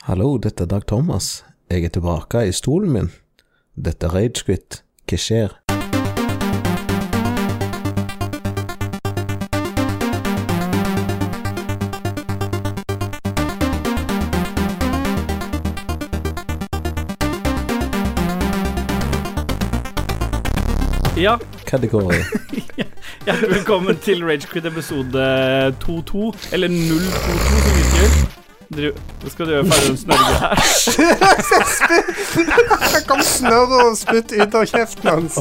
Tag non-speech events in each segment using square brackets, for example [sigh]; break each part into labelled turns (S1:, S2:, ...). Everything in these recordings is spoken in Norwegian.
S1: Hallo, dette er Dag Thomas. Jeg er tilbake i stolen min. Dette er Ragequit. Hva skjer?
S2: Ja,
S1: Kategori.
S2: hjertelig velkommen til Ragequit episode 22, eller 022 som utgjør. Dru- Nå skal du gjøre ferdig den snørre her.
S3: [laughs] Det kom snørr og spytt ut av kjeften hans.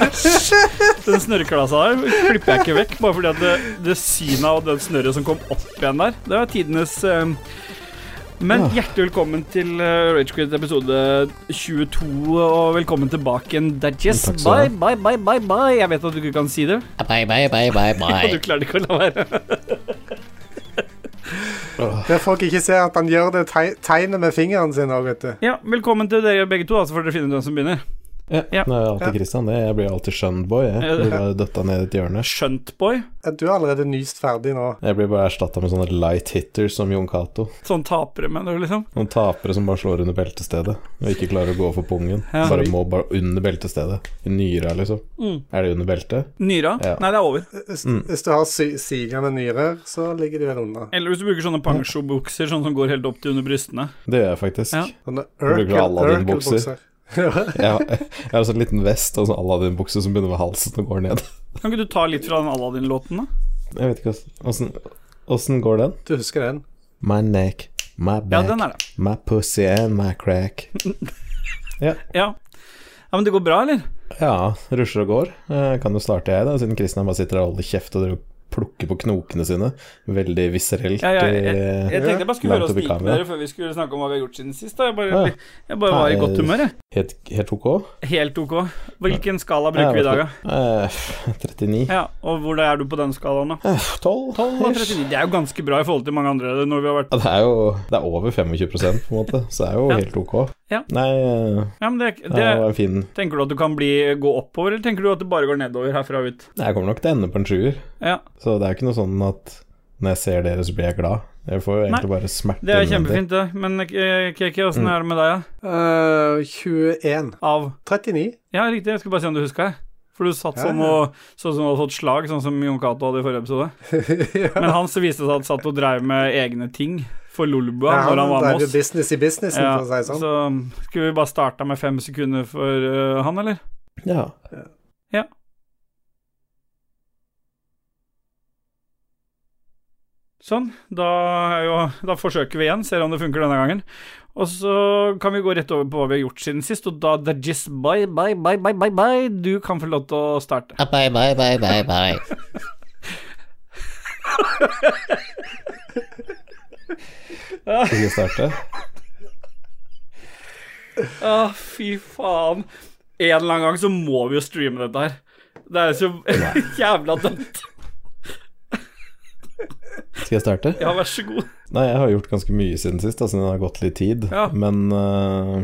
S2: [laughs] Den snørreklasa her klipper jeg ikke vekk, bare fordi at det, det syna og den snørret som kom opp igjen der, det var tidenes eh,
S3: Ah.
S2: Men hjertelig velkommen til eh, Ragequit episode 22, og velkommen tilbake igjen, Dadges.
S1: Takk skal
S2: Bye,
S1: du
S2: bye, bye, bye, bye. Jeg vet at du ikke kan si det,
S4: Bye, bye, bye, bye,
S2: og du
S4: bye.
S2: klarer ikke å la være.
S3: Det folk ikke ser, at han gjør det teg tegnet med fingeren sin òg, vet du.
S2: [laughs] Ja, velkommen til dere begge to, da, så får dere finne ut hvem som begynner.
S5: Ja.
S2: [laughs] Ja.
S5: Nei, jeg er alltid Kristian. det. Jeg blir alltid skjønnboy.
S2: Ja,
S5: Jeg
S2: det-
S5: blir bare døtta ned i et hjørne.
S2: Skjøntboy.
S3: Du er allerede nyst ferdig nå.
S5: Jeg blir bare erstatta med sånne light hitters som Jon Cato.
S2: Sånn tapere, mener du, liksom?
S5: Noen tapere som bare slår under beltestedet og ikke klarer å gå for pungen.
S2: Ja.
S5: Bare må bare under beltestedet. I nyra, liksom.
S2: Mm.
S5: Er det under beltet?
S2: Nyra?
S5: Ja.
S2: Nei, det er over.
S3: Hvis,
S5: Mm.
S3: hvis du har sy sigende nyrer, så ligger de vel unna.
S2: Eller hvis du bruker sånne pancho-bukser, sånn som går helt opp til under brystene.
S5: Det gjør jeg faktisk.
S2: Ja.
S3: Sånne
S5: bruker
S3: Urkel-
S5: Aladdin-bukser.
S3: Urkel-bukser. [laughs]
S5: Jeg, har- jeg har en sånn liten vest og sånn Aladdin-bukse som begynner med halsen og går ned. [laughs]
S2: Kan ikke du ta litt fra den Aladdin-låten, da?
S5: Jeg vet ikke åssen- åssen Åssen går den?
S3: Du husker den?
S5: My neck, my
S2: Ja,
S5: back,
S2: den er det.
S5: my pussy and my crack.
S2: Ja. ja, Men det går bra, eller?
S5: Ja, rusler og går. Eh, Kan jo starte jeg, da, siden Kristian bare sitter og holder kjeft og driver og plukker på knokene sine. Veldig viscerelt.
S2: Ja, ja,
S5: eh,
S2: Jeg tenkte jeg bare skulle høre
S5: Langt
S2: oss
S5: opp i
S2: like med
S5: kamera.
S2: dere før vi skulle snakke om hva vi har gjort siden sist. da Jeg bare,
S5: Ja.
S2: jeg bare var i
S5: Nei,
S2: godt humør, jeg.
S5: Helt, helt ok.
S2: Helt ok. Hvilken skala bruker vi i dag, da?
S5: Eh, 39.
S2: Ja, og hvor er du på den skalaen, da?
S5: Eh, 12,
S2: 12 og
S5: ish.
S2: 39. Det er jo ganske bra i forhold til mange andre når vi har vært
S5: Ja, Det er jo det er over 25 på en måte, så det er jo
S2: Ja.
S5: helt ok.
S2: Ja.
S5: Nei, eh,
S2: Ja, men det,
S5: det
S2: det
S5: var en fin
S2: Tenker du at du kan bli, gå oppover, eller tenker du at det bare går nedover herfra og ut?
S5: Jeg kommer nok til å ende på en sjuer,
S2: Ja,
S5: så det er jo ikke noe sånn at når jeg ser dere, så blir jeg glad. Jeg får jo egentlig bare smerte
S2: Det er
S5: innvendig.
S2: kjempefint, det. Men eh, Kiki, åssen
S5: Mm.
S2: er det med deg, da?
S3: Eh, 21.
S2: Av
S3: 39.
S2: Ja, riktig. Jeg skulle bare se om du huska. For du satt
S3: Ja,
S2: sånn
S3: ja.
S2: og sånn som du hadde fått slag, sånn som Jon Cato hadde i forrige episode.
S3: [laughs] ja.
S2: Men han så viste det seg at han satt og dreiv med egne ting for Lolbua
S3: Ja,
S2: når han var
S3: drev
S2: med
S3: jo
S2: oss.
S3: business i businessen,
S2: Ja,
S3: for å si det sånn.
S2: så um, skulle vi bare starta med fem sekunder for eh, han, eller?
S5: Ja.
S2: Sånn. Da, er jo, da forsøker vi igjen, ser om det funker denne gangen. Og så kan vi gå rett over på hva vi har gjort siden sist, og da det er just bye, bye, bye, bye, bye, bye. Du kan få lov til å starte.
S4: Uh, Bye, bye, bye, bye, bye.
S5: Skal vi starte?
S2: Å, fy faen. En eller annen gang så må vi jo streame dette her. Det er så [laughs] jævla dømt.
S5: Skal jeg starte?
S2: Ja, vær så god.
S5: Nei, jeg har gjort ganske mye siden sist, da, siden det har gått litt tid.
S2: Ja.
S5: Men eh,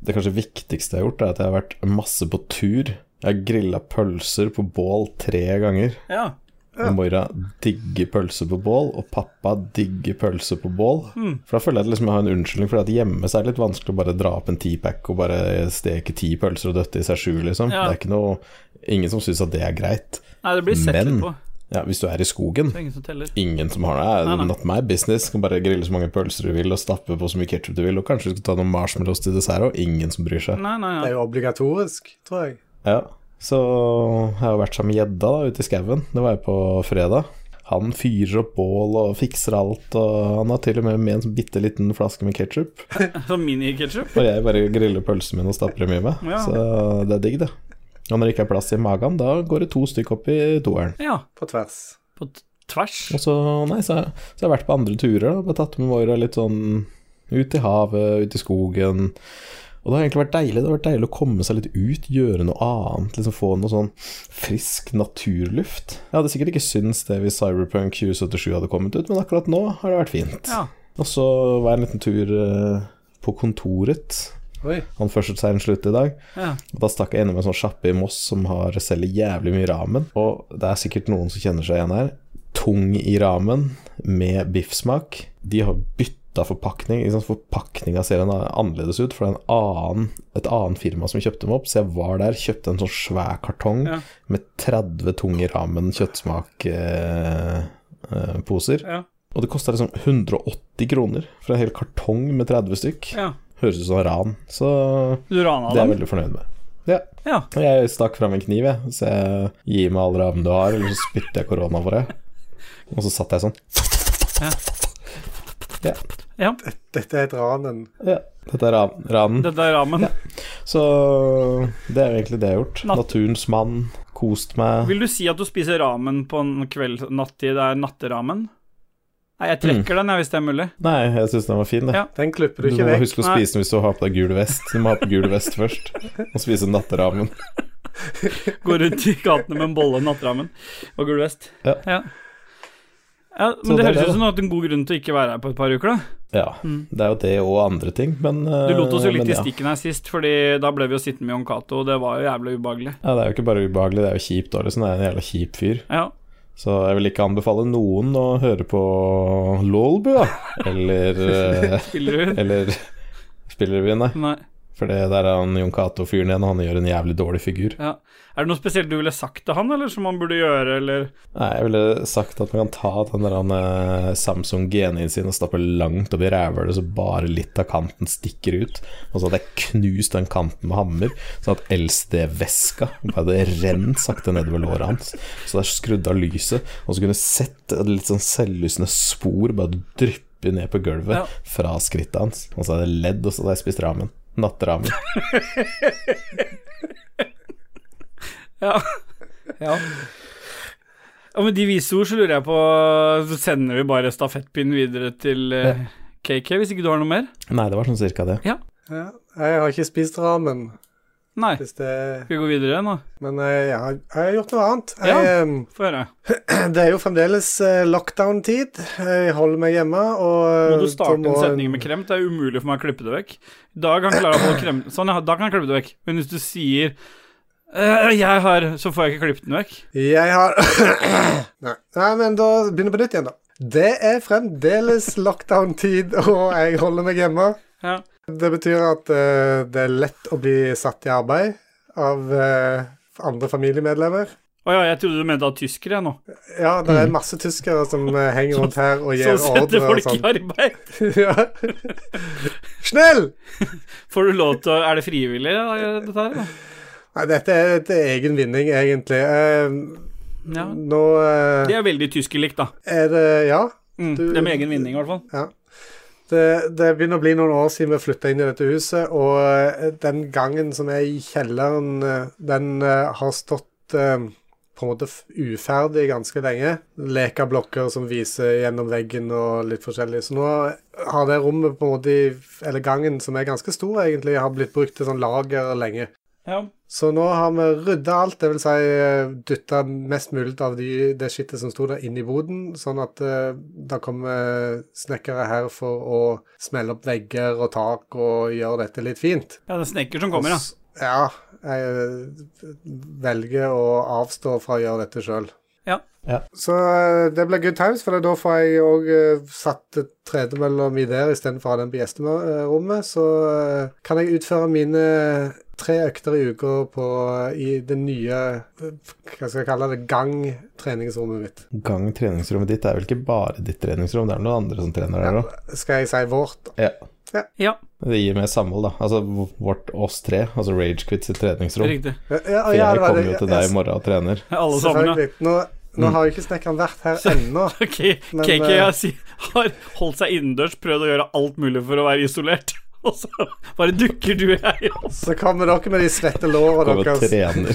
S5: det kanskje viktigste jeg har gjort, er at jeg har vært masse på tur. Jeg har grilla pølser på bål tre ganger.
S2: Ja.
S5: Og Moira digger pølser på bål, og pappa digger pølser på bål.
S2: Mm.
S5: For da føler jeg at liksom jeg har en unnskyldning, for hjemme så er det litt vanskelig å bare dra opp en teapack og bare steke ti pølser og døtte i seg sju, liksom.
S2: Ja.
S5: Det er ikke noe Ingen som syns at det er greit.
S2: Nei, det blir sett
S5: Men-
S2: litt på.
S5: Ja, hvis du er i skogen
S2: Det er ingen som teller.
S5: Ingen som har det.
S2: Nei,
S5: er
S2: nei.
S5: Not my business. Du kan bare grille så mange pølser du vil, og stappe på så mye ketsjup du vil, og kanskje du skal ta noen marshmallows til dessert, og ingen som bryr seg.
S2: Nei, nei,
S3: Det er
S2: nei.
S3: jo obligatorisk, tror jeg.
S5: Ja. Så jeg har vært sammen med gjedda da, ute i skauen. Det var jeg på fredag. Han fyrer opp bål og fikser alt, og han har til og med med en sånn bitte liten flaske med ketsjup.
S2: Sånn miniketsjup.
S5: Og jeg bare griller pølsene mine og stapper dem i meg.
S2: Ja.
S5: Så det er digg, det. Og når det ikke er plass i magen, da går det to stykk opp i toeren.
S2: Ja.
S3: På tvers.
S2: På t- tvers.
S5: Og så, nei, så, har- så har jeg vært på andre turer, da. Bare tatt med Moira litt sånn ut i havet, ut i skogen. Og det har egentlig vært deilig. Det har vært deilig å komme seg litt ut, gjøre noe annet. Liksom få noe sånn frisk naturluft. Jeg hadde sikkert ikke syntes det hvis Cyberpunk 2077 hadde kommet ut, men akkurat nå har det vært fint.
S2: Ja.
S5: Og så var jeg en liten tur eh, på kontoret.
S3: Oi.
S5: Han først seg en slutt i dag.
S2: Ja.
S5: Og Da stakk jeg innom en sånn sjappe i Moss som har selger jævlig mye ramen. Og det er sikkert noen som kjenner seg igjen her. Tung i ramen med biffsmak. De har bytta forpakning. Liksom Forpakninga ser en annerledes ut, for det er en annen, et annet firma som kjøpte dem opp. Så jeg var der, kjøpte en sånn svær kartong
S2: Ja.
S5: med 30 tunge ramen kjøttsmakposer. Eh, poser.
S2: Ja.
S5: og det kosta liksom 180 kroner for en hel kartong med 30 stykk.
S2: Ja.
S5: Høres ut som ran, så
S2: Du rana
S5: det er jeg
S2: dem?
S5: veldig fornøyd med. Ja.
S2: Ja.
S5: Og jeg stakk fram en kniv, jeg. Så jeg gir meg all ramen du har, eller så spytter jeg korona på deg. Og så satt jeg sånn. Ja.
S2: ja.
S3: Dette er et ranen.
S5: ja. Dette er ran- ranen.
S2: Dette er ramen.
S5: Så det er jo egentlig det jeg har gjort.
S2: Natt-
S5: Naturens mann. Kost meg.
S2: Vil du si at du spiser ramen på en kveld nattid? Det er natteramen? Nei, jeg
S5: Mm.
S2: trekker den, jeg, hvis det er mulig.
S5: Nei, jeg syns den var fin, det.
S2: Ja.
S3: Den klipper
S5: Du
S3: du ikke
S5: må
S3: vekk.
S5: huske å
S2: Nei.
S5: spise den hvis du har på deg gul vest. Du må ha på gul vest først, og spise natteramen.
S2: Gå rundt i gatene med en bolle natteramen og gul vest.
S5: Ja.
S2: ja. Ja,
S5: Så
S2: men det,
S5: det er
S2: høres
S5: det,
S2: ut som du har hatt en god grunn til å ikke være her på et par uker, da.
S5: Ja, det er jo det og andre ting, men
S2: Mm.
S5: eh,
S2: Du lot oss jo litt
S5: men
S2: i
S5: ja.
S2: stikken her sist, Fordi da ble vi jo sittende med Jon Cato, og det var jo jævlig ubehagelig.
S5: Ja, det er jo ikke bare ubehagelig, det er jo kjipt òg, liksom. Det er en jævla kjip fyr.
S2: Ja.
S5: Så jeg vil ikke anbefale noen å høre på Lolbua eller eh,
S2: Spiller
S5: [laughs]
S2: du?
S5: Eller Spillrevyen, nei.
S2: Nei.
S5: For det der er han Jon Cato-fyren igjen, og han gjør en jævlig dårlig figur.
S2: Ja. Er det noe spesielt du ville sagt til han, eller som han burde gjøre, eller
S5: Nei, jeg ville sagt at man kan ta den der han, eh, Samsung G9-en sin og stappe langt opp i rævhølet, så bare litt av kanten stikker ut. Og så hadde jeg knust den kanten med hammer, sånn at LSD-væska bare hadde rent sakte nedover låret hans. Så der skrudde av lyset, og så kunne jeg sett et litt sånn selvlysende spor bare dryppe ned på
S2: Ja.
S5: gulvet fra skrittet hans. Og så hadde jeg ledd, og så hadde jeg spist ramen. Natteramen.
S2: Ja. ja. Og med de vise ord så lurer jeg på Så sender vi bare stafettpinnen videre til eh, KK, hvis ikke du har noe mer?
S5: Nei, det var sånn cirka det.
S3: Ja, jeg har ikke spist ramen.
S2: Nei.
S3: Hvis det...
S2: Skal vi gå videre nå?
S3: Men jeg, jeg, har, jeg har gjort noe annet.
S2: Ja.
S3: Jeg, ehm, em,
S2: Få høre.
S3: det er jo fremdeles eh, lockdown-tid. Jeg holder meg hjemme, og
S2: Må du starte en
S3: da Eh, må-
S2: setning med kremt? Det er umulig for meg å klippe det vekk. Da kan Klara få krem... Sånn, ja. Da kan jeg klippe det vekk. Men hvis du sier «Eh, jeg har Så får jeg ikke klippet den vekk.
S3: Jeg har [coughs] Nei. Nei, men da begynner vi på nytt igjen, da. Det er fremdeles lockdown-tid, [laughs] og jeg holder meg hjemme.
S2: Ja.
S3: Det betyr at eh, det er lett å bli satt i arbeid av eh, andre familiemedlemmer.
S2: Å ja, jeg trodde du mente at tyskere, jeg nå.
S3: Ja, det er masse tyskere som eh, henger rundt her
S2: [laughs]
S3: og
S2: Så
S3: gir
S2: Mm. setter
S3: ordre og
S2: folk i
S3: sånn.
S2: arbeid.
S3: [laughs] Ja. Snill!
S2: Får du lov til å Er det frivillig, da, dette her? da?
S3: Nei, dette er etter egen vinning, egentlig. Eh,
S2: Ja.
S3: nå eh,
S2: Det er veldig tyskerlikt, da.
S3: er det Ja.
S2: Mm,
S3: Du-
S2: det er med egen vinning, i hvert fall.
S3: Det, det begynner å bli noen år siden vi flytta inn i dette huset, og eh, den gangen som er i kjelleren, eh, den eh, har stått eh, på en måte f- uferdig ganske lenge. Lekeblokker som viser gjennom veggen og litt forskjellig. Så nå har det rommet på en måte, i- eller gangen som er ganske stor egentlig, har blitt brukt til sånn lager lenge.
S2: Ja.
S3: Så nå har vi rydda alt, dvs. Si, dytta mest mulig av de, det skittet som sto der, inn i boden, sånn at eh, det kommer eh, snekkere her for å smelle opp vegger og tak og gjøre dette litt fint.
S2: ja, det er snekker som kommer, ja.
S3: S- Ja. Jeg velger å avstå fra å gjøre dette sjøl.
S2: Ja.
S5: Ja.
S3: Så eh, det blir good times, for da får jeg òg satt et tredje mellom i der istedenfor å ha den på gjesterommet. Så eh, kan jeg utføre mine tre økter i uka på eh, i det nye eh, Hva skal jeg kalle det? Gang-treningsrommet mitt.
S5: Gang treningsrommet ditt er vel ikke bare ditt treningsrom, det er vel noen andre som trener der òg.
S3: Skal jeg si vårt?
S5: Ja.
S2: Ja,
S5: Det gir mer samhold, da. Altså vårt oss tre, altså Ragequit sitt treningsrom.
S2: riktig.
S3: Ja, ja,
S5: For
S3: ja, det
S5: jeg
S3: var
S5: kommer
S3: det.
S5: jo til
S3: Ja,
S5: deg Mm. i morgen og trener.
S2: Alle sammen, ja.
S3: Selvfølgelig. Nå, nå har jo ikke snekkeren vært her ennå.
S2: [laughs] Ok,
S3: Men,
S2: KK
S3: eh,
S2: har si- har holdt seg innendørs, prøvd å gjøre alt mulig for å være isolert, [laughs] og så bare dukker du og jeg opp.
S3: Så kommer dere med de svette låra
S5: Kommer og
S3: deres.
S5: trener.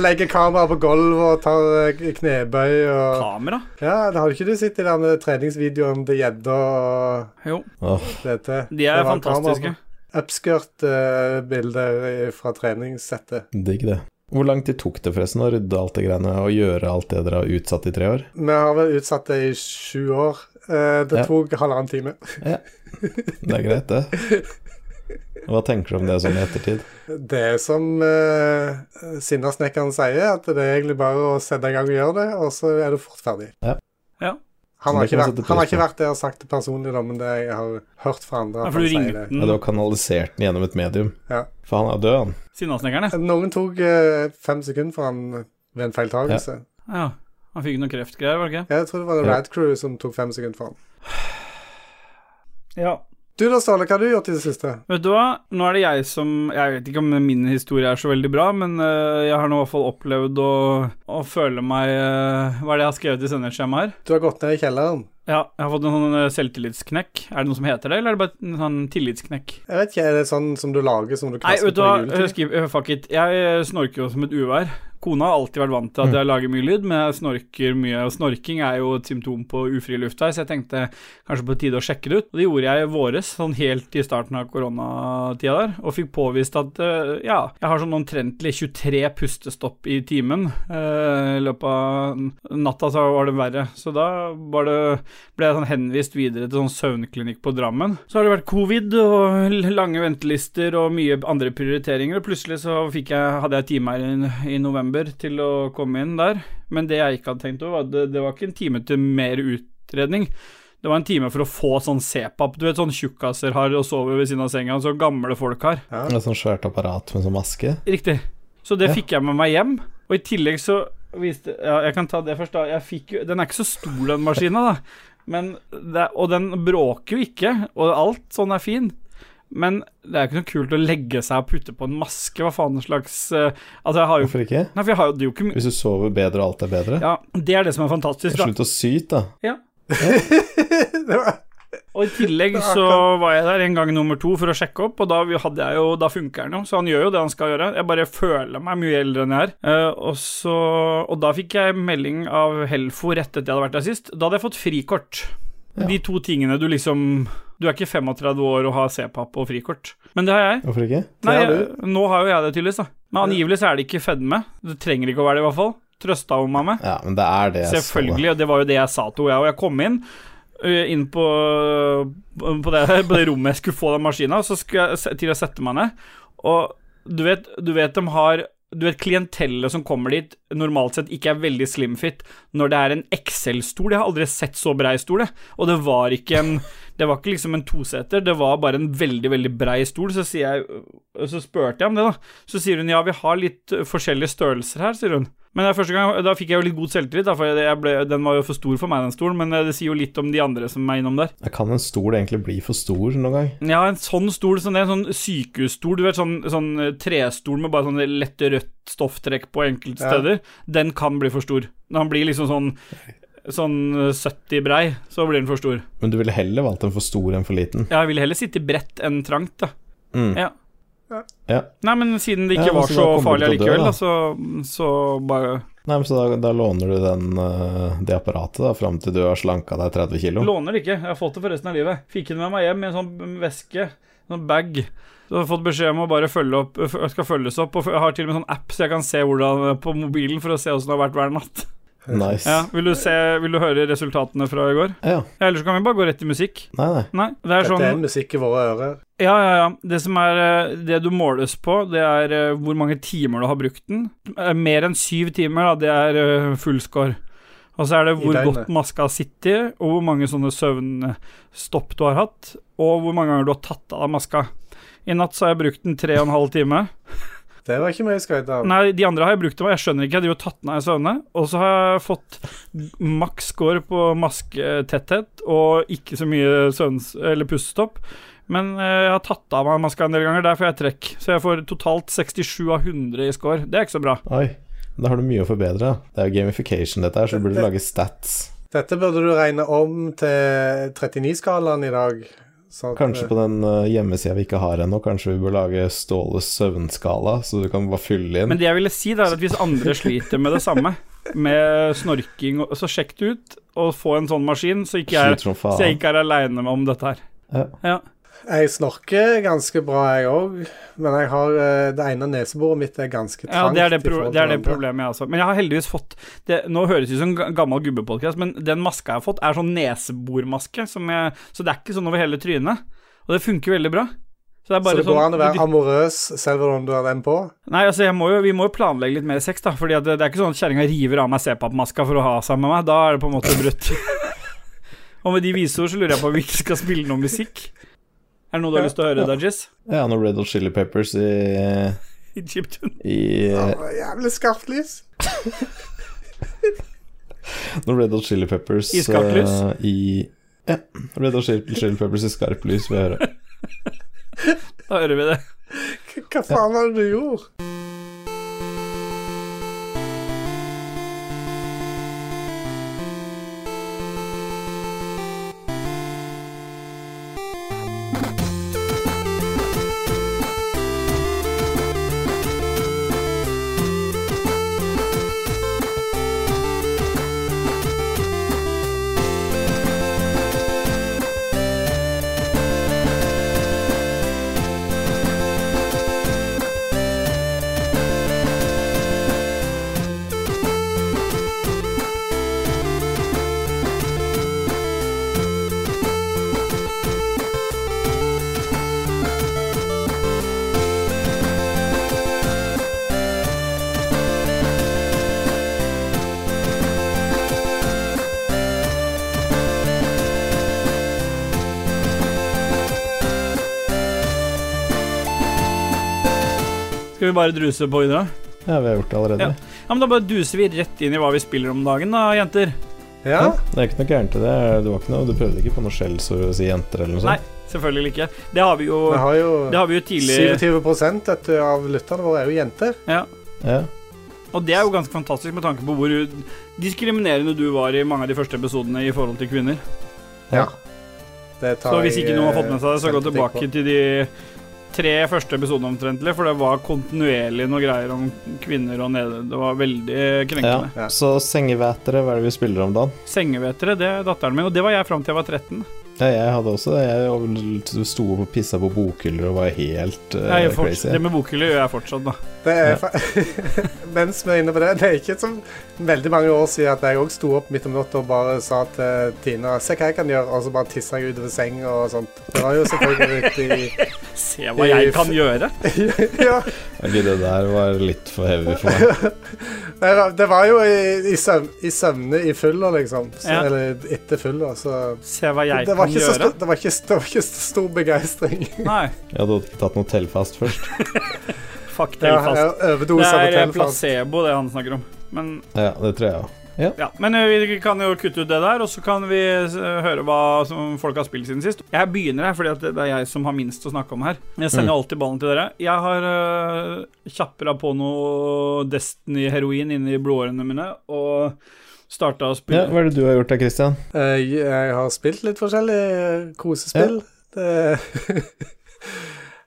S3: Legger kamera på gulvet og tar eh, knebøy og
S2: Kamera?
S3: Ja, da har du ikke du sett de der med treningsvideoen til gjedda og
S2: Jo,
S5: Åh,
S3: dette?
S2: de er fantastiske.
S3: Upskirt-bilder eh, fra treningssettet.
S5: digg det. Hvor lang tid tok det forresten å rydde alt det greiene og gjøre alt det dere har utsatt i tre år?
S3: Vi har vel utsatt det i sju år. Eh, Det
S5: Ja.
S3: tok halvannen time.
S5: Det er greit,
S3: [laughs]
S5: det. Hva tenker du om det sånn i ettertid?
S3: Det som eh, Sinnasnekkeren sier, at det er egentlig bare å sette i gang og gjøre det, og så er du fort ferdig.
S5: Ja.
S2: Ja.
S3: Han har,
S5: Det
S3: ikke
S5: kan
S3: vært,
S5: jeg
S3: han
S5: sette
S3: har
S5: pris på.
S3: ikke vært der og sagt det personlig, da, men det jeg har hørt fra andre.
S2: Ja,
S3: at
S2: for du
S3: han sier
S2: ringte
S3: det.
S5: Ja, det
S2: den
S5: var kanalisert den gjennom et medium.
S3: Mm. Ja.
S5: For han er død, han.
S2: sinnasnekkerne?
S3: Noen tok eh, fem sekunder for han ved en feiltagelse.
S2: Ja. Han fikk noen kreftgreier, var det ikke?
S3: Jeg tror det var
S5: Ja.
S3: Rad Crew som tok fem sekunder for han.
S2: Ja.
S3: Du da, Ståle, hva har du gjort i det siste?
S2: Vet du hva, nå er det jeg som Jeg vet ikke om min historie er så veldig bra, men øh, jeg har nå i hvert fall opplevd å, å føle meg øh, Hva er det jeg har skrevet i sendeskjemaet her?
S3: Du har gått ned i kjelleren.
S2: Ja, jeg har fått en sånn øh, selvtillitsknekk. Er det noe som heter det, eller er det bare en sånn tillitsknekk?
S3: Jeg vet ikke, er det sånn som du lager som du
S2: Nei,
S3: kaster
S2: vet du
S3: på
S2: hva,
S3: juletid?
S2: skip, eh, fuck it. Jeg eh, snorker jo som et uvær. Kona har alltid vært vant til at jeg lager mye lyd, men jeg snorker mye. Og snorking er jo et symptom på ufri luft her, så jeg tenkte kanskje på tide å sjekke det ut. Og det gjorde jeg i våres, sånn helt i starten av koronatida der, og fikk påvist at eh, ja, jeg har sånn omtrentlig 23 pustestopp i timen. Eh, I løpet av natta så var det verre, så da var det ble jeg sånn henvist videre til sånn søvnklinikk på Drammen. Så har det vært covid og l- lange ventelister og mye andre prioriteringer, og plutselig så fikk jeg, hadde jeg time her i, i november til å komme inn der. Men det jeg ikke hadde tenkt over, var at det, det var ikke en time til mer utredning. Det var en time for å få sånn CPAP. Du vet sånn tjukkaser har og sover ved siden av senga, så gamle folk har.
S5: Det er sånn svært apparat med sånn maske.
S2: Riktig. Så det
S5: Ja.
S2: fikk jeg med meg hjem. Og i tillegg så viste Ja, jeg kan ta det først, da. Jeg fikk jo Den er ikke så stor, den maskina, da. Men det, er- og den bråker jo ikke, og alt sånn er fin. Men det er jo ikke noe kult å legge seg og putte på en maske. Hva faen slags eh, Altså, jeg har jo
S5: Hvorfor ikke?
S2: Nei, for jeg har jo det er jo ikke mye
S5: Hvis du sover bedre og alt er bedre.
S2: Ja, det er det som er fantastisk, da.
S5: Slutt å syte, da.
S2: eh,
S3: [laughs]
S2: Og i tillegg så var jeg der en gang nummer to for å sjekke opp, og da, vi- hadde jeg jo, da funker den jo, så han gjør jo det han skal gjøre. Jeg bare føler meg mye eldre enn jeg er. Eh, og, så, og da fikk jeg melding av Helfo rett etter jeg hadde vært der sist. Da hadde jeg fått frikort.
S5: Ja.
S2: De to tingene du liksom Du er ikke 35 år og har C-papp og frikort, men det har jeg.
S5: Hvorfor ikke?
S2: Nei,
S3: har
S2: jeg, nå har jo jeg det tydeligvis, da. Men angivelig så er det ikke fedme. Det trenger ikke å være det, i hvert fall. Trøsta hun meg med.
S5: Ja, men det er det. jeg så det.
S2: Selvfølgelig, og det var jo det jeg sa til henne. Og jeg kom inn ø, inn på, øh, på, det, på det rommet jeg skulle få den maskina, så skulle jeg se- til å sette meg ned. Og du vet, du vet de har Du vet klientellet som kommer dit, normalt sett ikke er veldig slimfit, når det er en XL-stol. Jeg har aldri sett så brei stol, jeg. Og det var ikke en Det var ikke liksom en toseter, det var bare en veldig, veldig brei stol. Så sier jeg øh, Så spurte jeg om det, da. Så sier hun ja, vi har litt ø, forskjellige størrelser her, sier hun. Men det er første gang, øh, da fikk jeg jo litt god selvtillit, da, for jeg- jeg ble, den var jo for stor for meg, den stolen, men eh, det sier jo litt om de andre som er innom der.
S5: Jeg kan en stol egentlig bli for stor noen gang?
S2: Ja, en sånn stol, sånn, det er en sånn sykehusstol, du vet, sånn, sånn eh, trestol med bare sånn lett rødt stofftrekk på enkelte
S3: Ja.
S2: steder, den kan bli for stor. Når han blir liksom sånn, sånn eh, 70 brei, så blir den for stor.
S5: Men du ville heller valgt en for stor enn for liten.
S2: Ja, jeg ville heller sitte bredt enn trangt, da.
S5: Mm.
S2: Ja.
S5: Ja.
S2: Nei, men siden det
S5: Ja,
S2: ikke
S5: men
S2: var
S5: så
S2: så
S5: da kommer
S2: farlig
S5: du til å dø,
S2: allikevel,
S5: da.
S2: da, så, så bare
S5: Nei, men så da, da låner du den, eh, det apparatet da, fram til du har slanka deg 30 kilo.
S2: Låner det ikke. Jeg har fått det for resten av livet. Fikk den med meg hjem i en sånn veske, en sånn bag. Så jeg har fått beskjed om å bare følge opp, f- skal følges opp. Og f- jeg har til og med en sånn app så jeg kan se hvordan på mobilen for å se åssen det har vært hver natt. [laughs]
S5: Nice.
S2: Ja,
S5: Ja.
S2: vil du, se, vil du høre resultatene fra i går? Ja, Ellers kan vi bare gå rett til musikk.
S5: Nei, nei.
S2: Nei, det er
S3: Dette
S2: sånn
S3: er musikk i våre ører.
S2: Ja, ja, ja. Det som er eh, Det du måles på, det er eh, hvor mange timer du har brukt den. Eh, Mer enn syv timer, da, det er eh, full score. Og så er det
S3: I
S2: hvor
S3: døgnet.
S2: godt maska sitter, og hvor mange sånne søvnstopp du har hatt, og hvor mange ganger du har tatt av deg maska. I natt så har jeg brukt den tre og en halv time.
S3: Det var ikke mye å skryte av.
S2: Nei, de andre har jeg brukt det på. Jeg skjønner ikke. Jeg driver og tatt den av i søvne. Og så har jeg fått maks score på masketetthet og ikke så mye søvns- eller pustestopp. Men eh, jeg har tatt av meg maska en del ganger, der får jeg trekk. Så jeg får totalt 67 av 100 i score. Det er ikke så bra.
S5: Oi. Da har du mye å forbedre. da. Det er jo gamification, dette her, så du burde lage stats.
S3: Dette burde du regne om til 39-skalaen i dag. sånn at-
S5: Kanskje på den eh, hjemmesida vi ikke har ennå, kanskje vi bør lage Ståles søvnskala, så du kan bare fylle inn.
S2: Men det jeg ville si, det er at hvis andre sliter med det samme, med snorking, og- så sjekk det ut, og få en sånn maskin, så ikke jeg,
S5: Sliter som
S2: så jeg
S5: faen.
S2: ikke er aleine om dette her.
S5: Ja.
S2: Ja.
S3: eh, Jeg snorker ganske bra, jeg òg, men jeg har, eh, det ene neseboret mitt er ganske
S2: Ja,
S3: trangt.
S2: det er det,
S3: i
S2: pro
S3: forhold
S2: det, er
S3: til
S2: det
S3: andre.
S2: problemet jeg også Men jeg har heldigvis fått det, Nå høres det ut som en gammel gubbepodkast, men den maska jeg har fått, er sånn nesebormaske, som jeg, så det er ikke sånn over hele trynet. Og det funker veldig bra. Så det er
S3: Så
S2: bare
S3: det går an å
S2: sånn
S3: være amorøs selv om du har den på?
S2: Nei, altså, jeg må jo, vi må jo planlegge litt mer sex, da. Fordi at det, det er ikke sånn at kjerringa river av meg C-papp-maska for å ha seg med meg. Da er det på en måte brutt. [laughs] Og med de vise ord så lurer jeg på om vi ikke skal spille noe musikk. Er det noe du har lyst til å høre, Dajis?
S3: [laughs]
S5: Ja, noen Red Hot Chili Peppers i,
S2: Egyptian.
S5: i
S3: Å, Jævlig skarpt lys.
S5: Noen Red Hot Chili Peppers
S2: I skarpt lys?
S5: eh, i Ja. Red Hot Chili, Chili Peppers i skarpt lys vil jeg høre.
S2: Da hører vi det.
S3: Hva- Hva faen var det du gjorde?
S2: Skal vi bare druse på videre?
S5: Ja, vi har gjort det allerede.
S2: Ja. Ja, men Da bare duser vi rett inn i hva vi spiller om dagen, da, jenter.
S3: Ja,
S5: Ja, Det er ikke noe gærent i det. Det var ikke noe, du prøvde ikke på noe skjell så å si jenter eller noe sånt?
S2: Selvfølgelig ikke. Det har vi jo,
S3: vi har jo
S2: det har vi jo tidlig
S3: 27 vet du, av lytterne våre er jo jenter.
S2: ja.
S5: Ja.
S2: Og det er jo ganske fantastisk med tanke på hvor diskriminerende du var i mange av de første episodene i forhold til kvinner.
S5: Ja.
S3: Det tar
S2: Så hvis ikke
S3: jeg,
S2: noen har fått med seg det, så gå
S3: selvkritikk på.
S2: tilbake til de tre første episodene omtrentlig, for det var kontinuerlig noe greier om kvinner og nede. Det var veldig krenkende.
S5: ja. Så sengevætere, hva er det vi spiller om dagen?
S2: Sengevetere, det er datteren min, og det var jeg fram til jeg var 13.
S5: Ja, jeg hadde også det. Jeg sto opp og pissa på bokhyller og var helt eh,
S2: Jeg gjør forts-
S5: crazy.
S2: det med bokhylle gjør jeg fortsatt, da.
S3: Det er fa [laughs] Mens vi er inne på det, det er ikke som veldig mange år siden at jeg òg sto opp midt om natta og bare sa til Tina Se hva jeg kan gjøre, og så bare tissa jeg utover senga og sånt. Det var jo selvfølgelig riktig
S2: Se hva jeg kan gjøre!
S3: [laughs] Ja.
S5: Ok, det der var litt for heavy for meg.
S3: Nei, da, Det var jo i, i, søvn, i søvne i fylla, liksom. Så,
S2: Ja.
S3: Eller etter fylla, så
S2: Se hva jeg
S3: det var,
S2: kan
S3: ikke så
S2: gjøre.
S3: stor, det, var ikke, det var ikke så stor begeistring.
S2: Nei,
S5: Jeg hadde ikke tatt noe tellfast først.
S2: fuck
S3: Ja,
S2: Telfast. Det
S3: Overdose på
S2: er eh,
S3: Telfast.
S2: placebo, det han snakker om. Men
S5: Ja, det tror jeg òg.
S2: Ja, Men eh, vi kan jo kutte ut det der, og så kan vi eh, høre hva som folk har spilt siden sist. Jeg begynner her, fordi at det er jeg som har minst å snakke om her. Jeg
S5: Mm.
S2: sender alltid ballen til dere. Jeg har uh, kjappra på noe Destiny-heroin inni blodårene mine, og starta å
S5: Ja,
S2: spille
S5: hva er det du har gjort da, Christian?
S3: Eh, Jeg har spilt litt forskjellig eh, kosespill. Det... [laughs]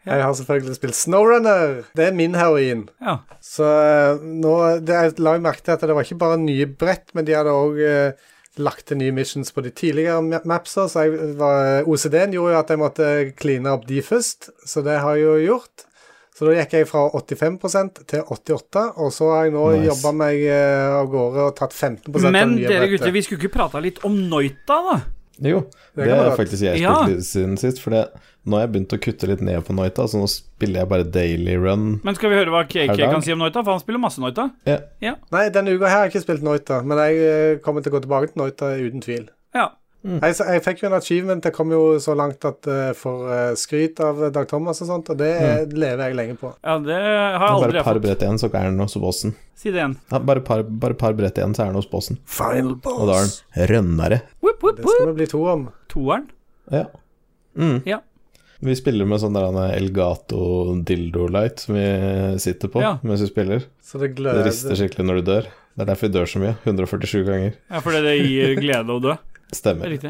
S3: Jeg har selvfølgelig spilt Snowrunner. Det er min heroin.
S2: Ja.
S3: Så eh, nå det, Jeg la jo merke til at det var ikke bare nye brett, men de hadde òg lagt til nye missions på de tidligere ma- mapsa, så jeg eh, var, OCD-en gjorde jo at jeg måtte kline opp de først, så det har jeg jo gjort. Så da gikk jeg fra 85 til 88 og så har jeg nå
S5: Nice.
S3: jobba meg eh, av gårde og tatt 15 av det
S2: Men
S3: nye
S2: dere
S3: brettet.
S2: gutter, vi skulle ikke prata litt om Noita, da?
S5: Jo,
S3: Det
S5: det
S3: kan
S5: er
S3: være.
S5: faktisk jeg
S2: Ja.
S5: spilt siden sist. For det, nå har jeg begynt å kutte litt ned på Noita, så nå spiller jeg bare Daily Run.
S2: Men skal vi høre hva KK
S5: Er det
S2: kan
S5: han?
S2: si om Noita? For han spiller masse Noita.
S5: Ja.
S3: Nei, denne uka her har jeg ikke spilt Noita, men jeg eh, kommer til å gå tilbake til Noita uten tvil.
S2: Ja.
S3: Jeg, s- jeg fikk jo en achievement, jeg kom jo så langt at jeg får eh, skryt av Dag Thomas og sånt, og det eh, lever jeg lenge på.
S2: ja, det har jeg
S5: Bare
S2: aldri
S5: et par
S2: fått.
S5: brett igjen, så er den hos bossen.
S2: Si det igjen.
S5: Ja, bare par, bare par brett igjen, så er den hos bossen.
S3: Final
S5: Og da er den rønnere.
S2: Whoop, whoop,
S3: Det
S2: whoop.
S3: skal vi bli to om.
S2: Toeren.
S5: Ja. Mm.
S2: Ja.
S5: Vi spiller med sånn der han er Elgato Dildo Light som vi sitter på
S2: Ja.
S5: mens vi spiller.
S3: Så det
S5: Det
S3: gløder.
S5: rister skikkelig når du dør. Det er derfor vi dør så mye. 147 ganger.
S2: Ja, fordi det gir glede å
S3: [laughs]
S2: dø. Det er
S5: Stemmer.
S2: Riktig.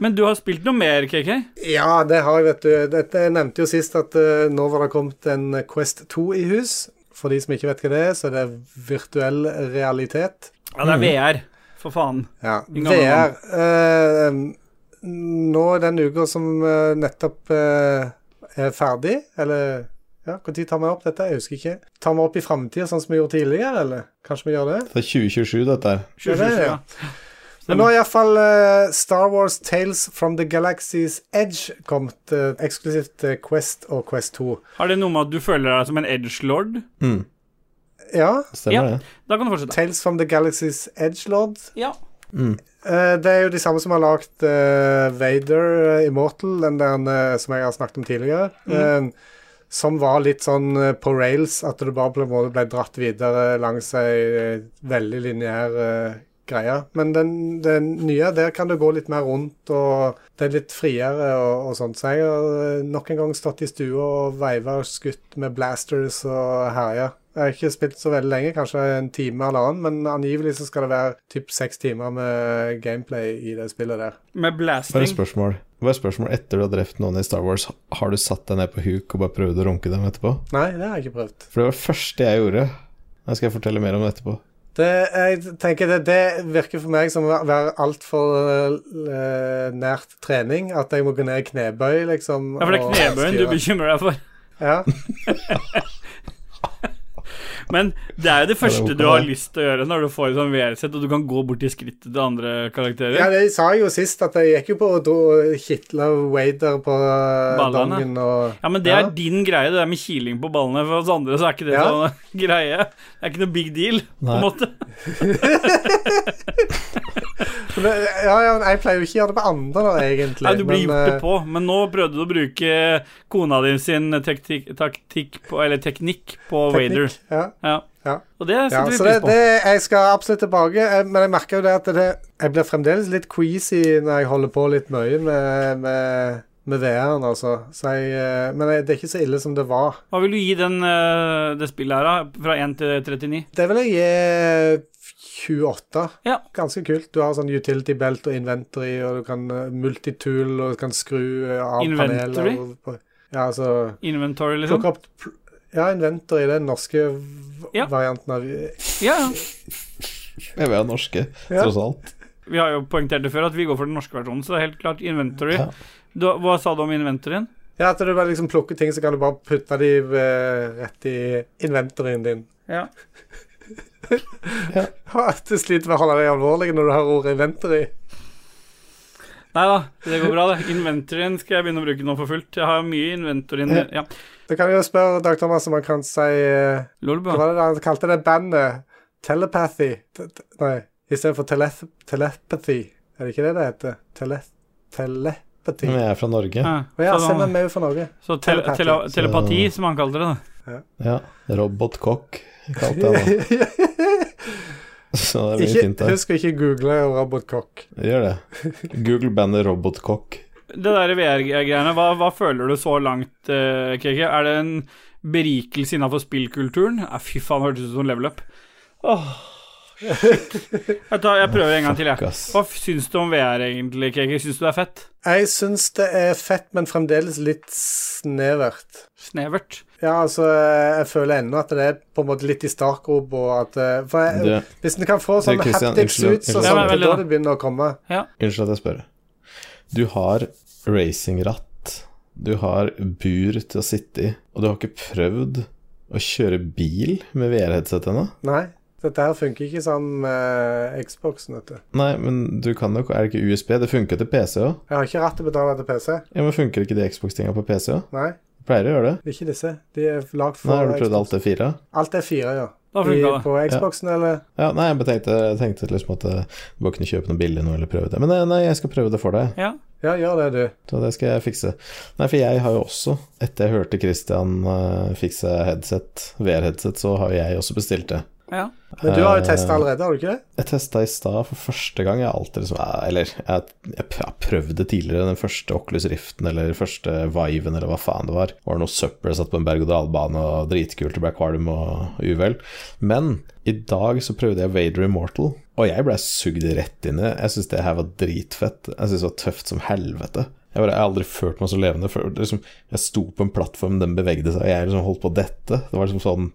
S2: Men du har spilt noe mer, KK?
S3: Ja, det har jeg, vet du. Dette, jeg nevnte jo sist at eh, nå var det kommet en Quest 2 i hus. For de som ikke vet hva det er, så er det virtuell realitet.
S2: Ja,
S3: Mm.
S2: det er VR. For faen.
S3: Ja.
S2: Din gamle
S3: VR eh, Nå den uka som eh, nettopp eh, er ferdig, eller ja, Når tar vi opp dette? Jeg husker ikke. Tar vi opp i framtida, sånn som vi gjorde tidligere, eller? Kanskje vi gjør det?
S5: Det er 2027, dette her.
S2: 27,
S3: Det er det, ja.
S2: ja.
S3: Men nå er iallfall uh, Star Wars Tales from the Galaxy's Edge kommet, eh, eksklusivt til Quest og Quest 2.
S2: Har det noe med at du føler deg som en edgelord?
S5: Mm.
S3: Ja,
S5: Stemmer
S2: Ja.
S5: det.
S2: Da kan du fortsette.
S3: Tales from the Galaxy's Edge Lord.
S2: Ja.
S3: Eh, det er jo de samme som har lagd eh, Vader eh, Immortal, den der eh, som jeg har snakket om tidligere. eh, som var litt sånn eh, på rails, at du bare på en måte ble dratt videre langs ei eh, veldig lineær eh, greie. Men den, den nye, der kan du gå litt mer rundt, og det er litt friere og, og sånt. Så jeg har eh, nok en gang stått i stua og veiva og skutt med blasters og herja. Jeg har ikke spilt så veldig lenge, kanskje en time eller annen, men angivelig så skal det være typ seks timer med gameplay i det spillet der.
S2: Med
S5: Bare et
S2: blasting.
S5: spørsmål. Bare et spørsmål etter du har drept noen i Star Wars, har du satt deg ned på huk og bare prøvd å runke dem etterpå?
S3: Nei, det har jeg ikke prøvd.
S5: For det var det første jeg gjorde. Jeg skal fortelle mer om det etterpå.
S3: Det, jeg tenker det, det virker for meg som å være altfor uh, nært trening. At jeg må gå ned i knebøy, liksom.
S2: Ja, for det er
S3: og
S2: knebøyen du
S3: styre.
S2: bekymrer deg for.
S3: Ja,
S2: Men det er jo det første
S5: ok,
S2: du har
S5: det.
S2: lyst til å gjøre når du får et sånn VR-sett, og du kan gå bort i skrittet til andre karakterer.
S3: ja, det sa jeg jo sist, at jeg gikk jo på og dro kitla Wader på eh,
S2: Ballene.
S3: dongen og
S2: Ja, men det er
S3: Ja.
S2: din greie, det der med kiling på ballene. For oss andre så er ikke det
S3: Ja.
S2: sånn [laughs] greie. Det er ikke noe big deal, på
S5: Nei.
S2: en måte.
S3: Men det- Ja, ja, men jeg pleier jo ikke å gjøre det på andre, da, egentlig.
S2: Nei, du blir
S3: men,
S2: gjort det
S3: eh,
S2: på, men nå prøvde du å bruke kona din sin taktikk, taktikk på, eller teknikk på
S3: teknikk,
S2: Wader.
S3: Ja.
S2: Ja.
S3: Ja.
S2: Og det [laughs]
S3: Ja,
S2: setter
S3: så
S2: vi
S3: det,
S2: pris på.
S3: det, jeg skal absolutt tilbake, eh, men jeg merker jo det at det, jeg blir fremdeles litt queasy når jeg holder på litt mye med, med, med VR-en, altså. Så jeg, eh, men jeg, det er ikke så ille som det var.
S2: Hva vil du gi den, eh, det spillet her, da? Fra 1 til 39?
S3: Det vil jeg gi 28.
S2: Ja.
S3: Ganske kult. Du har sånn utility belt og inventory, og du kan eh, multitool, og du kan skru eh, av
S2: Inventory?
S3: paneler. og- Ja, altså
S2: Inventory, liksom?
S3: Plukke opp pl- Ja, inventory, den norske v-
S2: Ja.
S3: varianten av
S2: Ja, ja.
S5: Jeg vil ha norske,
S3: Ja.
S5: tross alt.
S2: Vi har jo poengtert det før at vi går for den norske versjonen, så det er helt klart inventory.
S5: Ja.
S2: Du, hva sa du om inventoryen?
S3: Ja, at du bare liksom plukker ting, så kan du bare putte de eh, rett i inventoryen din. [laughs]
S2: Ja.
S3: At du sliter med å holde deg alvorlig når du har ordet inventory.
S2: Nei da, det går bra, det. Inventoryen skal jeg begynne å bruke nå for fullt. Jeg har mye inventoryen Ja.
S3: Da kan vi jo spørre Dag Thomas om han kan si eh, Hva
S2: Lolbua.
S3: var det han kalte det bandet? Telepathy? T t nei, istedenfor teleth telepathy. Er det ikke det det heter? Tele telepathy.
S5: Men jeg er fra Norge.
S2: Ja,
S3: Å ja,
S2: så
S3: stemmer,
S2: da-
S3: vi er jo fra Norge.
S2: så tele,
S3: telepati.
S2: tele, telepati, som han kalte det. da.
S5: Ja. Robotkokk
S3: [laughs]
S5: kalte jeg det. Så det blir fint
S3: Ikke,
S5: der.
S3: husk å ikke google robotkokk.
S5: Gjør det. Google bandet Robotkokk.
S2: Det der VR-greiene, hva, hva føler du så langt, eh, KK? Er det en berikelse innafor spillkulturen? Eh, fy faen, hørtes ut som level up. Åh, shit. jeg, tar, jeg prøver en gang til, jeg.
S5: Fuck, ass.
S2: Hva f- syns du om VR egentlig, KK? Syns du det er fett?
S3: Jeg syns det er fett, men fremdeles litt snevert.
S2: Snevert?
S3: Ja, altså, jeg føler ennå at det er på en måte litt i startgrop, og at eh, For jeg,
S5: Du,
S3: hvis en kan få
S5: Du,
S3: sånne
S5: Christian,
S3: haptic
S5: unnskyld-
S3: suits og
S5: unnskyld.
S2: Ja,
S3: sånn,
S2: men
S3: det er
S2: veldig
S3: da
S2: da.
S3: det begynner å komme.
S5: Unnskyld at jeg spør. Du har racingratt, du har bur til å sitte i, og du har ikke prøvd å kjøre bil med VR-headset ennå?
S3: Nei, dette her funker ikke som eh, Xboxen, vet du.
S5: Nei, men du kan jo Er det ikke USB? Det funker til PC òg.
S3: Jeg har ikke rett til å betale til PC.
S5: Ja, men funker ikke de Xbox-tinga på PC òg?
S3: Nei,
S5: Pleier å gjøre det.
S3: ikke disse. De er lagd for
S5: Nei, har du prøvd
S3: Xbox.
S5: alt det fire?
S3: Alt er fire, ja.
S2: Da
S3: I,
S2: funka det.
S3: på Xboxen, eller?
S5: Ja, nei, jeg bare tenkte, jeg tenkte liksom at eh, du bare kunne kjøpe noe billig nå eller prøve det. Men eh, nei, nei, jeg skal prøve det for deg.
S2: Ja.
S3: Ja, gjør det, du.
S5: Så det skal jeg fikse. Nei, for jeg har jo også, etter jeg hørte Christian eh, fikse headset, VR-headset, så har jo jeg også bestilt det.
S2: ja.
S3: Men du har jo testa
S5: Eh,
S3: allerede, har du ikke det?
S5: Jeg testa i stad for første gang. Jeg har alltid liksom eh, Eller jeg, jeg pr- jeg prøvde tidligere den første Oculus Riften eller første Viven eller hva faen det var. Det var noe søppel jeg satt på en berg-og-dal-bane og dritkult, det ble kvalm og uvel. Men i dag så prøvde jeg Vader Immortal, og jeg ble sugd rett inn i det. Jeg syns det her var dritfett. Jeg syns det var tøft som helvete. Jeg, bare, jeg har aldri følt meg så levende. før. Det liksom, jeg sto på en plattform, den bevegde seg, og jeg liksom holdt på å dette. Det var liksom sånn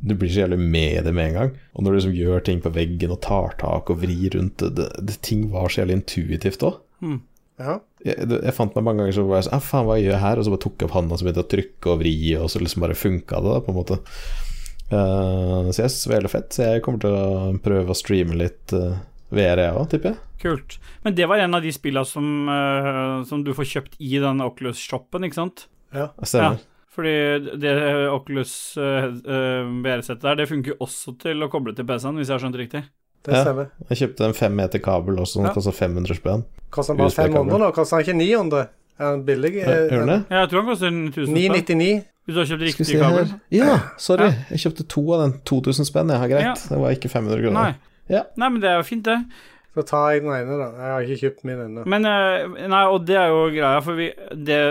S5: du blir så jævlig med det med en gang. Og når du liksom gjør ting på veggen og tar tak og vrir rundt det, det, det, Ting var så jævlig intuitivt òg.
S2: Hmm.
S3: Ja.
S5: Jeg, det- jeg fant meg mange ganger så var jeg sånn «Ah, Faen, hva gjør jeg her? Og så bare tok jeg opp handa og så begynte jeg å trykke og vri, og så liksom bare funka det, da, på en måte. Eh, så jeg synes det var veldig fett. Så jeg kommer til å prøve å streame litt eh, VR, jeg òg, tipper jeg.
S2: Kult. Men det var en av de spilla som, eh, som du får kjøpt i den Oculus-shoppen, ikke sant?
S5: Stemmer.
S2: Fordi det eh, Oculus uh, VR-settet der, det funker jo også til å koble til PC-en, hvis jeg har skjønt riktig.
S3: Det
S5: Ja.
S3: stemmer.
S5: Jeg kjøpte en fem meter kabel også, som
S2: Ja.
S5: kosta 500 spenn.
S3: Koster den bare
S5: USB-kabel.
S3: 500 nå? Koster den ikke 900? Er den billig?
S5: Eh, Gjør den det?
S2: Ja, jeg tror han koster en 1000 spenn.
S3: 999.
S2: Hvis du har kjøpt
S5: Skal vi
S2: riktig
S5: se her
S2: kabel.
S5: Ja, sorry. Jeg kjøpte to av den. 2000 spenn, jeg har greit.
S2: Ja.
S5: Det var ikke 500 kroner.
S2: Nei.
S5: Ja.
S2: Nei, men det er jo fint, det.
S3: Så tar jeg den ene, da. Jeg har ikke kjøpt min ennå.
S2: Men eh, Nei, og det er jo greia, for vi Det,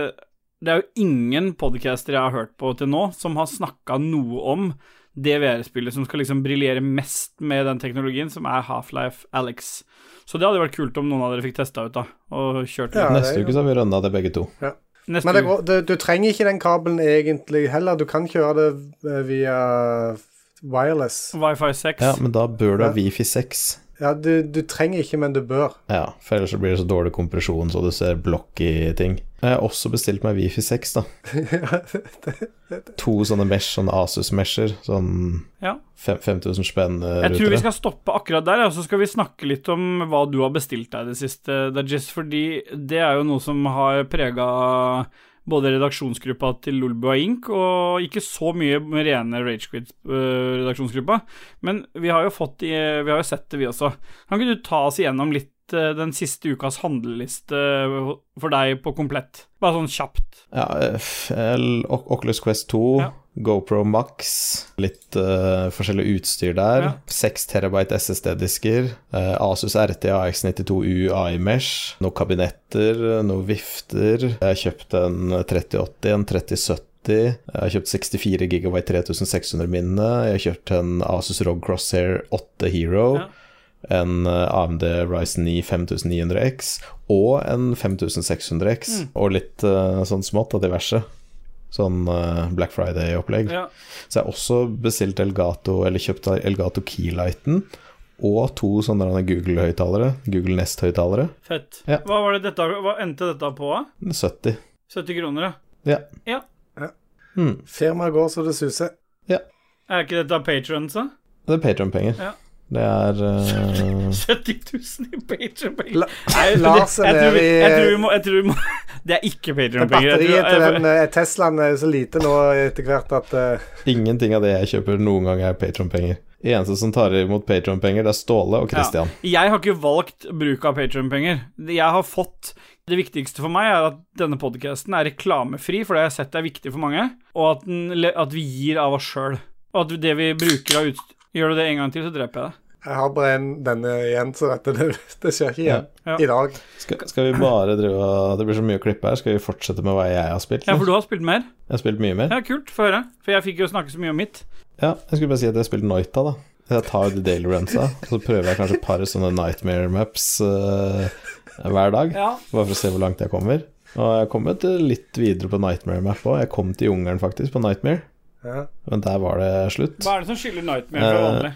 S2: det er jo ingen podcaster jeg har hørt på til nå, som har snakka noe om det VR-spillet som skal liksom briljere mest med den teknologien, som er Half-Life Alex. Så det hadde jo vært kult om noen av dere fikk testa ut, da, og kjørt litt.
S3: Ja, det er
S5: Neste
S3: jo-
S5: uke så har vi runda det begge to.
S2: Neste
S3: Men det
S2: uke.
S3: går, du, du trenger ikke den kabelen egentlig heller. Du kan kjøre det eh, via wireless.
S2: Wifi 6.
S5: Ja, men da bør du ha
S3: Ja.
S5: Wifi 6.
S3: Ja, du, du trenger ikke, men du bør.
S5: Ja, for ellers så blir det så dårlig kompresjon, så du ser blokk i ting. Jeg har også bestilt meg Wifi 6, da. To sånne mesh, sånne Asus-mesher. Sånn
S2: Ja.
S5: fem- 5000 spenn eh,
S2: Jeg tror vi
S5: rutere.
S2: skal stoppe akkurat der, og så skal vi snakke litt om hva du har bestilt deg i det siste, Dajis, fordi det er jo noe som har prega både redaksjonsgruppa til Lulboa Inc., og ikke så mye med rene Ragequid-redaksjonsgruppa, men vi har jo fått i, Vi har jo sett det, vi også. Kan ikke du ta oss igjennom litt eh, den siste ukas handleliste eh, for deg på komplett? Bare sånn kjapt.
S5: Ja, eh, f- el- O- Oculus Quest 2,
S2: Ja.
S5: GoPro Max, litt eh, forskjellig utstyr
S2: Ja.
S5: der. 6 terabyte SSD-disker, eh, Asus RT AX92U AI-mesh, noen kabinetter, eh, noen vifter. Jeg har kjøpt en 3080, en 3070. Jeg har kjøpt 64 GB 3600-minne. Jeg har kjøpt en Asus ROG Crosshair 8 Hero.
S2: Ja.
S5: En eh, AMD Ryzen 9 5900X og en 5600X.
S2: Mm.
S5: Og litt eh, sånn smått av diverse. Sånn eh, Black Friday-opplegg.
S2: Ja.
S5: Så jeg har også bestilt Elgato, eller kjøpt Elgato Keylighten. Og to sånne der Google-høyttalere. Google Nest-høyttalere.
S2: Fett.
S5: Ja.
S2: Hva, var det dette, hva endte dette på? da?
S5: 70.
S2: 70 kroner, ja.
S5: Ja.
S2: Ja.
S3: Ja.
S5: Mm.
S3: Firmaet går så det suser.
S2: Er ikke dette patrons, da?
S5: Det er Patron-penger.
S2: Ja.
S5: Det er eh,
S2: 70 000 i Patreon-penger.
S3: La-
S2: Nei, det-
S3: Lars er
S2: jeg tror vi-
S3: nede i-
S2: Jeg tror vi må, jeg tror vi må [laughs] Det er ikke
S3: Men
S2: Patreon-penger. Jeg
S3: batteriet til
S2: tror-
S3: den eh, Teslaen er jo så lite nå etter hvert at eh,
S5: Ingenting av det jeg kjøper noen gang, er Patron-penger. Eneste som tar imot Patron-penger, det er Ståle og Christian.
S2: Ja. Jeg har ikke valgt bruk av Patreon-penger. Jeg har fått Det viktigste for meg er at denne podkasten er reklamefri, for det har jeg sett er viktig for mange, og at, den, le- at vi gir av oss sjøl. Og at det vi bruker av utstyr Gjør du det en gang til, så dreper jeg deg.
S3: jeg har bare en, denne igjen, så dette det, det skjer ikke igjen
S2: Ja.
S3: i dag.
S5: Skal, skal vi bare drive og Det blir så mye å klippe her. Skal vi fortsette med hva jeg har spilt?
S2: Ja,
S5: eller?
S2: for du har spilt mer?
S5: Jeg har spilt mye mer.
S2: Ja, kult. Få høre. For jeg fikk jo snakke så mye om mitt.
S5: Ja, jeg skulle bare si at jeg har spilt Noita, da. Jeg tar jo The Daily Runsa, og så prøver jeg kanskje et par sånne Nightmare Maps eh, hver dag.
S2: Ja.
S5: Bare for å se hvor langt jeg kommer. Og jeg har kommet eh, litt videre på Nightmare Map òg. Jeg kom til jungelen, faktisk, på Nightmare.
S3: Ja.
S5: Men der var det slutt.
S2: Hva er det som skiller Nightmare fra
S5: Eh,
S2: vanlig?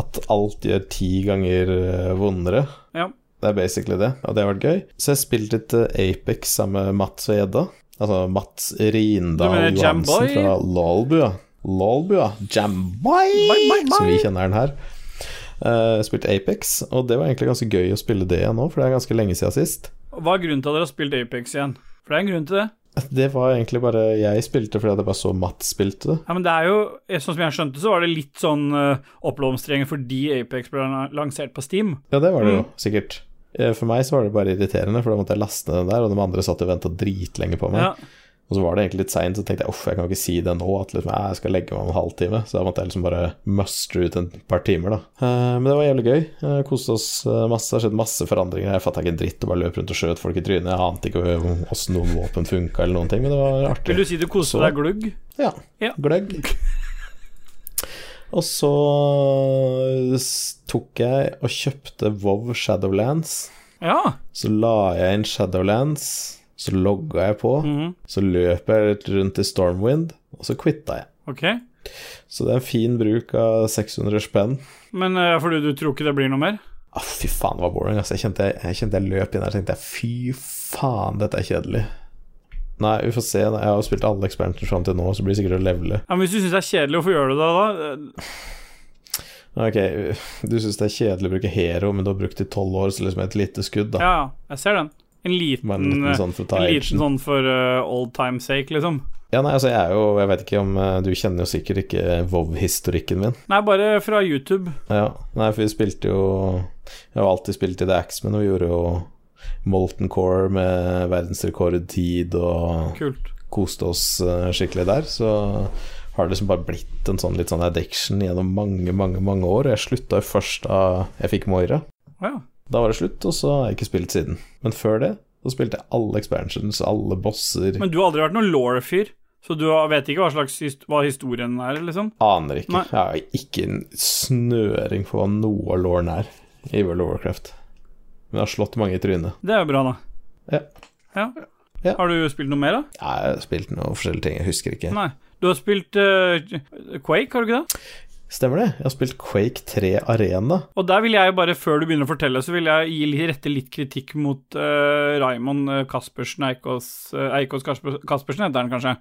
S5: At alt gjør ti ganger eh, vondere.
S2: Ja.
S5: Det er basically det, og det har vært gøy. Så jeg har spilt litt eh, Apex sammen med Mats og Gjedda. Altså Mats Rindal
S2: Du mener
S5: Johansen
S2: Jamboy?
S5: fra Lolbua. Lolbua. Jamboy, som vi kjenner den her. Eh, spilt Apex, og det var egentlig ganske gøy å spille det igjen nå, for det er ganske lenge siden sist.
S2: Hva er grunnen til at dere har spilt Apex igjen? For det er en grunn til det.
S5: Det var egentlig bare jeg spilte fordi at jeg bare så Mats spilte det.
S2: Ja, men det er jo, Sånn som jeg skjønte, så var det litt sånn uh, oppblomstring fordi Apex ble lansert på Steam.
S5: Ja, det var det
S2: Mm.
S5: jo, sikkert. Eh, For meg så var det bare irriterende, for da måtte jeg laste den der, og de andre satt og venta dritlenge på meg.
S2: Ja,
S5: Og så var det egentlig litt seint, så tenkte jeg uff, jeg kan ikke si det nå, at liksom, jeg skal legge meg om en halvtime. Så da måtte jeg liksom bare mustre ut en par timer, da. Eh, men det var jævlig gøy. Uh, Koste oss eh, masse. Det har skjedd masse forandringer. Jeg fatta ikke en dritt og bare løp rundt og skjøt folk i trynet. Jeg ante ikke om åssen noen våpen funka eller noen ting, men det var artig.
S2: Vil du si du koste
S5: Så-
S2: deg glugg?
S5: Ja.
S2: Ja.
S5: Gløgg. Og så s- tok jeg og kjøpte Vov Shadowlands.
S2: Ja.
S5: Så la jeg inn Shadowlands, så logga jeg på, så løp jeg litt rundt i Stormwind, og så quitta jeg.
S2: Ok.
S5: Så det er en fin bruk av 600 spenn.
S2: Men uh, fordi du tror ikke det blir noe mer?
S5: Ah, fy faen, det var boring. Altså. Jeg, kjente jeg, jeg kjente jeg løp inn der og tenkte jeg, fy faen, dette er kjedelig. Nei, vi får se. Jeg har jo spilt alle expansions fram til nå, så blir det sikkert å levele.
S2: Ja, men Hvis du syns det er kjedelig, hvorfor gjør du det da? Eh,
S5: Ok, du syns det er kjedelig å bruke hero, men du har brukt i tolv år, så liksom et lite skudd, da.
S2: Ja, jeg ser den. En liten,
S5: Bare en liten
S2: eh,
S5: sånn for å ta
S2: en liten
S5: action.
S2: sånn for eh, old time sake, liksom.
S5: Ja, nei, altså jeg er jo Jeg vet ikke om eh, Du kjenner jo sikkert ikke Vov-historikken min.
S2: Nei, bare fra YouTube.
S5: Ja, nei, for vi spilte jo Jeg har jo alltid spilt i The Axe, men vi gjorde jo Molten Core med verdensrekordtid og
S2: Kult.
S5: koste oss eh, skikkelig der. Så har det liksom bare blitt en sånn litt sånn addiction gjennom mange, mange mange år. Jeg slutta jo først da jeg fikk Moira.
S2: Å ja.
S5: Da var det slutt, og så har jeg ikke spilt siden. Men før det så spilte jeg alle expansions, alle bosser.
S2: Men du har aldri vært noen law-fyr, så du har- vet ikke hva slags hist hva historien er, liksom?
S5: Aner ikke.
S2: Nei.
S5: Jeg har ikke en snøring på hva noe av lauren er i World of Warcraft. Men jeg har slått mange i trynet.
S2: Det er jo bra, da.
S5: Ja.
S2: Ja.
S5: Ja.
S2: Har du spilt noe mer, da?
S5: Jeg har spilt noen forskjellige ting, jeg husker ikke.
S2: Nei. Du har spilt eh, Quake, har du ikke det?
S5: Stemmer det? Jeg har spilt Quake 3 Arena.
S2: Og der vil jeg bare, før du begynner å fortelle, så vil jeg gi litt- rette litt kritikk mot uh, Raymond eh, Kaspersen Eikås, eh, Eikås Kasper, Kaspersen heter han kanskje,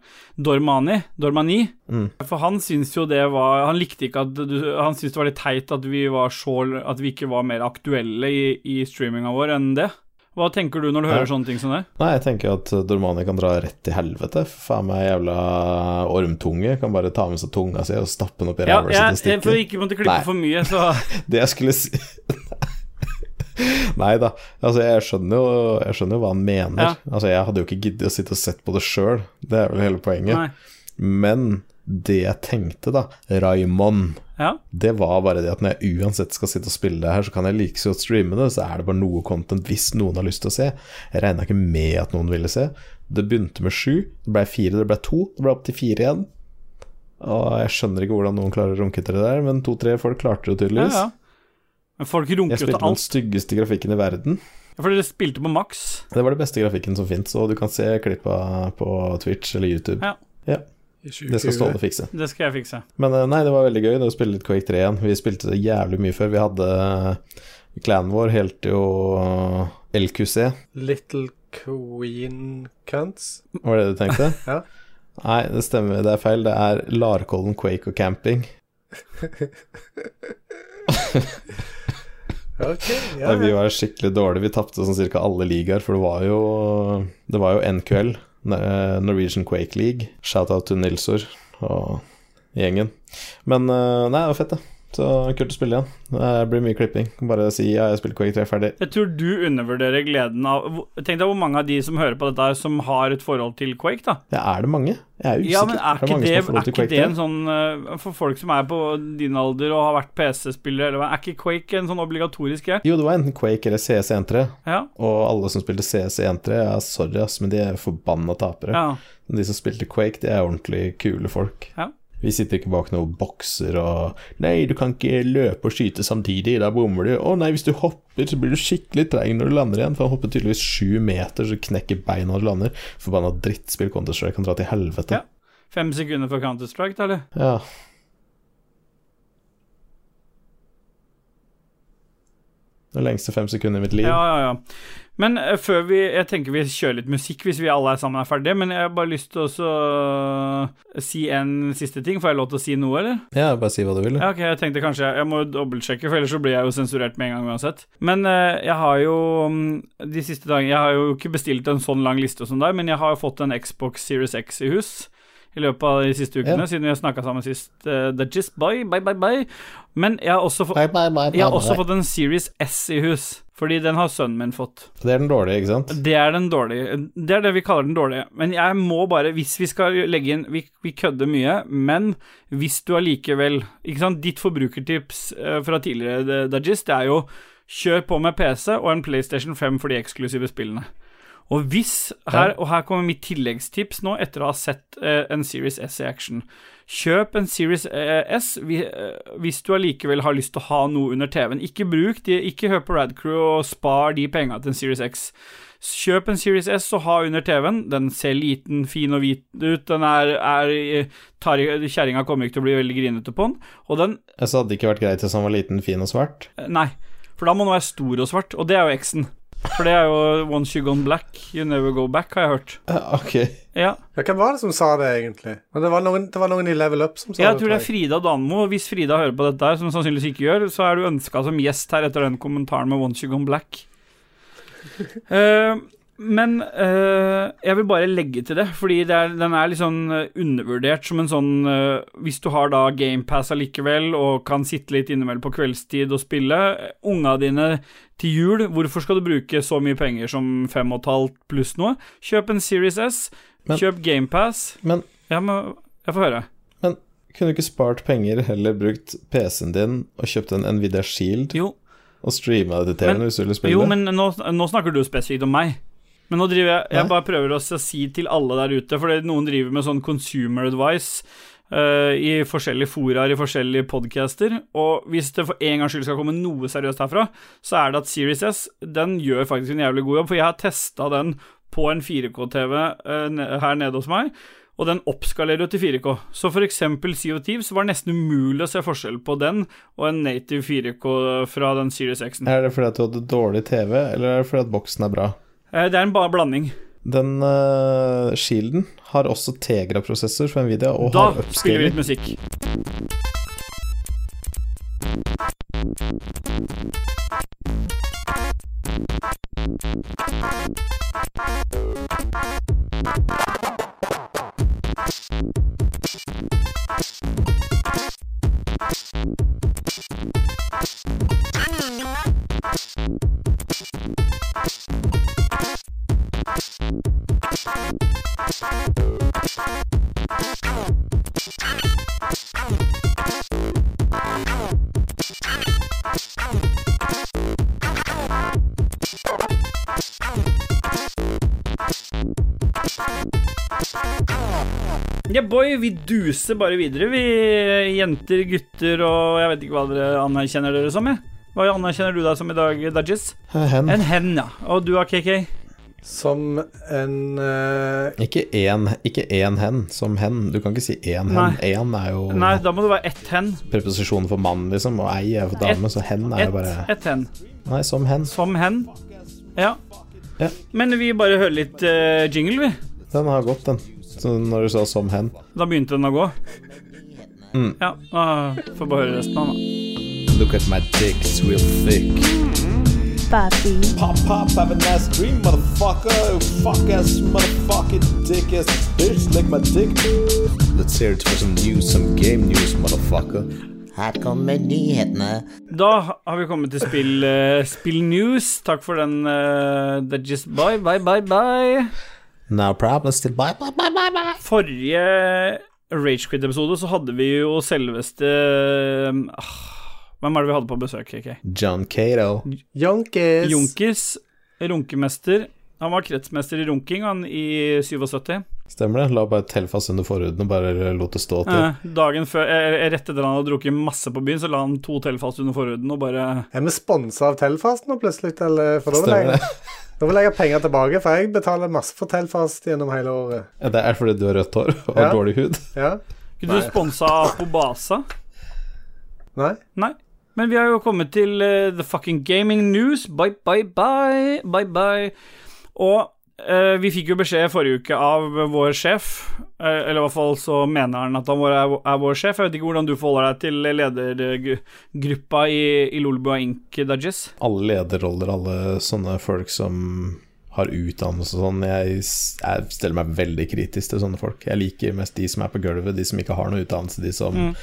S2: Dormani, Dormani.
S5: Mm.
S2: For han syntes jo det var Han likte ikke at du, Han syntes det var litt teit at vi var så At vi ikke var mer aktuelle i, i streaminga vår enn det. Hva tenker du når du
S5: Ja.
S2: hører sånne ting som det?
S5: Nei, jeg tenker at Dormani kan dra rett til helvete. Faen meg jævla ormtunge. Kan bare ta med seg tunga si og stappe den opp i
S2: Ja,
S5: ræva
S2: jeg,
S5: si til
S2: For
S5: stikken.
S2: ikke måtte klippe
S5: klippe Nei.
S2: for mye, så
S5: [laughs] Det jeg skulle si Nei da. Altså, jeg skjønner, jo, jeg skjønner jo hva han mener.
S2: Ja.
S5: Altså, jeg hadde jo ikke giddet å sitte og sett på det sjøl. Det er vel hele poenget.
S2: Nei.
S5: Men det jeg tenkte, da, Raymond
S2: Ja.
S5: det var bare det at når jeg uansett skal sitte og spille det her, så kan jeg like så godt streame det, så er det bare noe content hvis noen har lyst til å se. Jeg regna ikke med at noen ville se. Det begynte med sju, det blei fire, det blei to, det blei opp til fire igjen. Og jeg skjønner ikke hvordan noen klarer å runke til det der, men to-tre folk klarte det jo
S2: ja,
S5: tydeligvis.
S2: ja. Men folk
S5: Jeg
S2: runker jo
S5: spilte
S2: til
S5: den
S2: alt.
S5: styggeste grafikken i verden.
S2: For dere spilte på maks.
S5: Det var den beste grafikken som fins, og du kan se klippa på Twitch eller YouTube.
S2: Ja.
S5: ja det skal Ståle fikse.
S2: Det skal jeg fikse.
S5: Men eh, nei, det var veldig gøy det å spille litt Quake 3 igjen. Vi spilte det jævlig mye før. Vi hadde Clanen vår helt eh, jo LQC,
S3: Little Queen Cunts.
S5: var det du tenkte?
S3: [laughs] Ja.
S5: Nei, det stemmer, det er feil. Det er Larkollen Quake og Camping.
S3: Ok, ja.
S5: Nei, Eh, vi var skikkelig dårlige. Vi tapte sånn cirka alle ligaer, for det var jo Det var jo NQL, eh, Norwegian Quake League. Shout-out til Nilsor og gjengen. Men eh, nei, det var fett, det. Så kult å spille igjen. Det blir mye klipping. Bare si ja, jeg spiller Quake 3 ferdig.
S2: Jeg tror du undervurderer gleden av hvor- Tenk deg hvor mange av de som hører på dette, her som har et forhold til Quake, da.
S5: Ja, er det mange? Jeg er usikker.
S2: Ja, men er ikke
S5: mange
S2: det,
S5: som har
S2: er
S5: forhold til
S2: ikke
S5: Quake
S2: det en
S5: 3?
S2: sånn eh, For folk som er på din alder og har vært PC-spiller, eller hva, er ikke Quake en sånn obligatorisk greie?
S5: Jo, det var enten Quake eller CS13,
S2: Ja.
S5: og alle som spilte CS13, ja, sorry, ass, men de er forbanna tapere.
S2: ja.
S5: Men De som spilte Quake, de er ordentlig kule folk.
S2: Ja.
S5: Vi sitter ikke bak noen bokser og 'Nei, du kan ikke løpe og skyte samtidig, da bommer du.' 'Å nei, hvis du hopper, så blir du skikkelig treig når du lander igjen.' For han hopper tydeligvis sju meter, så knekker beina når du lander. Forbanna drittspill Counter-Strike kan dra til helvete.
S2: Ja. Fem sekunder før Counter-Strike, da, eller?
S5: ja. Det lengste fem sekunder i mitt liv.
S2: Ja, ja, ja. Men eh, før vi Jeg tenker vi kjører litt musikk hvis vi alle er sammen er ferdige, men jeg har bare lyst til å så si en siste ting. Får jeg lov til å si noe, eller?
S5: Ja, bare si hva du vil. du.
S2: Ja, ok, jeg tenkte kanskje Jeg må jo dobbeltsjekke, for ellers så blir jeg jo sensurert med en gang uansett. Men eh, jeg har jo mm, de siste dagene Jeg har jo ikke bestilt en sånn lang liste som deg, men jeg har jo fått en Xbox Series X i hus i løpet av de siste ukene,
S5: Ja.
S2: siden vi har snakka sammen sist. eh, The Gist, bye, bye, bye, bye. Men jeg har også, fått-
S4: Bye, bye, bye,
S2: jeg
S4: bye,
S2: har også
S4: bye.
S2: fått en Series S i hus, fordi den har sønnen min fått.
S5: Det er den dårlige, ikke sant?
S2: Det er den dårlige. Det er det vi kaller den dårlige. Men jeg må bare, hvis vi skal legge inn Vi, vi kødder mye, men hvis du allikevel Ikke sant, ditt forbrukertips eh, fra tidligere, Dajis, det er jo kjør på med PC og en PlayStation 5 for de eksklusive spillene. Og hvis her, Og her kommer mitt tilleggstips nå, etter å ha sett eh, en Series S i action. Kjøp en Series eh, S vi- eh, hvis du allikevel har lyst til å ha noe under TV-en. Ikke bruk de, ikke hør på Radcrew og spar de penga til en Series X. Kjøp en Series S og ha under TV-en. Den ser liten, fin og hvit ut. Den er, er tar- Kjerringa kommer ikke til å bli veldig grinete på den. Og den
S5: Jeg sa det ikke vært greit hvis han var liten, fin og svart.
S2: Nei, for da må den være stor og svart, og det er jo X-en. For det er jo Once you gone black, you never go back, har jeg hørt.
S5: Ja, ok.
S2: Ja.
S3: Ja, hvem var det som sa det, egentlig? Men det var noen, det var noen i Level Up som sa
S2: Jeg
S3: det.
S2: tror det er Frida Danmo. Hvis Frida hører på dette, her som hun sannsynligvis ikke gjør, så er du ønska som gjest her etter den kommentaren med Once You Gone Black. Eh, Men eh, jeg vil bare legge til det, fordi det er, den er litt sånn eh, undervurdert som en sånn eh, Hvis du har da GamePass allikevel og kan sitte litt innimellom på kveldstid og spille eh, Unga dine til jul, hvorfor skal du bruke så mye penger som fem og et halvt pluss noe? Kjøp en Series S,
S5: Men-
S2: kjøp GamePass
S5: Men-
S2: Ja, men jeg får høre.
S5: Kunne du ikke spart penger, heller brukt PC-en din og kjøpt en Nvidia Shield
S2: Jo,
S5: og streama det til
S2: Men-
S5: TV-en hvis du ville spille?
S2: Jo, men nå, nå snakker du spesifikt om meg. Men nå driver jeg Jeg
S5: Nei.
S2: bare prøver å si til alle der ute, for det- noen driver med sånn consumer advice eh, i forskjellige foraer, i forskjellige podcaster, og hvis det for en gangs skyld skal komme noe seriøst herfra, så er det at Series S den gjør faktisk en jævlig god jobb, for jeg har testa den på en 4K-TV eh, ne- her nede hos meg, og den oppskalerer jo til 4K. Så for eksempel Sea of Thieves var det nesten umulig å se forskjell på den og en native 4K fra den Series X-en.
S5: Er det fordi at du hadde dårlig TV, eller er det fordi at boksen er bra?
S2: Eh, Det er en ba- blanding.
S5: Den eh, Shielden har også Tegra-prosessor fra Nvidia og
S2: da
S5: har
S2: spiller vi litt
S5: upscaling.
S2: musikk. Ja, boy, vi duser bare videre, vi eh, jenter, gutter og jeg vet ikke hva dere anerkjenner dere som, jeg. Hva anerkjenner du deg som i dag, Dudges?
S5: Hen.
S2: En hen, ja. Og du, KK?
S3: Som en eh,
S5: Ikke én, ikke én hen som hen. Du kan ikke si én
S2: Nei.
S5: hen. Én er jo
S2: Nei, da må det være ett hen.
S5: preposisjonen for mann, liksom, og ei er for dame, så hen er jo
S2: Ett
S5: bare
S2: ett hen.
S5: Nei, som hen.
S2: Som hen. Ja.
S5: Ja.
S2: Men vi bare hører litt eh, jingle, vi.
S5: Den har gått, den. Så når du sa som hen.
S2: Da begynte den å gå.
S5: Mm.
S2: Ja, da får vi bare høre resten av den. da.
S5: Look at my dick, it's real thick.
S6: Papi,
S5: Pop, pop, have a nice dream, motherfucker. Fuck ass, motherfucking dick ass bitch, lick my dick. Let's hear it for some news, some game news, motherfucker.
S4: Her kommer nyhetene.
S2: Da har vi kommet til spill, eh, spill news. Takk for den, uh, Dudges. Bye, bye, bye, bye.
S5: No problem, still bye, bye, bye, bye, bye.
S2: Forrige Ragequid-episode så hadde vi jo selveste ah, Hvem er det vi hadde på besøk? KK?
S5: John Cato.
S3: Jonkis.
S2: Junkis, runkemester. Han var kretsmester i runking, han, i 77.
S5: Stemmer det? La bare Telfast under forhuden og bare lot det stå til.
S2: Eh, dagen før, eh, rett etter han hadde drukket masse på byen, så la han to telfast under forhuden og bare
S3: Er vi sponsa av Telfast nå plutselig? Eller? For da vil,
S5: Stemmer
S3: jeg,
S5: det?
S3: da vil jeg ha penger tilbake, for jeg betaler masse for Telfast gjennom hele året.
S5: Ja, Det er fordi du har rødt hår og
S3: Ja.
S5: dårlig hud.
S3: Ja?
S2: Kunne du sponsa Apobasa?
S3: Nei?
S2: Nei. Men vi har jo kommet til eh, The Fucking Gaming News. Bye, bye, bye. Bye, bye. Og eh, vi fikk jo beskjed forrige uke av vår sjef, eh, eller i hvert fall så mener han at han vår er, er vår sjef. Jeg vet ikke hvordan du forholder deg til ledergruppa i, i Lolbua Inc. Dudges.
S5: alle lederroller, alle sånne folk som har utdannelse og sånn. Jeg, s- jeg stiller meg veldig kritisk til sånne folk. Jeg liker mest de som er på gulvet, de som ikke har noe utdannelse, de som
S2: Mm.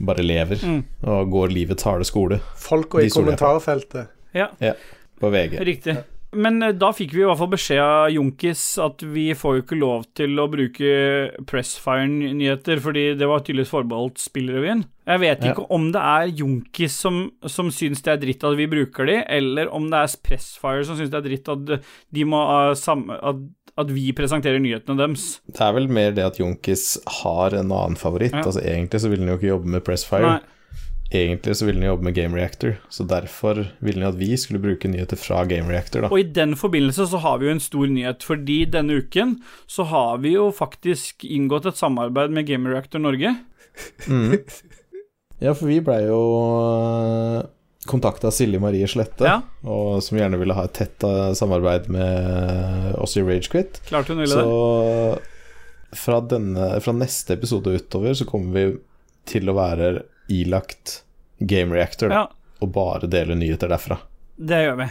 S5: bare lever og går livets harde skole
S3: Folka
S5: De
S3: i
S5: stoler jeg på.
S3: kommentarfeltet.
S2: Ja,
S5: på VG.
S2: riktig. Men eh, da fikk vi i hvert fall beskjed av Junkis at vi får jo ikke lov til å bruke Pressfire-nyheter, fordi det var tydeligvis forbeholdt Spillrevyen. Jeg vet
S5: Ja.
S2: ikke om det er Junkis som, som syns det er dritt at vi bruker de, eller om det er Pressfire som syns det er dritt at, de må, ha samme, at, at vi presenterer nyhetene deres.
S5: Det er vel mer det at Junkis har en annen favoritt.
S2: Ja.
S5: Altså Egentlig så ville han jo ikke jobbe med Pressfire.
S2: Nei.
S5: Egentlig så ville han jobbe med Game Reactor. Så derfor ville han at vi skulle bruke nyheter fra Game Reactor, da.
S2: Og i den forbindelse så har vi jo en stor nyhet, fordi denne uken så har vi jo faktisk inngått et samarbeid med Game Reactor Norge.
S5: Ja, for vi blei jo kontakta av Silje Marie Slette,
S2: Ja.
S5: og som gjerne ville ha et tett eh, samarbeid med eh, oss i Ragequit.
S2: Klart hun ville
S5: Så
S2: det.
S5: fra, denne, fra neste episode utover så kommer vi til å være ilagt Game Reactor da,
S2: Ja,
S5: og bare dele nyheter derfra.
S2: det gjør vi.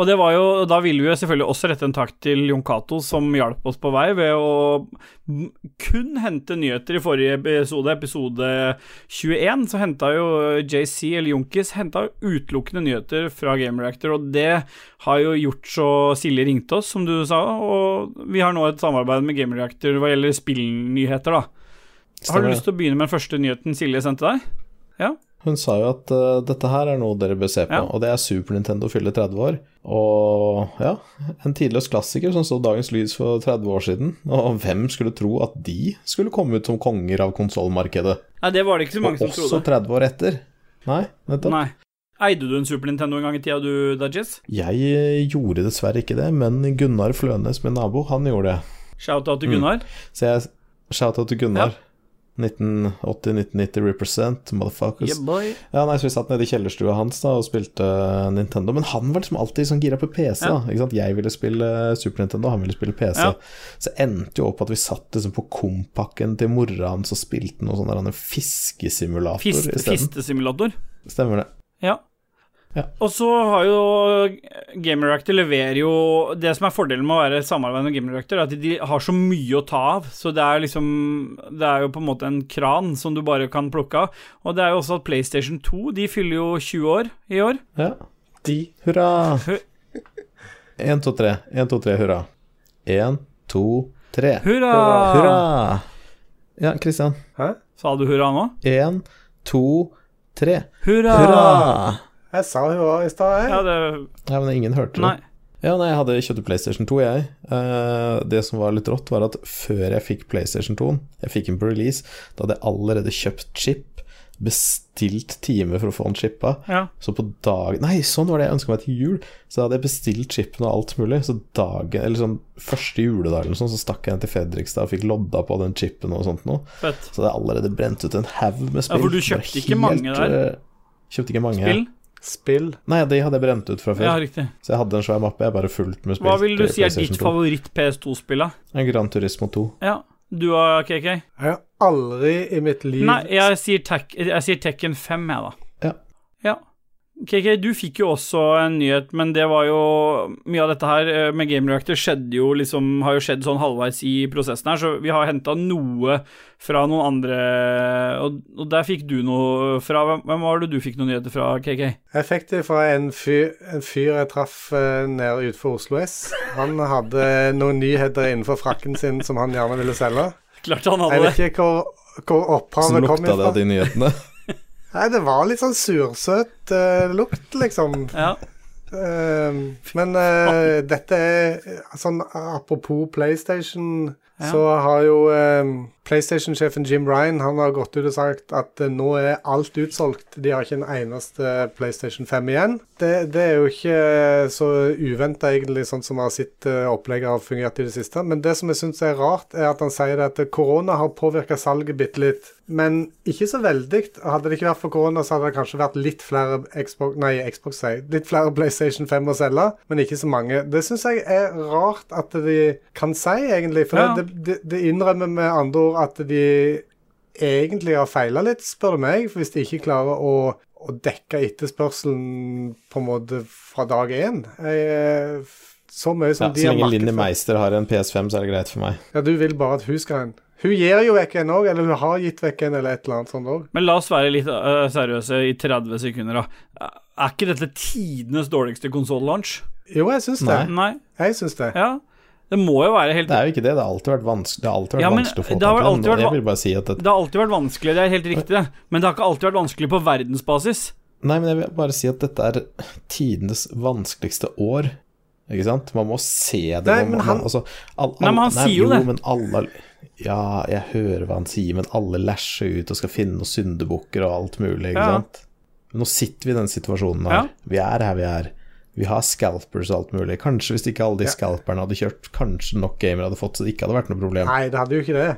S2: Og det var jo, og da ville vi jo selvfølgelig også rette en takk til Jon Cato, som hjalp oss på vei ved å m- kun hente nyheter i forrige episode, episode 21, så henta jo JC, eller Junkis, henta utelukkende nyheter fra Game Reactor, og det har jo gjort så Silje ringte oss, som du sa, og vi har nå et samarbeid med Game Reactor hva gjelder spillnyheter, da. Har
S5: Stemmer
S2: du
S5: det.
S2: lyst til å begynne med den første nyheten Silje sendte deg?
S5: Hun sa jo at eh, dette her er noe dere bør se på,
S2: Ja.
S5: og det er Super Nintendo fyller 30 år. Og ja, en tidløs klassiker som så dagens lys for 30 år siden. Og hvem skulle tro at de skulle komme ut som konger av konsollmarkedet?
S2: Nei, det var det ikke så mange
S5: Og
S2: som
S5: også
S2: trodde.
S5: 30 år etter. Nei, nettopp.
S2: Nei. Eide du en Super Nintendo en gang i tida, du, Dajis?
S5: Jeg eh, gjorde dessverre ikke det, men Gunnar Flønes, min nabo, han gjorde det.
S2: Shout-out
S5: Mm.
S2: til Gunnar.
S5: Så jeg shout-out til Gunnar. 1980-1990 represent, motherfuckers.
S2: Yeah, boy.
S5: Ja, nei, så vi satt nede i kjellerstua hans da og spilte eh, Nintendo. Men han var liksom alltid sånn gira på PC. da, ikke sant? Jeg ville spille eh, Super Nintendo, han ville spille PC.
S2: Ja.
S5: Så endte jo opp at vi satt liksom på kompakken til mora hans og spilte noe sånn der han en fiskesimulator
S2: Fist,
S5: isteden.
S2: fistesimulator.
S5: Stemmer det.
S2: Ja.
S5: Ja.
S2: Og så har jo GamerActor leverer jo Det som er fordelen med å være i samarbeid med GamerActor, er at de har så mye å ta av. Så det er liksom Det er jo på en måte en kran som du bare kan plukke av. Og det er jo også at PlayStation 2 De fyller jo 20 år i år.
S5: Ja.
S3: De
S5: Hurra!
S2: Hu-
S5: 1, 2, 3. 1, 2, 3, hurra. 1, 2, 3.
S2: Hurra!
S5: Hurra! Ja, Kristian.
S3: Hæ?
S2: Sa du hurra nå?
S5: 1, 2, 3.
S2: Hurra!
S5: Hurra!
S3: Jeg sa hurra i stad, jeg.
S2: Ja, det
S5: Ja, men ingen hørte det.
S2: Nei.
S5: Ja, nei, jeg hadde kjøpte PlayStation 2, jeg. Eh, det som var litt rått, var at før jeg fikk PlayStation 2, jeg fikk den på release, da hadde jeg allerede kjøpt chip, bestilt time for å få den chippa.
S2: Ja.
S5: Så på dag... Nei, sånn var det jeg ønska meg til jul. Så da hadde jeg bestilt chipen og alt mulig. Så dagen, eller sånn første juledagen og sånn, så stakk jeg ned til Fredrikstad og fikk lodda på den chipen og sånt noe.
S2: Fett.
S5: Så det hadde jeg allerede brent ut en haug med spill.
S2: Ja, for du
S5: Bare
S2: kjøpte ikke mange der?
S5: eh, Kjøpte ikke mange.
S2: Spill?
S3: Spill.
S5: Nei, de hadde jeg brent ut fra før.
S2: Ja, riktig.
S5: Så jeg hadde en svær mappe, jeg bare fullt med spill.
S2: Hva vil du
S5: til
S2: si er
S5: PlayStation
S2: ditt
S5: 2.
S2: favoritt-PS2-spill, da?
S5: Ja, Gran Turismo 2.
S2: Ja. Du og KK?
S3: Jeg har aldri i mitt liv
S2: Nei, jeg sier, tek, jeg sier Tekken 5, jeg, da.
S5: Ja.
S2: ja. KK, du fikk jo også en nyhet, men det var jo Mye av dette her eh, med Game Reactor skjedde jo liksom Har jo skjedd sånn halvveis i prosessen her, så vi har henta noe fra noen andre og, og der fikk du noe fra Hvem hvem var det du fikk noen nyheter fra, KK?
S3: Jeg fikk det fra en fyr, en fyr jeg traff eh, nede utenfor Oslo S. Han hadde noen nyheter innenfor frakken sin som han gjerne ville selge.
S2: Klart han
S3: Jeg
S2: hadde det.
S3: vet ikke hvor, hvor
S5: Som
S3: opphavet kom
S5: lukta det
S3: ifra.
S5: av de
S3: [laughs]
S5: nyhetene.
S3: Nei, det var litt sånn sursøt eh, lukt, liksom.
S2: Ja.
S3: Eh, men eh, dette er sånn apropos PlayStation,
S2: Ja.
S3: så har jo eh, PlayStation-sjefen Jim Ryan han har gått ut og sagt at eh, nå er alt utsolgt. De har ikke en eneste PlayStation 5 igjen. Det, det er jo ikke eh, så uventa, egentlig, sånn som har sitt eh, opplegg har fungert i det siste. Men det som jeg syns er rart, er at han sier det at korona har påvirka salget bitte litt. Men ikke så veldig. Hadde det ikke vært for korona, så hadde det kanskje vært litt flere Xbox, nei, Xbox sier jeg. litt flere PlayStation 5 å selge, men ikke så mange. Det syns jeg er rart at de kan si, egentlig. For
S2: Ja.
S3: det, det, det innrømmer med andre ord at de egentlig har feila litt, spør du meg. For hvis de ikke klarer å, å dekke etterspørselen på en måte fra dag én jeg, eh, Så mye
S5: Ja,
S3: som de
S5: så
S3: har
S5: lenge Linni
S3: marked for.
S5: Meister har en PS5, så er det greit for meg.
S3: Ja, du vil bare at hun skal ha en. Hun gir jo vekk en òg, eller hun har gitt vekk en, eller et eller annet sånt òg.
S2: Men la oss være litt eh, seriøse i 30 sekunder, da. Er ikke dette tidenes dårligste konsoll-launch?
S3: Jo, jeg syns det.
S5: Nei.
S2: Nei?
S3: Jeg syns det.
S2: Ja. Det må jo være helt
S5: Det er jo ikke det, det har alltid vært vanskelig, det har alltid vært
S2: Ja, men
S5: vanskelig å få
S2: det har
S5: tak
S2: alltid
S5: i den.
S2: vært
S5: og Jeg
S2: van-
S5: vil bare si at det,
S2: Det har alltid vært vanskelig, det er helt riktig, det. Men det har ikke alltid vært vanskelig på verdensbasis.
S5: Nei, men jeg vil bare si at dette er tidenes vanskeligste år. Ikke sant? Man må se det.
S3: Nei,
S5: man,
S3: men
S5: må-
S3: han-
S5: man- altså, all,
S2: Nei, men han sier jo det.
S5: Men alle, ja, jeg hører hva han sier, men alle lasher ut og skal finne noen syndebukker og alt mulig, ikke
S2: Ja.
S5: sant? Men nå sitter vi i den situasjonen her.
S2: Ja.
S5: Vi er her vi er. Vi har scalpers og alt mulig. Kanskje hvis ikke alle de scalperne hadde kjørt, kanskje nok gamere hadde fått, så det ikke hadde vært noe problem.
S3: Nei, det hadde jo ikke det.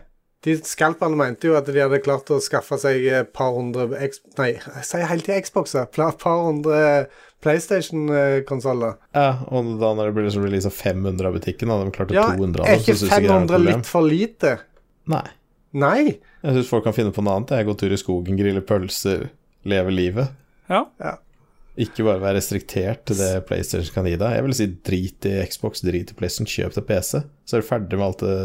S3: De skalpene mente jo at de hadde klart å skaffe seg et par hundre X Nei, jeg sier hele tida Xboxer. Pla- Par hundre eh, PlayStation-konsoller.
S5: Ja, og da når det blir liksom release av 500 av butikken, hadde de klart
S3: Ja, er
S5: 200 av dem,
S3: ikke
S5: altså, så synes jeg ikke det er noe
S3: 500
S5: problem.
S3: litt for lite?
S5: Nei.
S3: Nei.
S5: Jeg syns folk kan finne på noe annet. Jeg går tur i skogen, griller pølser, lever livet.
S2: Ja.
S5: Ikke bare være restriktert til det PlayStation kan gi deg. Jeg vil si drit i Xbox, drit i PlayStation, kjøp deg PC. Så er du ferdig med alt det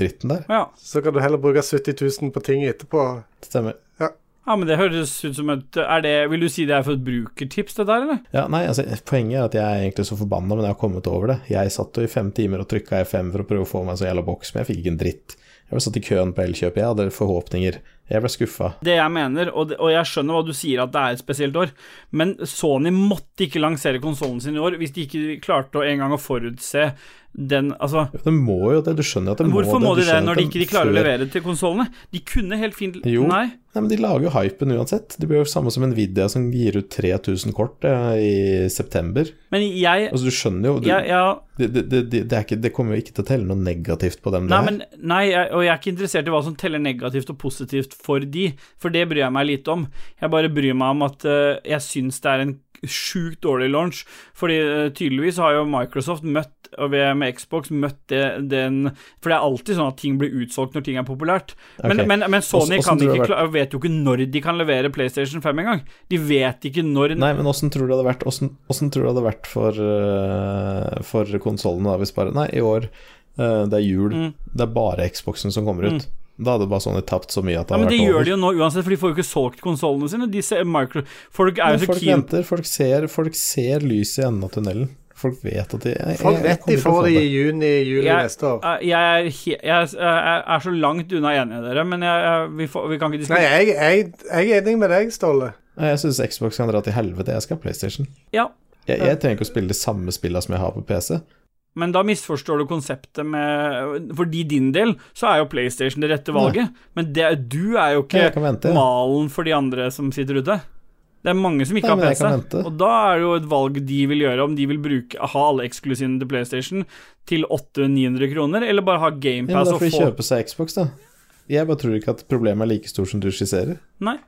S5: dritten der.
S2: Ja.
S3: Så kan du heller bruke 70 000 på ting etterpå.
S5: Stemmer.
S2: ja, men det høres ut som et er det, Vil du si det er for et brukertips, det der, eller?
S5: Ja, nei, altså Poenget er at jeg er egentlig så forbanna, men jeg har kommet over det. Jeg satt jo i fem timer og trykka F5 for å prøve å få meg en sånn jævla boks, men jeg fikk ikke en dritt. Jeg ble satt i køen på Elkjøp, jeg hadde forhåpninger. Jeg ble skuffa.
S2: Det jeg mener, og, det, og jeg skjønner hva du sier at det er et spesielt år, men Sony måtte ikke lansere konsollen sin i år hvis de ikke klarte å engang å forutse den Altså,
S5: Det må jo det, du skjønner at det
S2: hvorfor må
S5: må
S2: de
S5: det.
S2: det når de ikke de klarer å levere til konsollene? De kunne helt fint
S5: Jo.
S2: Nei.
S5: Nei, men De lager jo hypen uansett. Det blir jo samme som Nvidia som gir ut 3000 kort eh, i september.
S2: Men jeg,
S5: Altså, du skjønner jo du,
S2: jeg, jeg
S5: det, det, det, det, er ikke, det kommer jo ikke til å telle noe negativt på dem.
S2: Nei,
S5: det her.
S2: men, nei jeg, og jeg er ikke interessert i hva som teller negativt og positivt for de, for det bryr jeg meg lite om. Jeg bare bryr meg om at eh, jeg syns det er en sjukt dårlig launch, fordi eh, tydeligvis har jo Microsoft møtt, og vi er med Xbox, møtt det, den For det er alltid sånn at ting blir utsolgt når ting er populært. Men,
S5: Ok.
S2: men, men Sony kan
S5: Hvordan- hvordan tror du
S2: ikke
S5: det har
S2: kla- vet jo ikke når de kan levere PlayStation 5 engang. De vet ikke når
S5: Nei, men åssen tror du det hadde vært, hvordan, hvordan tror du det hadde vært for, uh, for konsollene da, hvis bare Nei, i år, eh, det er jul,
S2: Mm.
S5: det er bare Xboxen som kommer ut. Da hadde bare Sony tapt så mye at
S2: Ja,
S5: det hadde
S2: men Det
S5: vært
S2: gjør
S5: over.
S2: de jo nå uansett, for de får jo ikke solgt konsollene sine. De ser micro... Folk er
S5: Men
S2: jo så
S5: folk
S2: keen
S5: venter, folk ser, folk ser lyset i enden av tunnelen. Folk vet at de jeg-
S3: Folk
S5: jeg- jeg
S3: vet
S5: kommer
S3: de
S5: til å
S3: får
S5: få
S3: det i
S5: det.
S3: juni, juli
S2: Jeg-
S3: neste år.
S2: Eh, Jeg er, he jeg, er- jeg er så langt unna enig i dere, men jeg, jeg, vi, får, vi kan ikke diskutere
S3: Nei, jeg, jeg, jeg er enig med deg, Ståle.
S5: Nei, Jeg syns Xbox kan dra til helvete, jeg skal ha PlayStation.
S2: Ja,
S5: Jeg, jeg trenger ikke å spille de samme spilla som jeg har på PC.
S2: men da misforstår du konseptet med Fordi din del så er jo PlayStation det rette valget, men det, du er jo
S5: Jeg
S2: ikke
S5: kan vente. ja.
S2: malen for de andre som sitter ute. Det er mange som ikke
S5: Nei, men jeg
S2: har
S5: kan
S2: PC,
S5: vente.
S2: og da er det jo et valg de vil gjøre, om de vil bruke, ha alle eksklusivene til PlayStation til 800-900 kroner, eller bare ha
S5: Ja, men
S2: GamePass
S5: da
S2: og
S5: får de
S2: få
S5: kjøpe seg Xbox, da. Jeg bare tror ikke at problemet er like stort som du skisserer.
S2: Nei.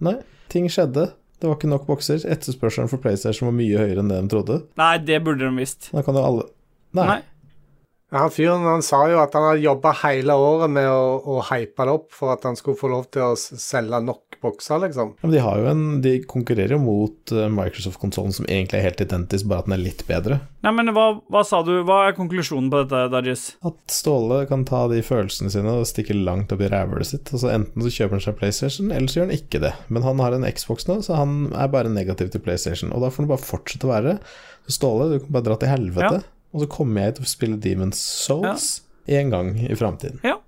S5: Nei, ting skjedde. Det var ikke nok bokser. Etterspørselen for PlayStation var mye høyere enn det de trodde.
S2: Nei, det burde de visst.
S5: Da kan jo alle Nei.
S2: Nei.
S3: Ja, Han fyren han sa jo at han hadde jobba hele året med å, å hype det opp for at han skulle få lov til å s- selge nok bokser, liksom.
S5: Ja, men de, har jo en, de konkurrerer jo mot eh, Microsoft-konsollen, som egentlig er helt identisk, bare at den er litt bedre.
S2: Nei, men hva, hva sa du? Hva er konklusjonen på dette, Dajis?
S5: At Ståle kan ta de følelsene sine og stikke langt opp i rævhølet sitt. Altså Enten så kjøper han seg PlayStation, eller så gjør han ikke det. Men han har en Xbox nå, så han er bare negativ til PlayStation. Og da får han bare fortsette å være. Så Ståle, du kan bare dra til helvete. Og så kommer jeg til å spille Demon's Souls én gang i framtiden.
S2: Ja,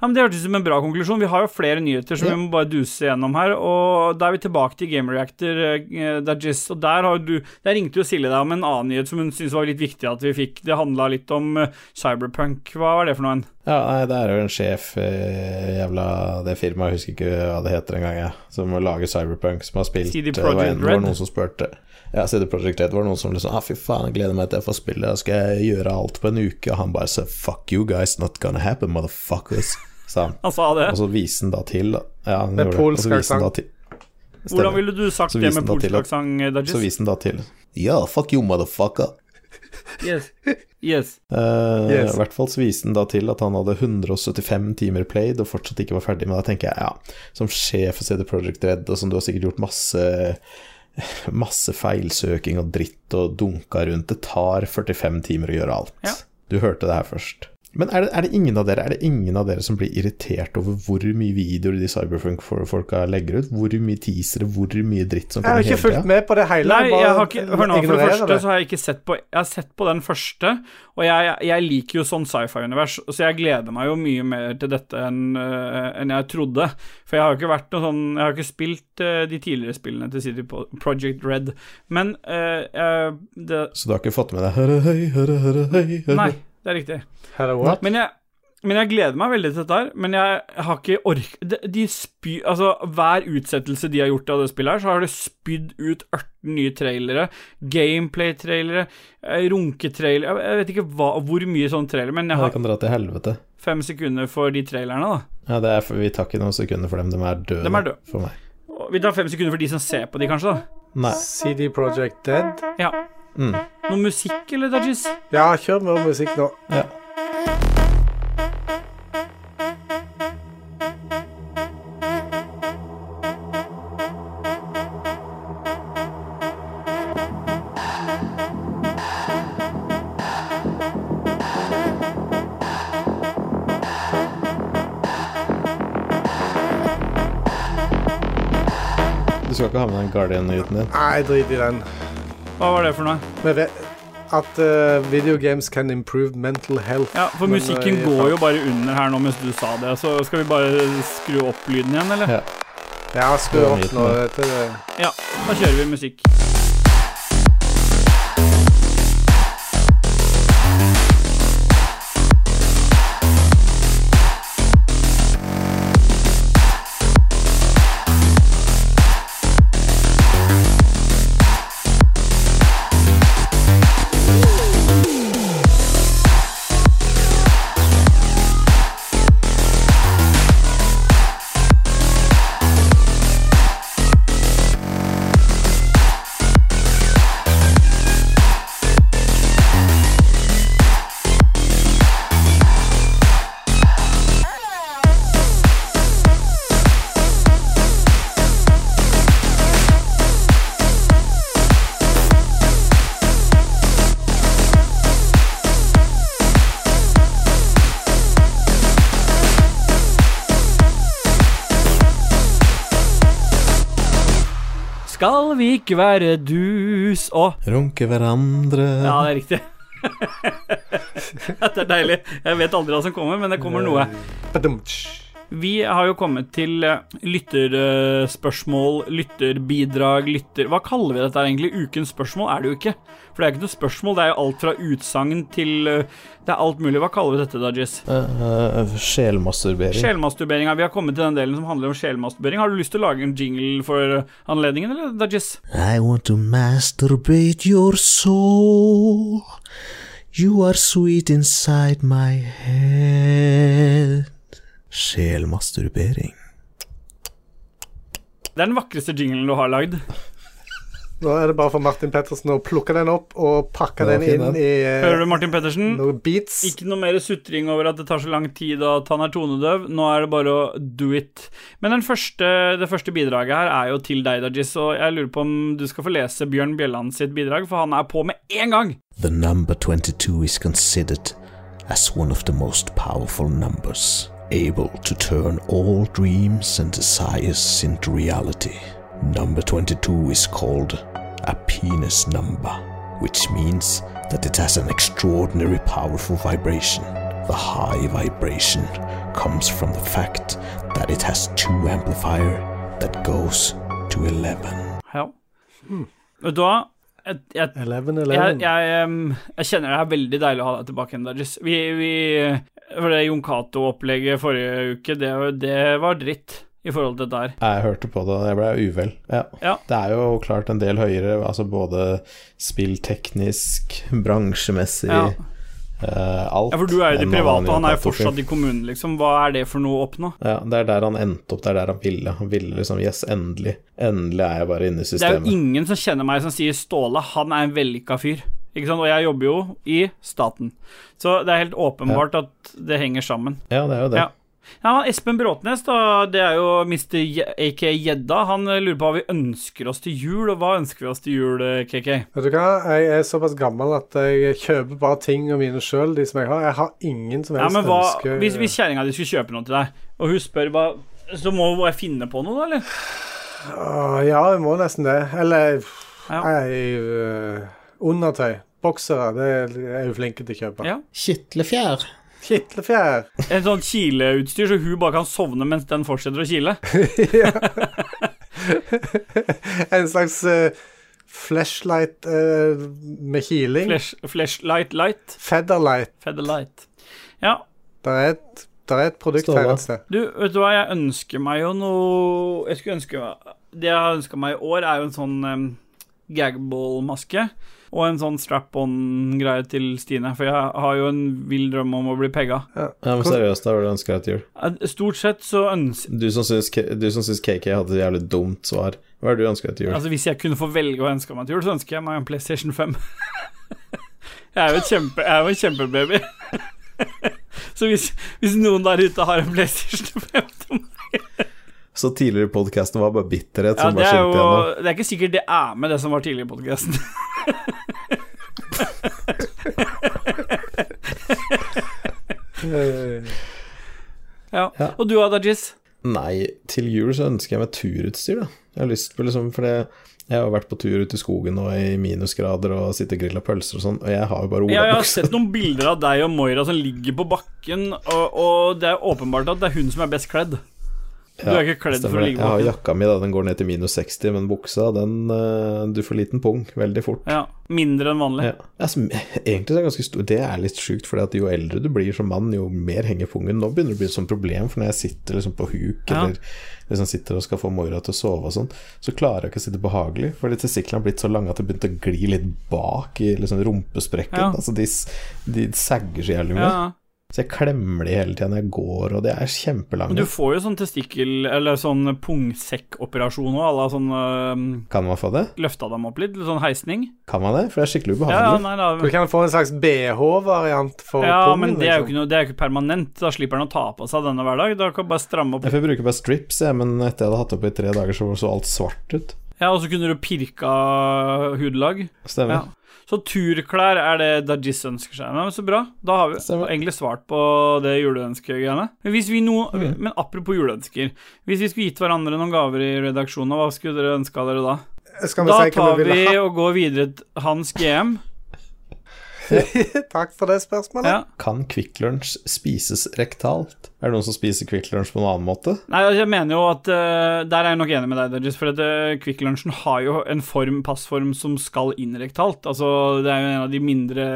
S2: men Det hørtes ut som en bra konklusjon. Vi har jo flere nyheter som
S5: Ja.
S2: vi må bare duse gjennom her. Og da er vi tilbake til Game Reactor, eh, Dajis. Og der, har du, der ringte jo Silje deg om en annen nyhet som hun syntes var litt viktig at vi fikk. Det handla litt om eh, Cyberpunk. Hva var det for noe? en?
S5: Ja, nei, det er jo en sjef i jævla det firmaet, jeg husker ikke hva det heter engang, jeg, som lager Cyberpunk, som har spilt
S2: CD
S5: det var
S2: Projekt
S5: en- Det var
S2: Red.
S5: noen som spurte Ja, CD Projekt Red det var noen som liksom ah, fy faen, jeg gleder meg til jeg får spille, da skal jeg gjøre alt på en uke, og han bare så fuck you guys, not gonna happen, motherfuckers, sa han.
S2: Han sa det.
S5: Og så viser han da til da. Ja, han
S3: Med
S5: gjorde det.
S3: polsk
S5: Og så viser han da
S3: aksent.
S5: til-
S2: Hvordan
S5: Stemmer.
S2: ville du sagt
S5: Så
S2: det med
S5: viste han da til
S2: polsk
S5: at-
S2: aksent,
S5: Så
S2: Dajis?
S5: viser han da til Ja, fuck you, motherfucker.
S2: Yes. yes.
S5: Eh,
S3: Yes.
S5: I hvert fall så viste den da til at han hadde 175 timer played og fortsatt ikke var ferdig. Men da tenker jeg, ja, som sjef for CD Projekt Red, og som du har sikkert gjort masse [laughs] Masse feilsøking og dritt og dunka rundt. Det tar 45 timer å gjøre alt.
S2: Ja.
S5: Du hørte det her først. Men er det, er, det ingen av dere, er det ingen av dere som blir irritert over hvor mye videoer de Cyberpunk-folka legger ut? Hvor mye teasere, hvor mye dritt som
S3: Jeg
S5: kommer
S3: har ikke
S5: hele
S3: fulgt
S5: tida?
S3: med på det hele.
S2: Nei,
S3: bare
S2: jeg har ikke, hør nå, for det
S3: ignorerer
S2: første så har jeg ikke sett på Jeg har sett på den første, og jeg, jeg liker jo sånn sci-fi-univers, så jeg gleder meg jo mye mer til dette enn øh, enn jeg trodde. For jeg har jo ikke vært noe sånn Jeg har ikke spilt øh, de tidligere spillene til City Po- Project Red, men øh, jeg, det,
S5: Så du har ikke fått med deg høra høy, høra høra høy, høra
S2: Nei, det er riktig.
S3: Hello, what?
S2: Men jeg, men jeg gleder meg veldig til dette her, men jeg har ikke ork... De, de spy... Altså, hver utsettelse de har gjort av det spillet her, så har det spydd ut 18 nye trailere, gameplay-trailere, eh, runketrailere Jeg jeg vet ikke hva, hvor mye sånn trailer, men jeg
S5: Jeg
S2: har
S5: kan dra til helvete.
S2: fem sekunder for de trailerne, da.
S5: Ja, det er for, Vi tar ikke noen sekunder for dem. De er døde,
S2: Dem er døde.
S5: for meg.
S2: Og Vi tar fem sekunder for de som ser på de, kanskje, da.
S5: Nei.
S3: CD Project Dead.
S2: Ja.
S5: Mm.
S2: Noe musikk, eller, Dajis?
S3: Ja, kjør mer musikk nå.
S5: Ja. Du skal ikke ha med den Guardian-nyheten din.
S3: Nei, drit i den.
S2: Hva var det for noe?
S3: Vi vet at eh, video games can improve mental health.
S2: Ja, For
S3: Men,
S2: musikken
S3: eh,
S2: går jo bare under her nå mens du sa det, så skal vi bare skru opp lyden igjen, eller?
S5: Ja.
S3: Ja, skru
S5: Det var
S3: opp
S5: nyheten,
S3: nå
S5: det.
S3: til det.
S2: Ja, da kjører vi musikk. Skal vi ikke være dus og
S5: Runke hverandre
S2: Ja, det er riktig. Dette er deilig. Jeg vet aldri hva som kommer, men det kommer noe.
S3: Badumtsch.
S2: Vi har jo kommet til eh, lytterspørsmål, lytterbidrag, lytter... Hva kaller vi dette her egentlig? Ukens spørsmål er det jo ikke. For det er jo ikke noe spørsmål, det er jo alt fra utsagn til eh, Det er alt mulig. Hva kaller vi dette, Dajis?
S5: Eh, eh, Sjelmasturbering.
S2: Sjelmasturberinga. Vi har kommet til den delen som handler om sjelmasturbering. Har du lyst til å lage en jingle for eh, anledningen, eller, Dajis?
S4: I want to masturbate your soul. You are sweet inside my head.
S1: Sjelmasturbering.
S2: Det er den vakreste jinglen du har lagd.
S3: Nå er det bare for Martin Pettersen å plukke den opp og pakke
S5: Det var
S3: den
S5: fin,
S3: inn
S5: den.
S3: i
S2: Hører
S3: eh,
S2: du, Martin Pettersen?
S3: noen beats.
S2: Ikke noe mer sutring over at det tar så lang tid og at han er tonedøv. Nå er det bare å do it. Men den første, det første bidraget her er jo til deg, Dajis, og jeg lurer på om du skal få lese Bjørn Bjelland sitt bidrag, for han er på med en gang.
S1: The number 22 is considered as one of the most powerful numbers, able to turn all dreams and desires into reality. Number 22 is called a penis number, which means that it has an extraordinary powerful vibration. The high vibration comes from the fact that it has two amplifier that goes to 11.
S2: Ja. Og da jeg, jeg,
S3: 11,
S2: jeg,
S3: 11.
S2: jeg, em, jeg kjenner det er veldig deilig å ha deg tilbake igjen, Dajis. Vi, vi For det Jon Cato-opplegget forrige uke, det, det var dritt i forhold til dette her.
S5: Jeg hørte på det, og jeg ble uvel. Ja.
S2: Ja.
S5: Det er jo klart en del høyere, altså både spillteknisk, bransjemessig
S2: Ja.
S5: eh, Alt.
S2: Ja, for du er jo i
S5: enn
S2: det private,
S5: hva
S2: og han er jo
S5: Jon Cato
S2: fortsatt i kommunen, liksom. Hva er det for noe å oppnå?
S5: Ja, Det er der han endte opp, det er der han ville. Han ville liksom Yes, endelig. Endelig er jeg bare inne i
S2: Det er
S5: systemet.
S2: jo ingen som kjenner meg som sier Ståle, han er en vellykka fyr. Ikke sant? Og jeg jobber jo i staten, så det er helt åpenbart at det henger sammen.
S5: Ja, det er jo det.
S2: Ja. Ja, Espen Bråtnes, da, det er jo Mr. Je- aka Gjedda. Han eh, lurer på hva vi ønsker oss til jul, og hva ønsker vi oss til jul, eh, KK?
S3: Vet du hva, jeg er såpass gammel at jeg kjøper bare ting og mine sjøl, de som jeg har. Jeg har ingen som
S2: Ja,
S3: helst
S2: men hva,
S3: ønsker
S2: Hvis, hvis kjerringa di skulle kjøpe noe til deg, og hun spør hva Så må hun bare finne på noe, da, eller?
S3: Åh, Ja, jeg må nesten det. Eller
S2: Ja.
S3: jeg, øh, Undertøy. Boksere. Det er jeg jo flink til å kjøpe.
S2: Ja.
S4: Kitlefjær.
S3: Kitlefjær. [laughs]
S2: En sånn kileutstyr, så hun bare kan sovne mens den fortsetter å [laughs] kile.
S3: En slags øh, flashlight øh, med kiling.
S2: Flash, flashlight light.
S3: Featherlight.
S2: Featherlight. Ja,
S3: Der er et, der er et produkt
S5: Ståle.
S3: her et sted.
S2: Du, vet du hva, jeg ønsker meg jo noe Jeg skulle ønske meg Det jeg har ønska meg i år, er jo en sånn um, gagball-maske. Og en sånn strap-on-greie til Stine, for jeg har jo en vill drøm om å bli pegga.
S5: Ja, men seriøst, da, hva er det du ønsker deg til jul?
S2: Eh, Stort sett så ønsker
S5: Du som syns, K- du som syns KK hadde et jævlig dumt svar, hva er det du ønsker deg til jul?
S2: Altså Hvis jeg kunne få velge å ønske meg til jul, så ønsker jeg meg en PlayStation 5. [laughs] jeg er jo et kjempe, jeg er jo en kjempebaby. [laughs] så hvis, hvis noen der ute har en PlayStation 5 til meg
S5: Så tidligere i podkasten var bare bitterhet
S2: Altså- ja,
S5: som
S2: det, er
S5: bare skinte
S2: jo,
S5: igjennom.
S2: det er ikke sikkert det er med det som var tidligere i podkasten.
S3: Øh,
S2: Ja.
S5: Ja.
S2: Og du, Adajis?
S5: Nei, til jul så ønsker jeg meg turutstyr, da. Jeg har lyst på liksom, for det jeg har jo vært på tur ute i skogen og i minusgrader og sitte og grille pølser og sånn, og jeg har jo bare
S2: Ja, jeg har
S5: olabukse.
S2: sett noen bilder av deg og Moira som ligger på bakken, og, og det er åpenbart at det er hun som er best kledd. Du er ikke kledd for å ligge
S5: Jeg
S2: på
S5: har
S2: bakken.
S5: jakka mi, da, den går ned til minus 60, men buksa, den eh, Du får liten pung veldig fort.
S2: Ja, mindre enn vanlig.
S5: Ja. Altså, egentlig så er det ganske stor Det er litt sjukt, for jo eldre du blir som mann, jo mer henger pungen. Nå begynner det å bli et sånt problem, for når jeg sitter liksom på huk,
S2: Ja.
S5: eller liksom sitter og skal få Moira til å sove og sånn, så klarer jeg ikke å sitte behagelig. Fordi testiklene har blitt så lange at det begynte å gli litt bak i liksom rumpesprekken.
S2: Ja.
S5: Altså, de, s- de sagger så jævlig mye.
S2: Ja.
S5: Så jeg klemmer de hele tida når jeg går, og de er
S2: Men du
S5: kjempelange.
S2: får jo sånn testikkel- eller sånn pungsekkoperasjon og alle sånn øhm,
S5: Kan man få det?
S2: Løfta dem opp litt, litt sånn heisning.
S5: Kan man det? For det er skikkelig
S2: Ja, ja,
S5: ubehagelig.
S2: nei,
S3: [laughs]
S2: da,
S3: Du kan få en slags BH-variant for
S2: ja
S3: pungen.
S2: men det er, jo ikke
S3: liksom.
S2: noe, det er jo ikke permanent. Da slipper han å ta på seg denne hver dag. Da kan han bare stramme opp.
S5: Jeg får bruke bare strips, jeg, men etter jeg hadde hatt det på i tre dager, så så alt svart ut.
S2: Ja, Og så kunne du pirka hudlag.
S5: Stemmer.
S2: Ja. Så turklær er det Dajis ønsker seg. Men så bra. Da har vi
S5: Stemmer.
S2: egentlig svart på det juleønskegreiene. Men, hvis vi no,
S3: Mm.
S2: men apropos juleønsker. Hvis vi skulle gitt hverandre noen gaver i redaksjonen, hva skulle dere ønska dere da?
S3: Skal vi
S2: Da
S3: si hva
S2: tar
S3: vi ville
S2: vi
S3: ha? [laughs]
S2: og går videre til Hans GM.
S3: Takk for det spørsmålet.
S2: Ja.
S5: Kan Kvikk Lunsj spises rektalt? Er det noen som spiser Kvikk Lunsj på en annen måte?
S2: Nei, altså, jeg mener jo at eh, Der er jeg nok enig med deg, Dajis, for at eh, Kvikk Lunsjen har jo en form, passform som skal inn rektalt. Altså, det er jo en av de mindre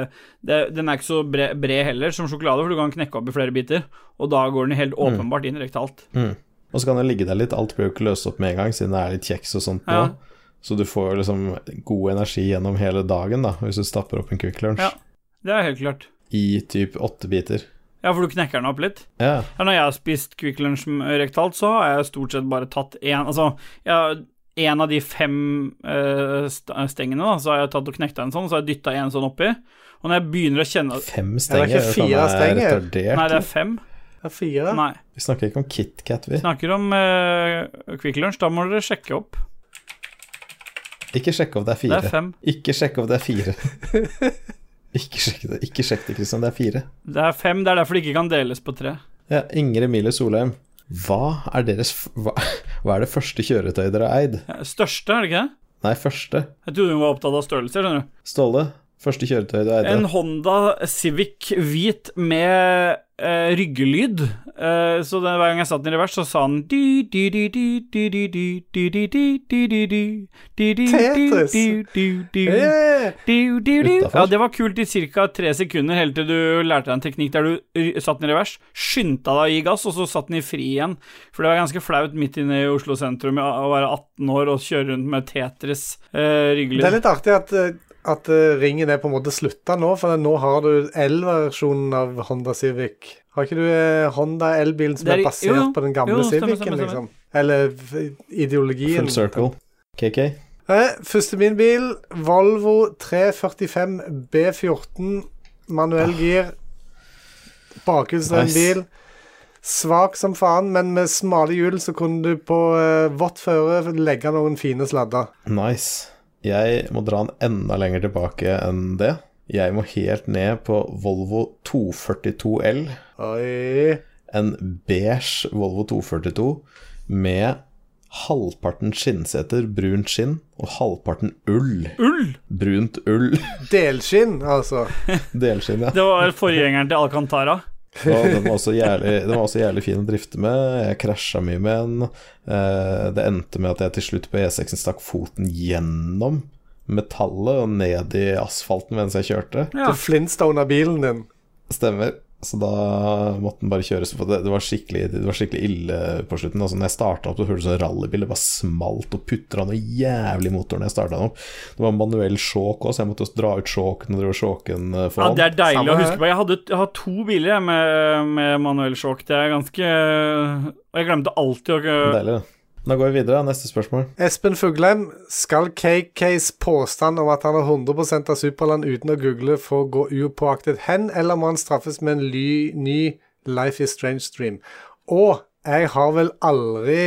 S2: det, Den er ikke så bred, bred heller, som sjokolade, for du kan knekke opp i flere biter. Og da går den helt
S3: Mm.
S2: åpenbart inn rektalt.
S5: Og så kan den ligge der litt, alt blir jo ikke løst opp med en gang, siden det er litt kjeks og sånt
S2: Ja.
S5: nå. Så du får jo liksom god energi gjennom hele dagen, da, hvis du stapper opp en Kvikk Lunsj
S2: Ja. Det er helt klart.
S5: i typ åtte biter.
S2: Ja, for du knekker den opp litt.
S5: Ja.
S2: Ja, når jeg har spist Kvikk Lunsj med rektalt, så har jeg stort sett bare tatt én Altså, jeg, en av de fem eh, st- stengene, da, så har jeg tatt og knekt en sånn, så har jeg dytta en sånn oppi. Og når jeg begynner å kjenne at
S5: Fem stenger?
S3: ikke
S5: faen meg
S3: fire stenger.
S5: retardert.
S2: Nei, det er fem.
S3: Ja, Fire.
S2: Nei.
S5: Vi snakker ikke om KitKat, vi.
S2: Snakker om eh, Kvikk Lunsj, da må dere sjekke opp.
S5: Ikke sjekk opp det er
S2: Det
S5: fire.
S2: er fem.
S5: Ikke sjekk opp det er fire. [laughs] ikke sjekk det, ikke sjekk det, Christian, det er fire.
S2: Det er fem, det er derfor det ikke kan deles på tre.
S5: Ja, Inger Emilie Solheim, hva er deres f- hva, [laughs] hva er det første kjøretøyet dere har eid?
S2: Ja, Største, er det ikke det?
S5: Nei, første.
S2: Jeg trodde hun var opptatt av størrelser, skjønner du.
S5: Ståle, første kjøretøy du eide.
S2: En Honda Civic hvit med eh, ryggelyd. Eh, så den, hver gang jeg satt den i revers, så sa den Tetris!
S3: Yeah.
S2: Ja, det var kult i ca. tre sekunder, helt til du lærte deg en teknikk der du r- satt den i revers, skyndte deg å gi gass, og så satt den i fri igjen. For det var ganske flaut midt inne i Oslo sentrum ja, å være 18 år og kjøre rundt med Tetris eh, ryggelyd.
S3: Det er litt artig at, eh, at eh, ringen er på en måte slutta nå, for nå har du L-versjonen av Honda Civic. Har ikke du eh, Honda elbilen som
S2: Det er
S3: er,
S2: i-
S3: basert
S2: jo, jo.
S3: på den gamle
S2: Jo, stemmer,
S3: Civicen,
S2: stemmer, stemmer.
S3: liksom? Eller f- ideologien.
S5: Full circle. KK.
S3: Eh, Første min bil, Volvo 345 B14, manuell gir. Bakhjulsdrevet
S5: Nice.
S3: bil. Svak som faen, men med smale hjul så kunne du på eh, vått føre legge noen fine sladder.
S5: Nice. Jeg må dra den enda lenger tilbake enn det. Jeg må helt ned på Volvo 242L.
S3: Oi.
S5: En beige Volvo 242 med halvparten skinnseter, brunt skinn, og halvparten ull.
S2: Ull!
S5: Brunt ull. [laughs]
S3: Delskinn, altså.
S5: Delskinn, ja.
S2: Det var forgjengeren til Alcantara.
S5: Og den var, også jævlig, den var også jævlig fin å drifte med. Jeg krasja mye med den. Eh, Det endte med at jeg til slutt på E6-en stakk foten gjennom metallet og ned i asfalten mens jeg kjørte.
S2: Ja.
S3: Du flintstoner bilen din.
S5: Stemmer. Så da måtte den bare kjøres. For det, det, var skikkelig, det var skikkelig ille på slutten. Altså, når jeg starta opp, så hørtes det ut som en rallybil. Det bare smalt og putra noe jævlig i motoren. når Jeg startet den opp Det var manuell sjåk òg, så jeg måtte også dra ut sjåken og drive sjåken eh, for
S2: Ja,
S5: hånd.
S2: det er deilig å
S3: Samme her.
S2: huske på. Jeg hadde, jeg har to biler jeg, med, med manuell sjokk. Det er ganske Og jeg glemte alltid å
S5: Deilig, det. Da går vi videre. Neste spørsmål.
S3: Espen Fuglheim, skal KKs påstand om at han er 100 av Superland uten å google, få gå upåaktet hen, eller må han straffes med en ly, ny Life is Strange-stream? Og jeg har vel aldri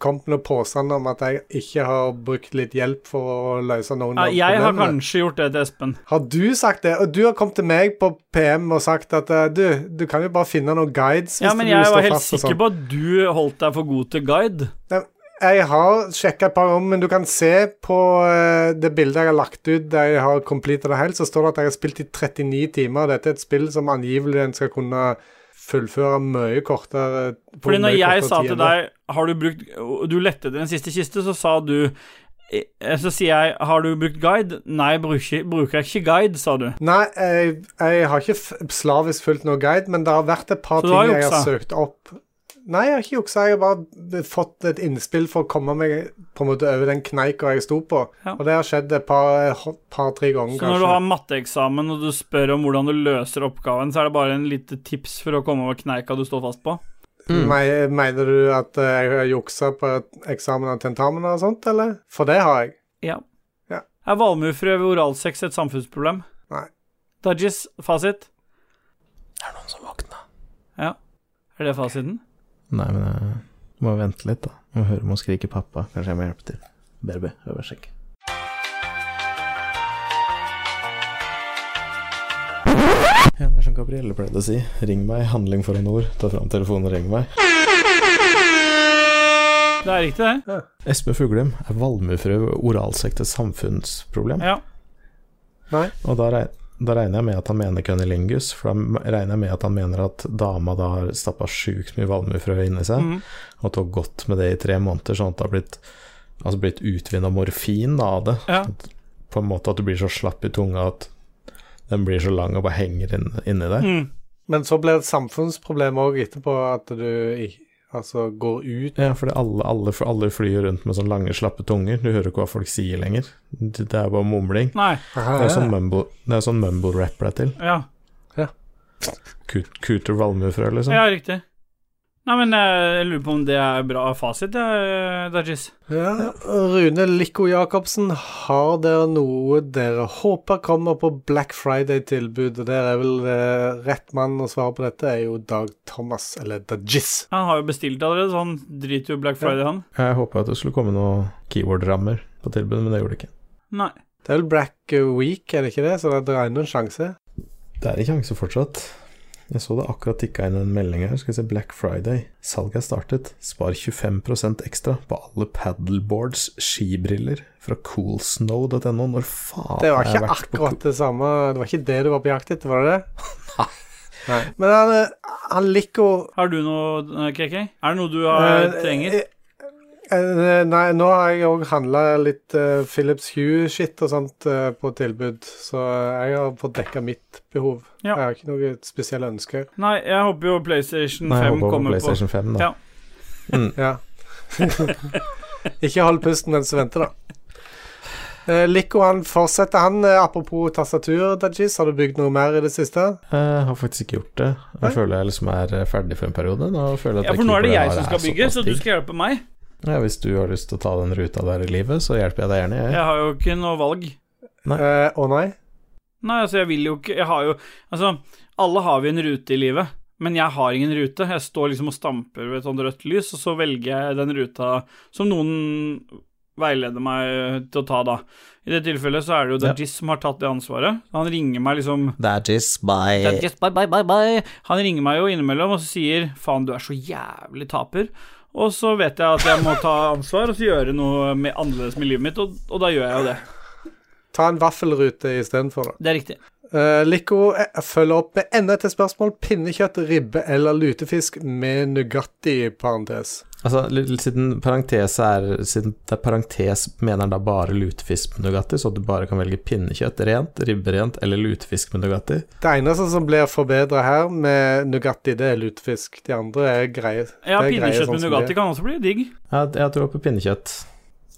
S3: kommet med noen påstander om at jeg ikke har brukt litt hjelp for å løse noen
S2: Ja,
S3: av
S2: jeg har
S3: problemene.
S2: kanskje gjort det til Espen.
S3: Har du sagt det? Og du har kommet til meg på PM og sagt at eh, du, du kan jo bare finne noen guides hvis
S2: Ja, men
S3: du
S2: jeg
S3: står
S2: var helt
S3: fast og
S2: sikker
S3: sånn.
S2: på at du holdt deg for god til guide.
S3: Nei, Jeg har sjekka et par om, men du kan se på eh, det bildet jeg har lagt ut der jeg har completed det helt, så står det at jeg har spilt i 39 timer. Dette er et spill som angivelig en skal kunne fullføre mye kortere eh, på
S2: Fordi når
S3: mye
S2: jeg
S3: kortere
S2: sa
S3: tid
S2: til
S3: enn det.
S2: deg Har du brukt Du lette etter den siste kiste, så sa du eh, Så sier jeg Har du brukt guide? Nei, bruker, bruker jeg ikke guide, sa du.
S3: Nei, jeg, jeg har ikke f- slavisk fulgt noe guide, men det har vært et par
S2: Så du
S3: ting
S2: har
S3: jeg har
S2: juksa?
S3: søkt opp. Nei, jeg har ikke juksa. Jeg har bare b- fått et innspill for å komme meg på en måte over den kneika jeg sto på.
S2: Ja.
S3: Og det har skjedd et eh, par-tre ganger,
S2: Så når du
S3: kanskje.
S2: har matteeksamen og du spør om hvordan du løser oppgaven, så er det bare en lite tips for å komme over kneika du står fast på?
S3: Me- Mener du at eh, jeg har juksa på et eksamen og tentamener og sånt, eller? For det har jeg.
S2: Ja.
S3: Ja.
S2: Er valmuefrø ved oralsex et samfunnsproblem?
S3: Nei.
S2: Dodges, fasit?
S5: Er det noen som våkna?
S2: Ja. Er det fasiten?
S5: Nei, men jeg må vente litt, da. Jeg må høre om hun skriker pappa. Kanskje jeg må hjelpe til. Baby, øversjekk. Ja, det er som Gabrielle pleide å si. Ring meg, handling foran ord. Ta fram telefonen og ring meg.
S2: Det er riktig, det.
S5: Espen Fuglem er valmuefrø ved oralsekk til samfunnsproblem.
S2: Ja.
S5: Og da, reg- da regner jeg med at han mener cunnilingus, for da m- regner jeg med at han mener at dama da har stappa sjukt mye valmuefrø inni seg,
S2: Mhm.
S5: og at hun har gått med det i tre måneder, sånn at det har blitt, altså blitt utvinna morfin da, av det.
S2: Ja.
S5: På en måte at du blir så slapp i tunga at den blir så lang og bare henger inn, inni deg.
S2: Mm.
S3: Men så ble det et samfunnsproblem òg etterpå, at du i- altså går ut
S5: Ja, fordi alle, alle, for alle flyr rundt med sånne lange, slappe tunger. Du hører ikke hva folk sier lenger. Det det er bare mumling.
S2: Nei.
S5: Det er sånn mumble, det er sånn mumble rap det er til.
S2: Ja.
S5: Coot- Cooter valmuefrø,
S3: Sånn.
S5: liksom.
S2: Ja, riktig. Nei, men eh, jeg lurer på om det er bra fasit, eh, Dodges.
S3: Ja, Rune Likko Jacobsen, har dere noe dere håper kommer på Black Friday-tilbud? Og Der er vel eh, rett mann å svare på dette, er jo Dag Thomas, eller Dajis.
S2: Han har jo bestilt allerede, så han driter jo i Black Friday, han.
S5: Jeg håpa at det skulle komme noen keyword-rammer på tilbudet, men det gjorde det ikke.
S2: Nei.
S3: Det er vel Black Week, er det ikke det? Så det er ennå en sjanse.
S5: Det er en sjanse fortsatt. Jeg så det akkurat tikka inn en melding her. Skal vi se Black Friday. Salget er startet. Spar 25 ekstra på alle paddleboards, skibriller fra coolsnow.no. Når faen
S3: Det var
S5: har jeg
S3: ikke
S5: vært på
S3: akkurat det samme Det var ikke det du var på jakt etter, var
S5: [laughs]
S3: det det? Nei. Men han, eh, han Likko
S2: Har du noe, eh, KK? Er det noe du har,
S3: Eh,
S2: trenger?
S3: eh, eh, Nei, nå har jeg òg handla litt eh, Philips Hue-shit og sånt eh, på tilbud, så jeg har fått dekka mitt behov.
S2: Ja.
S3: Jeg har ikke noe spesielle ønsker.
S2: Nei, jeg håper jo PlayStation
S5: Nei, jeg
S2: 5
S5: håper på
S2: kommer på.
S5: PlayStation 5, da.
S2: Ja.
S3: Ja. [laughs] ikke hold pusten mens du venter, da. Eh, Lico han fortsetter, han. eh, apropos tastatur, Dajis, har du bygd noe mer i det siste?
S5: Jeg har faktisk ikke gjort det. Jeg
S3: Nei.
S5: føler jeg liksom er ferdig for en periode. Nå føler jeg at
S2: Ja, for nå er det jeg som skal bygge, så du
S5: skal
S2: skal hjelpe meg.
S5: ja, Hvis du har lyst til å ta den ruta der i livet, så hjelper jeg deg gjerne. Jeg.
S2: Jeg har jo ikke noe valg.
S3: Eh, Å nei?
S2: Nei, altså, jeg vil jo ikke Jeg har jo Altså, alle har vi en rute i livet, men jeg har ingen rute. Jeg står liksom og stamper ved et sånt rødt lys, og så velger jeg den ruta som noen veileder meg til å ta, da. I det tilfellet så er det jo
S5: Ja.
S2: Dajis som har tatt det ansvaret. Han ringer meg liksom
S4: That is my
S2: Dajis, bye, bye, bye, bye. Han ringer meg jo innimellom og så sier 'faen, du er så jævlig taper'. Og så vet jeg at jeg må ta ansvar og så gjøre noe med, annerledes med livet mitt, og, og da gjør jeg jo det.
S3: Ta en vaffelrute istedenfor, da.
S2: Det er riktig.
S3: Uh, Lico eh, følger opp med enda et spørsmål. Pinnekjøtt, ribbe eller lutefisk med Nugatti, i parentes.
S5: Altså, l- l- siden parentes er Siden det er parentes, mener han da bare lutefisk med Nugatti, så at du bare kan velge pinnekjøtt rent, ribbe rent eller lutefisk med Nugatti?
S3: Det eneste som blir forbedra her med Nugatti, det er lutefisk. De andre er greie.
S2: Ja,
S3: Det er greie
S2: pinnekjøtt
S3: sånn
S2: med
S3: som
S2: Nugatti
S3: det.
S2: kan også bli digg.
S5: Jeg, jeg tror på pinnekjøtt.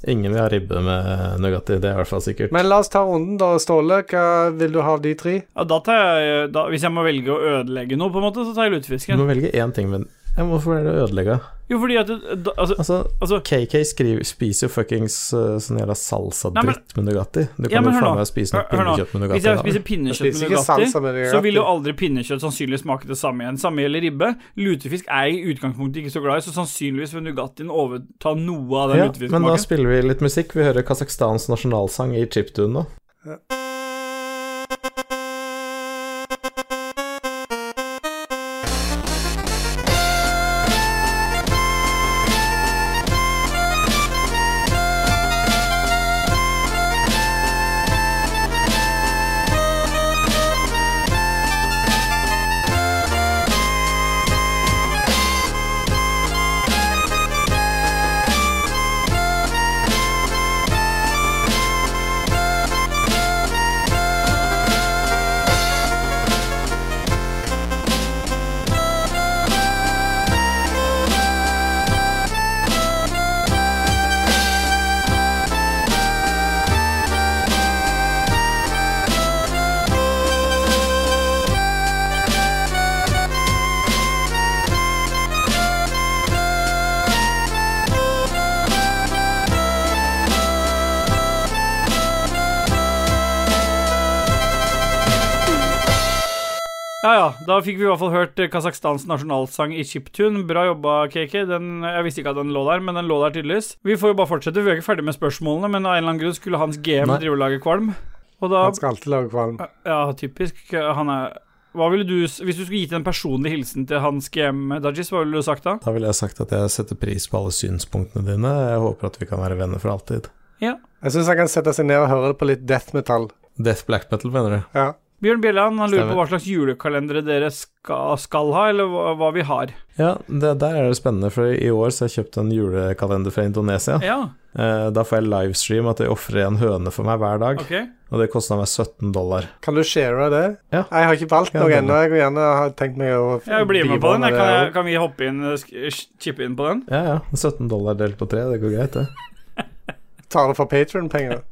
S5: Ingen vil ha ribbe med eh, Nugatti, det er i hvert fall sikkert.
S3: Men la oss ta runden, da. Ståle, hva vil du ha av de tre?
S2: Ja, da tar jeg da, Hvis jeg må velge å ødelegge noe, på en måte, så tar jeg
S5: Du
S2: lutefisken.
S5: må velge én ting med Ja, men Hvorfor er det ødelegga?
S2: Jo, fordi at det, da, altså,
S5: Altså,
S2: altså
S5: KK skriver, spiser jo fuckings eh, sånn
S2: Nei,
S5: jævla
S2: men-
S5: salsa-dritt med Nugatti. Du kan
S2: Ja, men
S5: jo
S2: hør
S5: faen
S2: nå.
S5: meg spise noe
S2: Hør- hør nå.
S5: pinnekjøtt
S2: Hvis
S5: med Nugatti.
S2: jeg
S5: da,
S2: spiser
S5: vel.
S3: Jeg
S2: pinnekjøtt
S3: spiser
S2: med
S3: ikke
S2: Nugatti,
S3: salsa med det.
S2: så vil jo aldri pinnekjøtt sannsynligvis smake det samme igjen. Samme gjelder ribbe. Lutefisk er jeg i utgangspunktet ikke så glad i, så sannsynligvis vil Nugattien overta noe av den
S5: Ja, men
S2: lutefisksmaken.
S5: da spiller vi litt musikk. Vi hører Kasakhstans nasjonalsang i chiptune nå.
S2: Ja ja, da fikk vi i hvert fall hørt eh, Kasakhstans nasjonalsang i chiptune. Bra jobba, KK. Den, jeg visste ikke at den lå der, men den lå der tydeligvis. Vi får jo bare fortsette. Vi er ikke ferdig med spørsmålene, men av en eller annen grunn skulle hans GM
S5: Nei.
S2: drive og lage kvalm. Og da
S3: Han skal alltid lage kvalm.
S2: Ja, typisk. Han er Hva ville du s- Hvis du skulle gitt en personlig hilsen til hans GM, Dajis, hva ville du sagt da?
S5: Da ville jeg sagt at jeg setter pris på alle synspunktene dine. Jeg håper at vi kan være venner for alltid.
S3: Jeg syns han kan sette seg ned og høre på litt death metal.
S5: Death Black Metal, mener du?
S3: Ja.
S2: Bjørn Bjelland han lurer på
S5: Stemmer.
S2: hva slags julekalendere dere skal, skal ha, eller hva, hva vi har.
S5: Ja, det, der er det spennende, for i år så har jeg kjøpt en julekalender fra Indonesia.
S2: Ja,
S5: Eh, da får jeg livestream at de ofrer en høne for meg hver dag,
S2: ok.
S5: og det kosta meg 17 dollar.
S3: Kan du share det?
S5: Ja.
S3: Jeg har ikke valgt
S5: Ja,
S3: noe
S5: det er
S3: ennå. Jeg vil gjerne ha tenkt meg å
S2: Jeg blir med på den. Jeg kan,
S3: bivåne det
S2: jeg,
S3: også.
S2: kan vi hoppe inn eh, sk- eh, chippe inn på den?
S5: Ja, ja. 17 dollar delt på tre, det går greit, det.
S3: Tar det for Patron-penger.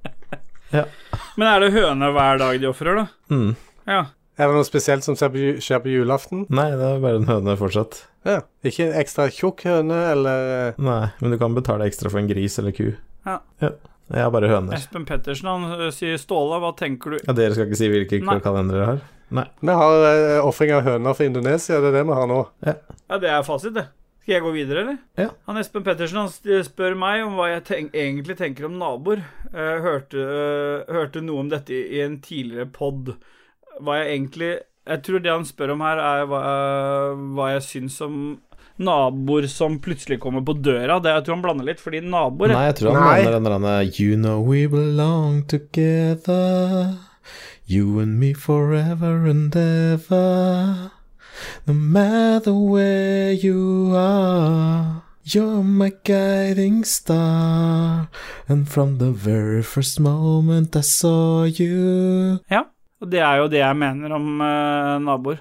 S2: Men er det høne hver dag de ofrer, da?
S5: Mm.
S2: Ja.
S3: Er det noe spesielt som skjer på, ju- skjer på julaften?
S5: Nei, det er bare en høne fortsatt.
S3: Ja. Ikke en ekstra tjukk høne, eller
S5: Nei, men du kan betale ekstra for en gris eller ku.
S2: Ja.
S5: Jeg har bare høner.
S2: Espen Pettersen han eh, sier Ståle, hva tenker du
S5: Ja, dere skal ikke si hvilke
S2: Nei.
S5: kalendere jeg har?
S3: Vi har eh, ofring av høner fra Indonesia, det er det vi har nå.
S2: Ja, det er fasit, det. Skal jeg gå videre, eller?
S5: Ja.
S2: Han Espen Pettersen han st- spør meg om hva jeg tenk egentlig tenker om naboer. Eh, hørte, eh, hørte noe om dette i, i en tidligere pod. Hva jeg egentlig Jeg tror det han spør om her, er hva, eh, hva jeg syns om naboer som plutselig kommer på døra. Det Jeg tror han blander litt, fordi naboer
S5: Nei, jeg tror han
S3: Nei.
S5: mener den derre You know we belong together. You and me forever and ever. No matter where you are. You're my guiding star. And from the very first moment I saw you.
S2: Og det er jo det jeg mener om eh, naboer.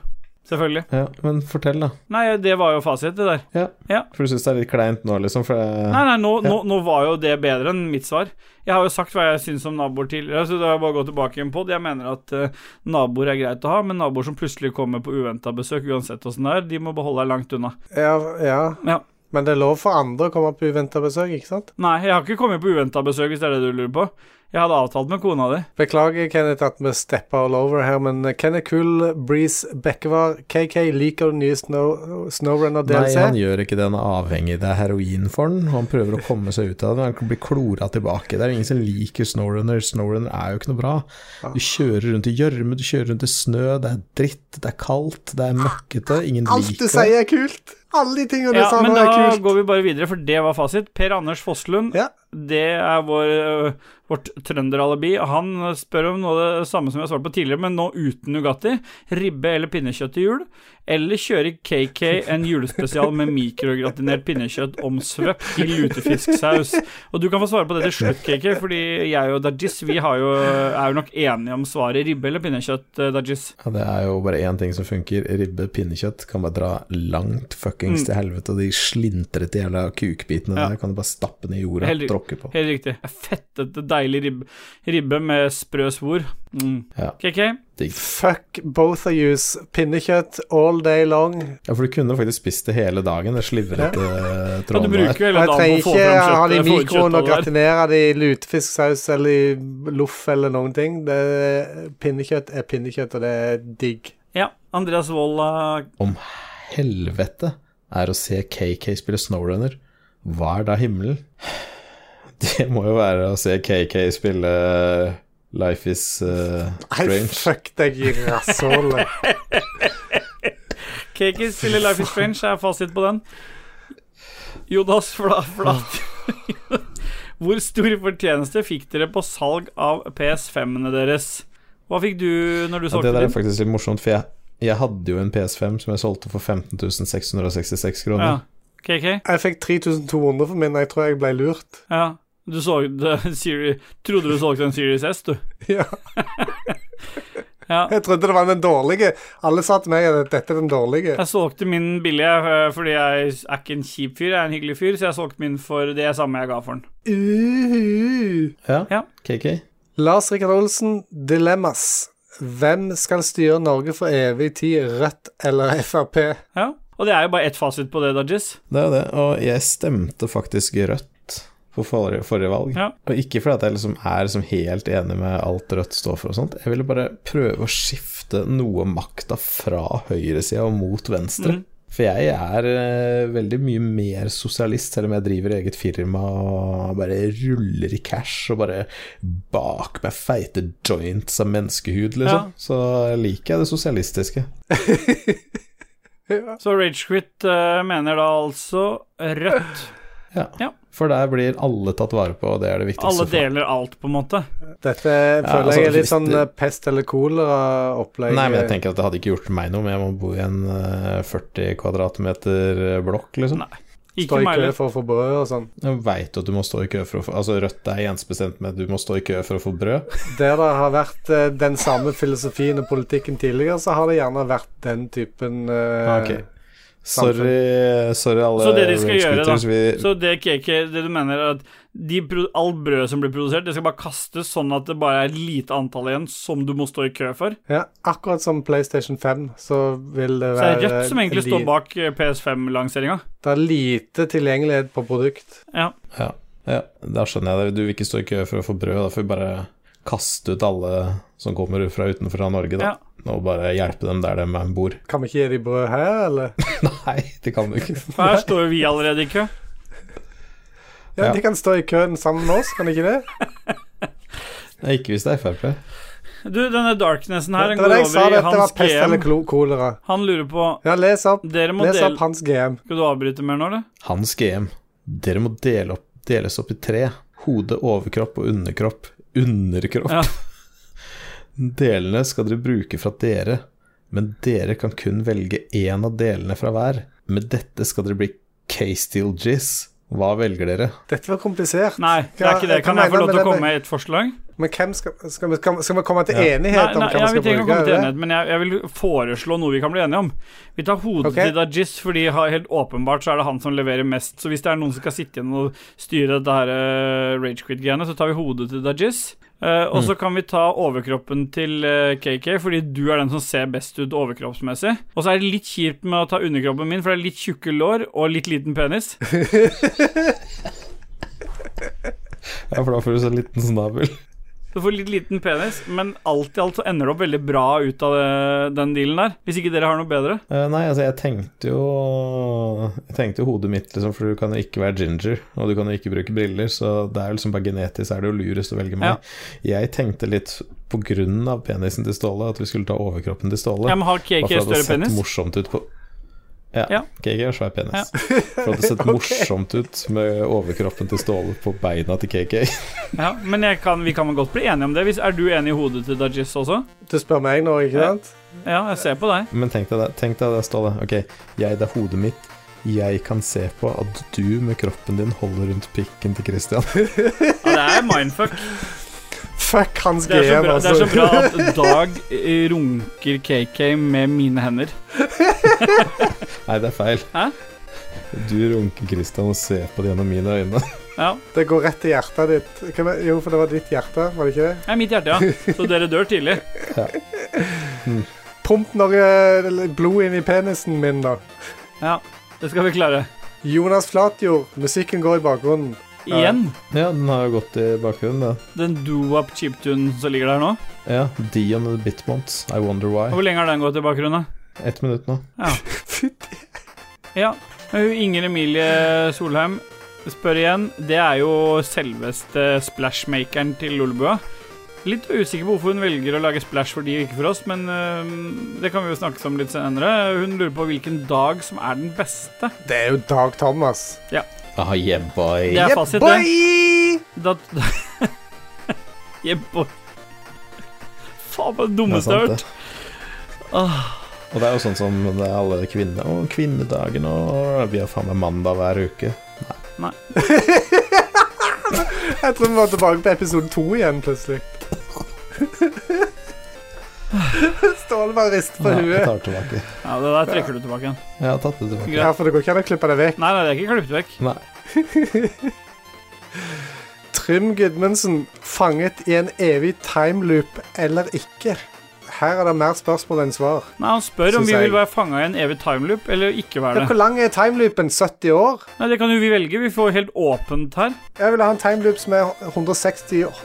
S2: Selvfølgelig.
S5: Ja, men fortell, da.
S2: Nei, det var jo fasit, det der.
S5: For du syns det er litt kleint nå, liksom? For det...
S2: Nei, nei, nå,
S5: Ja.
S2: nå, nå var jo det bedre enn mitt svar. Jeg har jo sagt hva jeg syns om naboer tidligere, så da har jeg bare gått tilbake igjen på det. Jeg mener at eh, naboer er greit å ha, men naboer som plutselig kommer på uventa besøk, uansett åssen det er, de må beholde deg langt unna.
S3: Ja, ja.
S2: Ja.
S3: Men det er lov for andre å komme på uventa besøk, ikke sant?
S2: Nei, jeg har ikke kommet på uventa besøk, hvis det er det du lurer på. Jeg hadde avtalt med kona di.
S3: Beklager, Kenneth, at vi stepper all over her, men eh, Kenneth Cool, Breeze, Bekkevar, KK liker den nye Snow, Snowrunner
S5: Nei,
S3: DLC.
S5: han gjør ikke det. Han er avhengig. Det er heroin for han. og Han prøver å komme seg ut av det, men han blir klora tilbake. Det er jo ingen som liker Snowrunner. Snowrunner er jo ikke noe bra. Du kjører rundt i gjørme, du kjører rundt i snø, det er dritt, det er kaldt, det er møkkete. Ingen
S3: Alt du
S5: liker det.
S3: sier er kult! Alle de tingene
S2: Ja,
S3: du sa
S2: men
S3: nå, er
S2: da
S3: kult.
S2: går vi bare videre, for det var fasit. Per Anders Fosslund,
S3: Ja.
S2: det er vår, øh, vårt trønderalibi. Han spør om noe av det samme som jeg svarte på tidligere, men nå uten Nugatti. Ribbe eller pinnekjøtt til jul? Eller kjøre KK en julespesial med mikrogratinert pinnekjøtt omsvøpt til lutefискsaus? Og du kan få svare på det til slutt, KK, fordi jeg og Dajis vi har jo, er jo nok enige om svaret ribbe eller pinnekjøtt, eh, Dajis.
S5: Ja, det er jo bare én ting som funker. Ribbe, pinnekjøtt kan bare dra langt fuckings til helvete. De slintrete jævla kukbitene
S2: Mm. Ja.
S5: der kan du bare stappe ned i jorda
S2: Helt
S5: og tråkke på.
S2: Helt riktig. Fettete, deilig ribbe, ribbe med sprø svor. Mm.
S5: Ja.
S2: KK?
S3: Fuck both of yous. Pinnekjøtt all day long.
S5: Ja, for du kunne faktisk spist det hele dagen, det slivrete eh,
S2: Ja, du
S5: tråden
S2: bruker
S5: der.
S2: jo hele
S3: Jeg
S2: dagen på å
S3: trenger
S2: få
S3: ikke
S2: frem
S3: ha det i
S2: kjøttet. få ut
S3: mikroen og
S2: kjøttet der.
S3: gratinere det i lutefisksaus eller i loff eller noen ting. Det, pinnekjøtt er pinnekjøtt, og det er digg.
S2: Ja, Andreas Wold eh,
S5: Om helvete er å se KK spille Snowrunner, hva er da himmelen? Det må jo være å se KK spille Life is
S3: Nei,
S5: eh, Strange.
S3: fuck deg i rasshålet.
S2: Cakey spiller Life is Strange, er fasit på den. Jonas Fla- Flat. [laughs] Hvor stor fortjeneste fikk dere på salg av PS5-ene deres? Hva fikk du når du
S5: Ja, det
S2: solgte
S5: der er
S2: din?
S5: faktisk litt morsomt, for jeg, jeg hadde jo en PS5 som jeg solgte for 15 666
S2: Ja.
S5: kroner.
S2: KK?
S3: Jeg fikk 3200 for min, jeg tror jeg ble lurt.
S2: Ja. Du solgte [laughs] en Siri- Trodde du solgte en Series S, du.
S3: [laughs] Ja.
S2: Ja.
S3: Jeg trodde det var den dårlige. Alle sa til meg at dette er den dårlige.
S2: Jeg solgte min billig eh, fordi jeg er ikke en kjip fyr, jeg er en hyggelig fyr, så jeg solgte min for det samme jeg ga for den.
S3: Uhu.
S5: Ja.
S2: Ja.
S5: KK?
S3: Lars Rikard Olsen, dilemmas. Hvem skal styre Norge for evig tid, Rødt eller Frp?
S2: Ja. Og det er jo bare ett fasit på det, Dodges.
S5: Det er jo det, og jeg stemte faktisk rødt på forrige, forrige valg.
S2: Ja.
S5: Og ikke fordi at jeg liksom er liksom helt enig med alt Rødt står for og sånt. Jeg ville bare prøve å skifte noe av makta fra høyresida og mot venstre.
S2: Mm.
S5: For jeg er eh, veldig mye mer sosialist, selv om jeg driver eget firma og bare ruller i cash og bare bak meg feite joints av menneskehud,
S2: Ja.
S5: liksom. Så liker jeg det sosialistiske.
S2: Så Ragequit uh, mener da altså rødt.
S5: Ja.
S2: Ja.
S5: For der blir alle tatt vare på, og det er det viktigste.
S2: Alle
S5: for meg.
S2: deler alt, på en måte.
S3: Dette føler
S5: altså,
S3: jeg er litt
S5: hvis
S3: sånn
S5: det-
S3: eh, pest eller eh, kolera-opplegg.
S5: Nei,
S2: Eh,
S5: men jeg tenker at det hadde ikke gjort meg noe, men jeg må bo i en eh, 40 kvadratmeter eh, blokk, liksom.
S2: Nei. Ikke
S3: Stå i
S2: meg
S3: kø
S2: heller.
S3: for å få brød og sånn.
S5: Jeg veit at du må stå i kø for å få Altså, Rødt er ensbestemt med at du må stå i kø for å få brød.
S3: Der det har vært eh, den samme filosofien og politikken tidligere, så har det gjerne vært den typen eh,
S5: Ah, Ok. Sorry, sorry alle
S2: Så det de skal
S5: rage
S2: gjøre, da.
S5: quitters, vi-
S2: Så det, KK, det du mener, er at de, pro- alt brød som blir produsert, det skal bare kastes sånn at det bare er et lite antall igjen som du må stå i kø for?
S3: Ja, akkurat som PlayStation 5, så vil det
S2: Så
S3: være
S2: det er Rødt som egentlig
S3: li-
S2: står bak eh, PS5-lanseringa?
S3: Det er lite tilgjengelighet på produkt.
S2: Ja.
S5: ja, ja, da skjønner jeg det. Du vil ikke stå i kø for å få brød, da får vi bare kaste ut alle som kommer fra utenfor av Norge,
S2: Ja.
S5: da. Og bare hjelpe dem der de bor. [laughs]
S3: Kan vi ikke gi dem brød her, eller?
S5: Nei, det kan du ikke.
S2: For her står jo vi allerede i kø.
S3: Ja,
S5: Ja.
S3: De kan stå i køen sammen med oss, kan de ikke det?
S5: Nei, Ikke hvis det er Frp.
S2: Du, denne darknessen her, den
S3: det var
S2: går
S3: det jeg sa,
S2: over i
S3: dette var
S2: hans
S3: pest eller
S2: GM.
S3: klo- kolera.
S2: Han lurer på
S3: Ja, les opp.
S2: Dere må
S3: Les
S2: dele
S3: opp hans GM.
S2: Skal du avbryte mer nå, eller?
S5: Hans GM. Dere må dele opp, deles opp i tre. Hode, overkropp og underkropp. Underkropp.
S2: Ja.
S5: [laughs] Delene skal dere bruke fra dere, men dere kan kun velge én av delene fra hver. Med dette skal dere bli K-Steel Jizz. Hva velger dere?
S3: Dette var komplisert.
S2: Nei, det er
S3: Ja,
S2: ikke det.
S3: hva
S2: Kan jeg få
S3: mener
S2: lov
S3: du
S2: til å
S3: med
S2: komme
S3: det?
S2: med et forslag?
S3: Men hvem skal, skal, vi, skal, skal vi komme til
S5: Ja.
S3: enighet om hva
S2: ja,
S3: vi
S2: vi
S3: skal
S2: trenger ikke å
S3: bruke?
S2: komme til
S3: eller?
S2: enighet, men jeg, jeg vil foreslå noe vi kan bli enige om. Vi tar hodet
S3: Ok.
S2: til Dajis, fordi ha- helt åpenbart så er det han som leverer mest. Så hvis det er noen som skal sitte igjen og styre dette her eh, Rage Ragequid-greiene, så tar vi hodet til Dajis. Eh, og
S3: Mm.
S2: så kan vi ta overkroppen til eh, KK, fordi du er den som ser best ut overkroppsmessig. Og så er det litt kjipt med å ta underkroppen min, for det er litt tjukke lår og litt liten penis.
S5: Ja, for da får du så liten snabel.
S2: Du får litt liten penis, men alt i alt så ender det opp veldig bra ut av det, den dealen der. Hvis ikke dere har noe bedre.
S5: Eh, nei, altså, jeg tenkte jo Jeg tenkte jo hodet mitt, liksom, for du kan jo ikke være ginger, og du kan jo ikke bruke briller, så det er jo liksom bare genetisk er det jo lurest å velge meg. Jeg tenkte litt på grunn av penisen til Ståle, at vi skulle ta overkroppen til Ståle.
S2: Ja, men har
S5: Bare
S2: KK
S5: for at det
S2: større
S5: hadde sett
S2: penis?
S5: morsomt ut på Ja,
S2: Ja.
S5: KK har svær penis. For at det hadde
S2: [laughs]
S5: sett morsomt ut med overkroppen til Ståle på beina til KK.
S2: Ja, men jeg kan, vi kan vel godt bli enige om det. Hvis, er du enig i hodet til Dajis også?
S3: Du spør meg nå, ikke
S2: Ja.
S3: sant?
S2: Ja, jeg ser på deg.
S5: [laughs] Men tenk deg det, tenk deg det Ståle. Ok, jeg, det er hodet mitt. Jeg kan se på at du med kroppen din holder rundt pikken til Christian.
S2: Ja, det er mindfuck.
S3: Fuck hans
S2: Det er så
S3: GM,
S2: bra, det er så
S3: altså.
S2: bra at Dag eh, runker KK med mine hender.
S5: Nei, det er feil.
S2: Hæ?
S5: Du runker Christian og ser på det gjennom mine øyne. [laughs]
S2: Ja.
S3: Det går rett til hjertet ditt. Hvem er, jo, for det var ditt hjerte, var det ikke det?
S2: Det er mitt hjerte, ja. Så dere dør tidlig.
S3: Pump noe eller blod inn i penisen min, da.
S2: Ja, det skal vi klare.
S3: Jonas Flatjord, musikken går i bakgrunnen.
S2: Igjen.
S5: Ja, den har jo gått i bakgrunnen, det.
S2: Den doo-wop chiptune som ligger der nå.
S5: Ja, Dion and the Bitmonts, I Wonder
S2: Og
S5: Why.
S2: Hvor lenge har den gått i bakgrunnen?
S5: Ett minutt nå.
S3: Fytti
S2: Ja. Hun Inger Emilie Solheim spør igjen. Det er jo selveste splashmakeren til Lolebua. Litt usikker på hvorfor hun velger å lage splash for de og ikke for oss, men øhm, det kan vi jo snakkes om litt senere. Hun lurer på hvilken dag som er den beste.
S3: Det er jo Dag Thomas.
S5: Ah, yeah, boy.
S2: Det er fasit, det.
S3: Boy!
S2: Da, [laughs] da, yeah, boy. Faen, det er det
S5: Det er
S2: dummeste jeg har hørt.
S5: sant, det.
S2: Åh.
S5: Og det er jo sånn som det er alle kvinner Å, kvinnedagen, og vi har faen meg mandag hver uke.
S3: Jeg tror vi var tilbake på episode to igjen,
S2: [laughs]
S3: plutselig. Ståle bare rister på
S5: Ja, jeg
S3: huet.
S5: tar det tilbake.
S2: Ja, det der trekker du tilbake igjen.
S5: Jeg har tatt det tilbake.
S3: Ja, for det går ikke an å klippe det vekk.
S2: Nei, nei, det er ikke klippet vekk.
S5: Nei.
S3: Trym Gudmundsen, fanget i en evig timeloop eller ikke? Her er det mer spørsmål enn svar.
S2: Nei, Han spør om
S3: Synes
S2: vi
S3: jeg-
S2: vil være fanga i en evig timeloop eller ikke
S3: Ja,
S2: være
S3: [laughs]
S2: det.
S3: hvor lang er timeloopen? 70 år?
S2: Nei, Det kan jo vi velge. Vi får helt åpent her.
S3: Jeg vil ha en timeloop som er 160 år.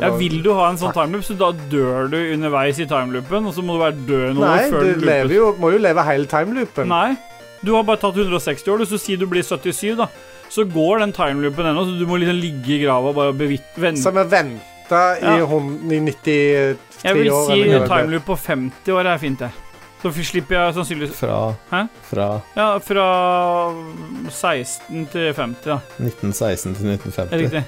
S2: Ja,
S3: da.
S2: Vil du ha en sånn timeloop, så da dør du underveis i timeloopen, og så må du være død noen
S3: Nei,
S2: år før
S3: du lever jo, må jo leve hele timeloopen.
S2: Nei, du har bare tatt 160 år, du, så si du blir 77, da. Så går den timeloopen ennå, så du må liksom ligge i grava og bare bevitt vende.
S3: Som er venta i,
S2: Ja.
S3: hun- i 93 år.
S2: Jeg vil si
S3: eller hva det er.
S2: timeloop på 50 år er fint, jeg. Så f- slipper jeg sannsynligvis
S5: Fra,
S2: Hæ?
S5: fra
S2: Ja, fra 16 til 50, da.
S5: 1916 til
S2: Er det
S5: 1950.
S2: riktig?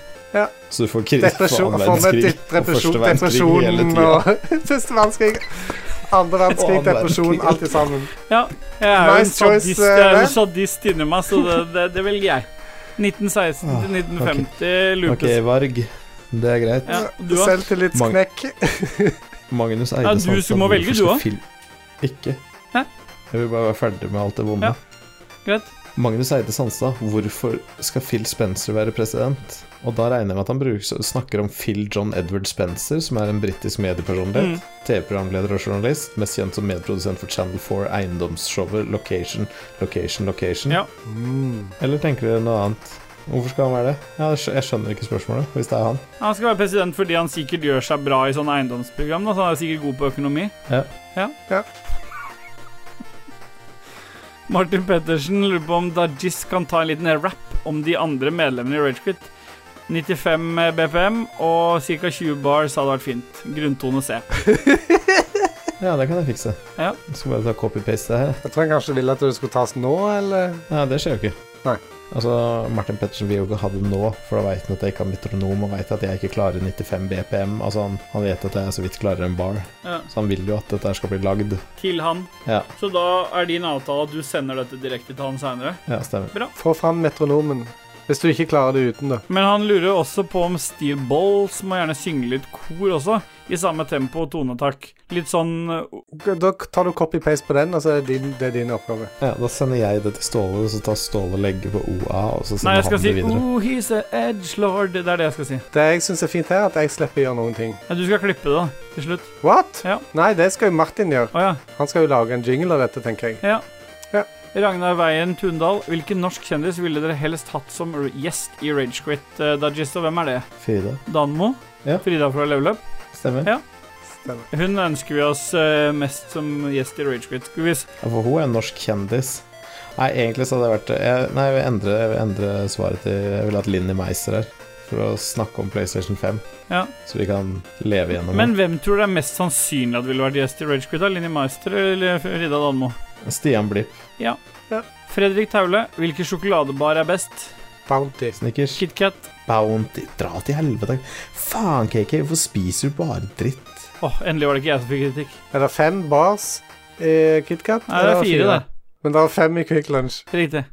S5: Så du får kri-
S3: Depresjon,
S5: for
S3: for
S5: annen
S3: med
S5: verdenskrig
S3: dypt
S5: og
S3: depresjon,
S5: første verdenskrig hele
S3: depresjon
S5: tida.
S3: og [laughs] første verdenskrig, andre verdenskrig,
S5: Og annen
S3: depresjon,
S5: verdenskrig.
S3: alt i sammen.
S2: Jeg er jo en
S3: Nice choice, eh,
S2: sadist, jeg er jo
S3: Rey.
S2: en sadist inni meg, så det, det, det velger jeg. 1916
S5: Ah,
S2: til 1950,
S5: Ok,
S2: Lucas.
S5: Varg. Det er greit.
S2: Ja, og du, da?
S3: Selvtillitsknekk.
S5: Magnus Eide
S2: Ja, du
S5: Sandstad,
S2: som må velge,
S5: hvorfor
S2: du også.
S5: skal film- Ikke.
S2: Hæ?
S5: Jeg vil bare være ferdig med alt det vonde.
S2: Ja, greit.
S5: Magnus Eide Sandstad, hvorfor skal Phil Spencer være president? Og da regner jeg med at han bruker, snakker om Phil John Edward Spencer, som er en britisk mediepersonlighet.
S2: Mm.
S5: TV-programleder og journalist, mest kjent som medprodusent for Channel 4 eiendomsshowet Location, Location, Location.
S2: Ja.
S5: Eller tenker dere noe annet? Hvorfor skal han være det? Ja, jeg skj- jeg skjønner ikke spørsmålet, hvis det er han.
S2: Han skal være president fordi han sikkert gjør seg bra i sånne eiendomsprogram. Da, så han er sikkert god på økonomi.
S5: Ja.
S2: ja.
S3: Ja.
S2: Martin Pettersen lurer på om Dajis kan ta en liten rap om de andre medlemmene i Ragequit. 95 BPM og ca. 20 bars hadde vært fint. Grunntone C.
S5: Ja, det kan jeg fikse.
S2: Ja.
S5: Jeg skal bare ta copy-paste det her. jeg.
S3: Jeg tror han kanskje ville at det skulle tas nå, eller?
S5: Nei, det skjer jo ikke.
S3: Nei.
S5: Altså, Martin Pettersen vil jo ikke ha det nå, for da veit han at jeg ikke har metronom, og veit at jeg ikke klarer 95 BPM. Altså, han, han vet at jeg så vidt klarer en bar,
S2: Ja.
S5: så han vil jo at dette her skal bli lagd.
S2: Til han.
S5: Ja.
S2: Så da er din avtale at du sender dette direkte til han seinere.
S5: Ja, stemmer.
S3: Få fram metronomen. Hvis du ikke klarer det uten, da.
S2: Men han lurer også på om Steel Balls må gjerne synge litt kor også, i samme tempo og tonetak. Litt sånn eh,
S3: Da tar du copy-paste på den, og så er det din, det er din oppgave.
S5: Ja, da sender jeg det til Ståle, og så tar Ståle og legger på OA, og så
S2: Nei,
S5: sender
S2: jeg skal
S5: han
S2: si
S5: det videre.
S2: Oh, he's a edge lord. Det er det jeg skal si.
S3: Det jeg syns er fint her, er at jeg slipper å gjøre noen ting.
S2: Ja, du skal klippe det da, til slutt.
S3: What?
S2: Ja.
S3: Nei, det skal jo Martin gjøre.
S2: Å ja.
S3: Han skal jo lage en jingle av dette, tenker jeg.
S2: ja.
S3: Ja.
S2: Ragnar Veien Tundal, hvilken norsk kjendis ville dere helst hatt som r- gjest i Ragequit? Uh, Dagisto, hvem er det?
S5: Frida.
S2: Danmo?
S5: Ja.
S2: Frida fra Level Up?
S5: Stemmer.
S2: Ja.
S5: Ja.
S3: Stemmer.
S2: Hun ønsker vi oss eh, mest som gjest i Ragequit. Skal vi s-
S5: For hun er en norsk kjendis. Nei, egentlig så hadde det vært jeg, Nei, jeg vil endre, jeg vil endre svaret til Jeg vil ha Linni Meiser her, for å snakke om PlayStation 5,
S2: Ja.
S5: så vi kan leve gjennom
S2: Men hvem tror du er mest sannsynlig at ville vært gjest i Ragequit? Linni Meister eller Frida Danmo?
S5: det. Stian Blipp.
S2: Fredrik Taule, hvilken sjokoladebar er best?
S3: Bounty.
S5: Snickers.
S2: KitKat?
S5: Bounty Dra til helvete. Faen, KK, hvorfor spiser du bare dritt?
S2: Åh, endelig var det ikke jeg som fikk kritikk.
S3: Er det fem bars i KitKat?
S2: Nei, det er fire, der.
S3: Men det er fem i Quick Lunch.
S2: Riktig.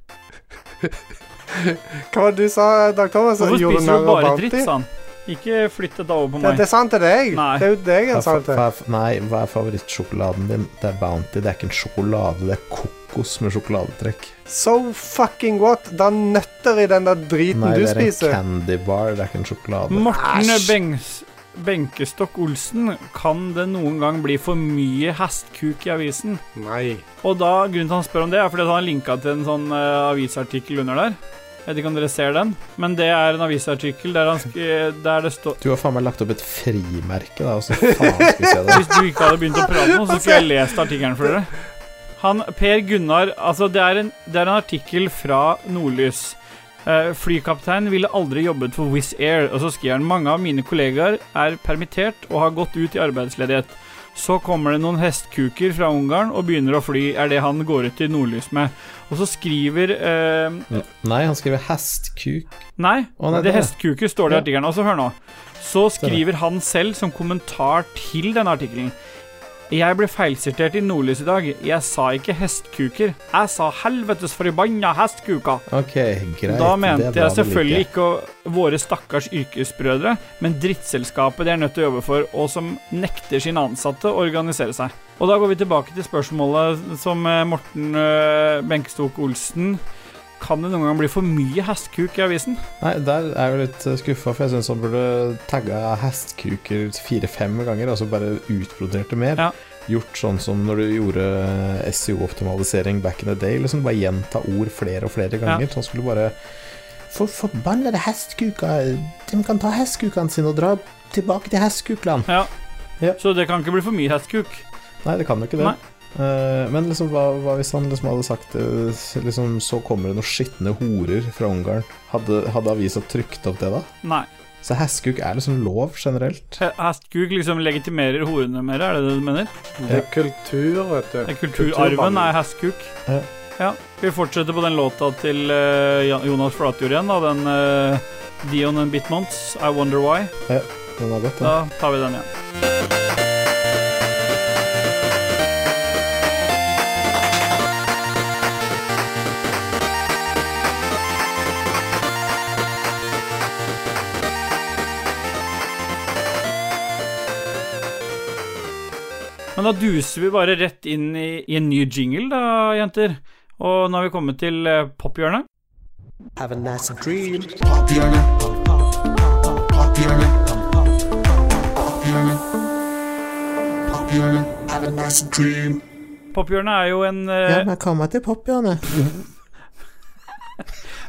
S3: Hva var det du sa, Dag Thomas?
S2: Hvorfor
S3: Gjorde
S2: spiser
S3: narr
S2: du
S3: av
S2: bare
S3: Bounty?
S2: dritt, sa han. Ikke flytt dette over på
S3: Det,
S2: meg.
S3: det er sant til deg.
S2: Nei.
S3: Det er jo deg
S5: Hva
S3: han
S5: er fa-
S3: sa det til.
S5: hva er f- Nei, hva er favorittsjokoladen din? Det er Bounty. Det er ikke en sjokolade, det er tacos med sjokoladetrekk.
S3: So fucking what? Det er nøtter i den der driten
S5: Nei,
S3: du
S5: det er en
S3: spiser.
S5: candy bar, det er ikke en sjokolade.
S2: Morten
S3: Æsj.
S2: Bengs Benkestokk Olsen, kan det noen gang bli for mye hestkuk i avisen?
S3: Nei.
S2: Og da, grunnen til at han spør om det, er fordi han linka til en sånn eh, avisartikkel under der. Jeg vet ikke om dere ser den, men det er en avisartikkel der, han sk eh, der det står
S5: Du har faen meg lagt opp et frimerke,
S2: [laughs]
S5: da. Åssen faen skulle jeg det?
S2: Hvis du ikke hadde begynt å prate nå, så skulle jeg lest artikkelen for dere. Han, Per Gunnar Altså, det er en, det er en artikkel fra Nordlys. Eh, flykaptein ville aldri jobbet for Wizz Air, og så skriver han mange av mine kollegaer er permittert og har gått ut i arbeidsledighet. Så kommer det noen hestkuker fra Ungarn og begynner å fly, er det han går ut i Nordlys med. Og så skriver eh,
S5: Nei, han skriver hestkuk.
S2: Nei,
S5: Å, nei,
S2: det
S5: det er-
S2: hestkuker står det i artikkelen. Og så hør nå. Så skriver han selv som kommentar til denne artikkelen. Jeg ble feilsitert i Nordlys i dag. Jeg sa ikke hestkuker. Jeg sa helvetes forbanna hestkuka.
S5: Ok,
S2: Da
S5: greit. det er
S2: mente
S5: bra
S2: jeg
S5: vi
S2: selvfølgelig
S5: liker.
S2: ikke å- våre stakkars yrkesbrødre, men drittselskapet de er nødt til å jobbe for, og som nekter sine ansatte å organisere seg. Og da går vi tilbake til spørsmålet som eh, Morten øh, Benkestok Olsen Kan det noen gang bli for mye hestkuk i avisen?
S5: Nei, der er jeg jo litt skuffa, for jeg syns han burde tagga hestkuker fire-fem ganger, altså bare utbrodert det mer.
S2: Ja.
S5: Gjort sånn som når du gjorde eh, SEO-optimalisering back in the day, liksom bare gjenta ord flere og flere ganger. Så han skulle bare For forbannede hestkuker, de kan ta hestkukene sine og dra tilbake til hestkukland.
S2: Så det kan ikke bli for mye hestkuk.
S5: Nei, det kan jo ikke det.
S2: Nei.
S5: Eh, men liksom, hva, hva hvis han liksom hadde sagt eh, liksom, Så kommer det noen skitne horer fra Ungarn. Hadde, hadde avisa trykt opp det, da?
S2: Nei.
S5: Så hestkuk er liksom lov generelt.
S2: he- Hestkuk liksom legitimerer horene mer, er det det du mener?
S3: Det er kultur, vet du.
S2: Det er Kulturarven er hestkuk.
S5: Ja.
S2: Ja. Vi fortsetter på den låta til eh, Jan- Jonas Flatjord igjen, da. Den eh, Dion and Bitmonts, I Wonder Why.
S5: Den er godt, den.
S2: Da tar vi den igjen. Men da duser vi bare rett inn i, i en ny jingle, da, jenter. Og nå har vi kommet til eh, pophjørnet.
S4: Have a nice dream. Have a nice dream.
S2: Pophjørnet er jo en eh,
S4: Ja, men kom til pophjørnet.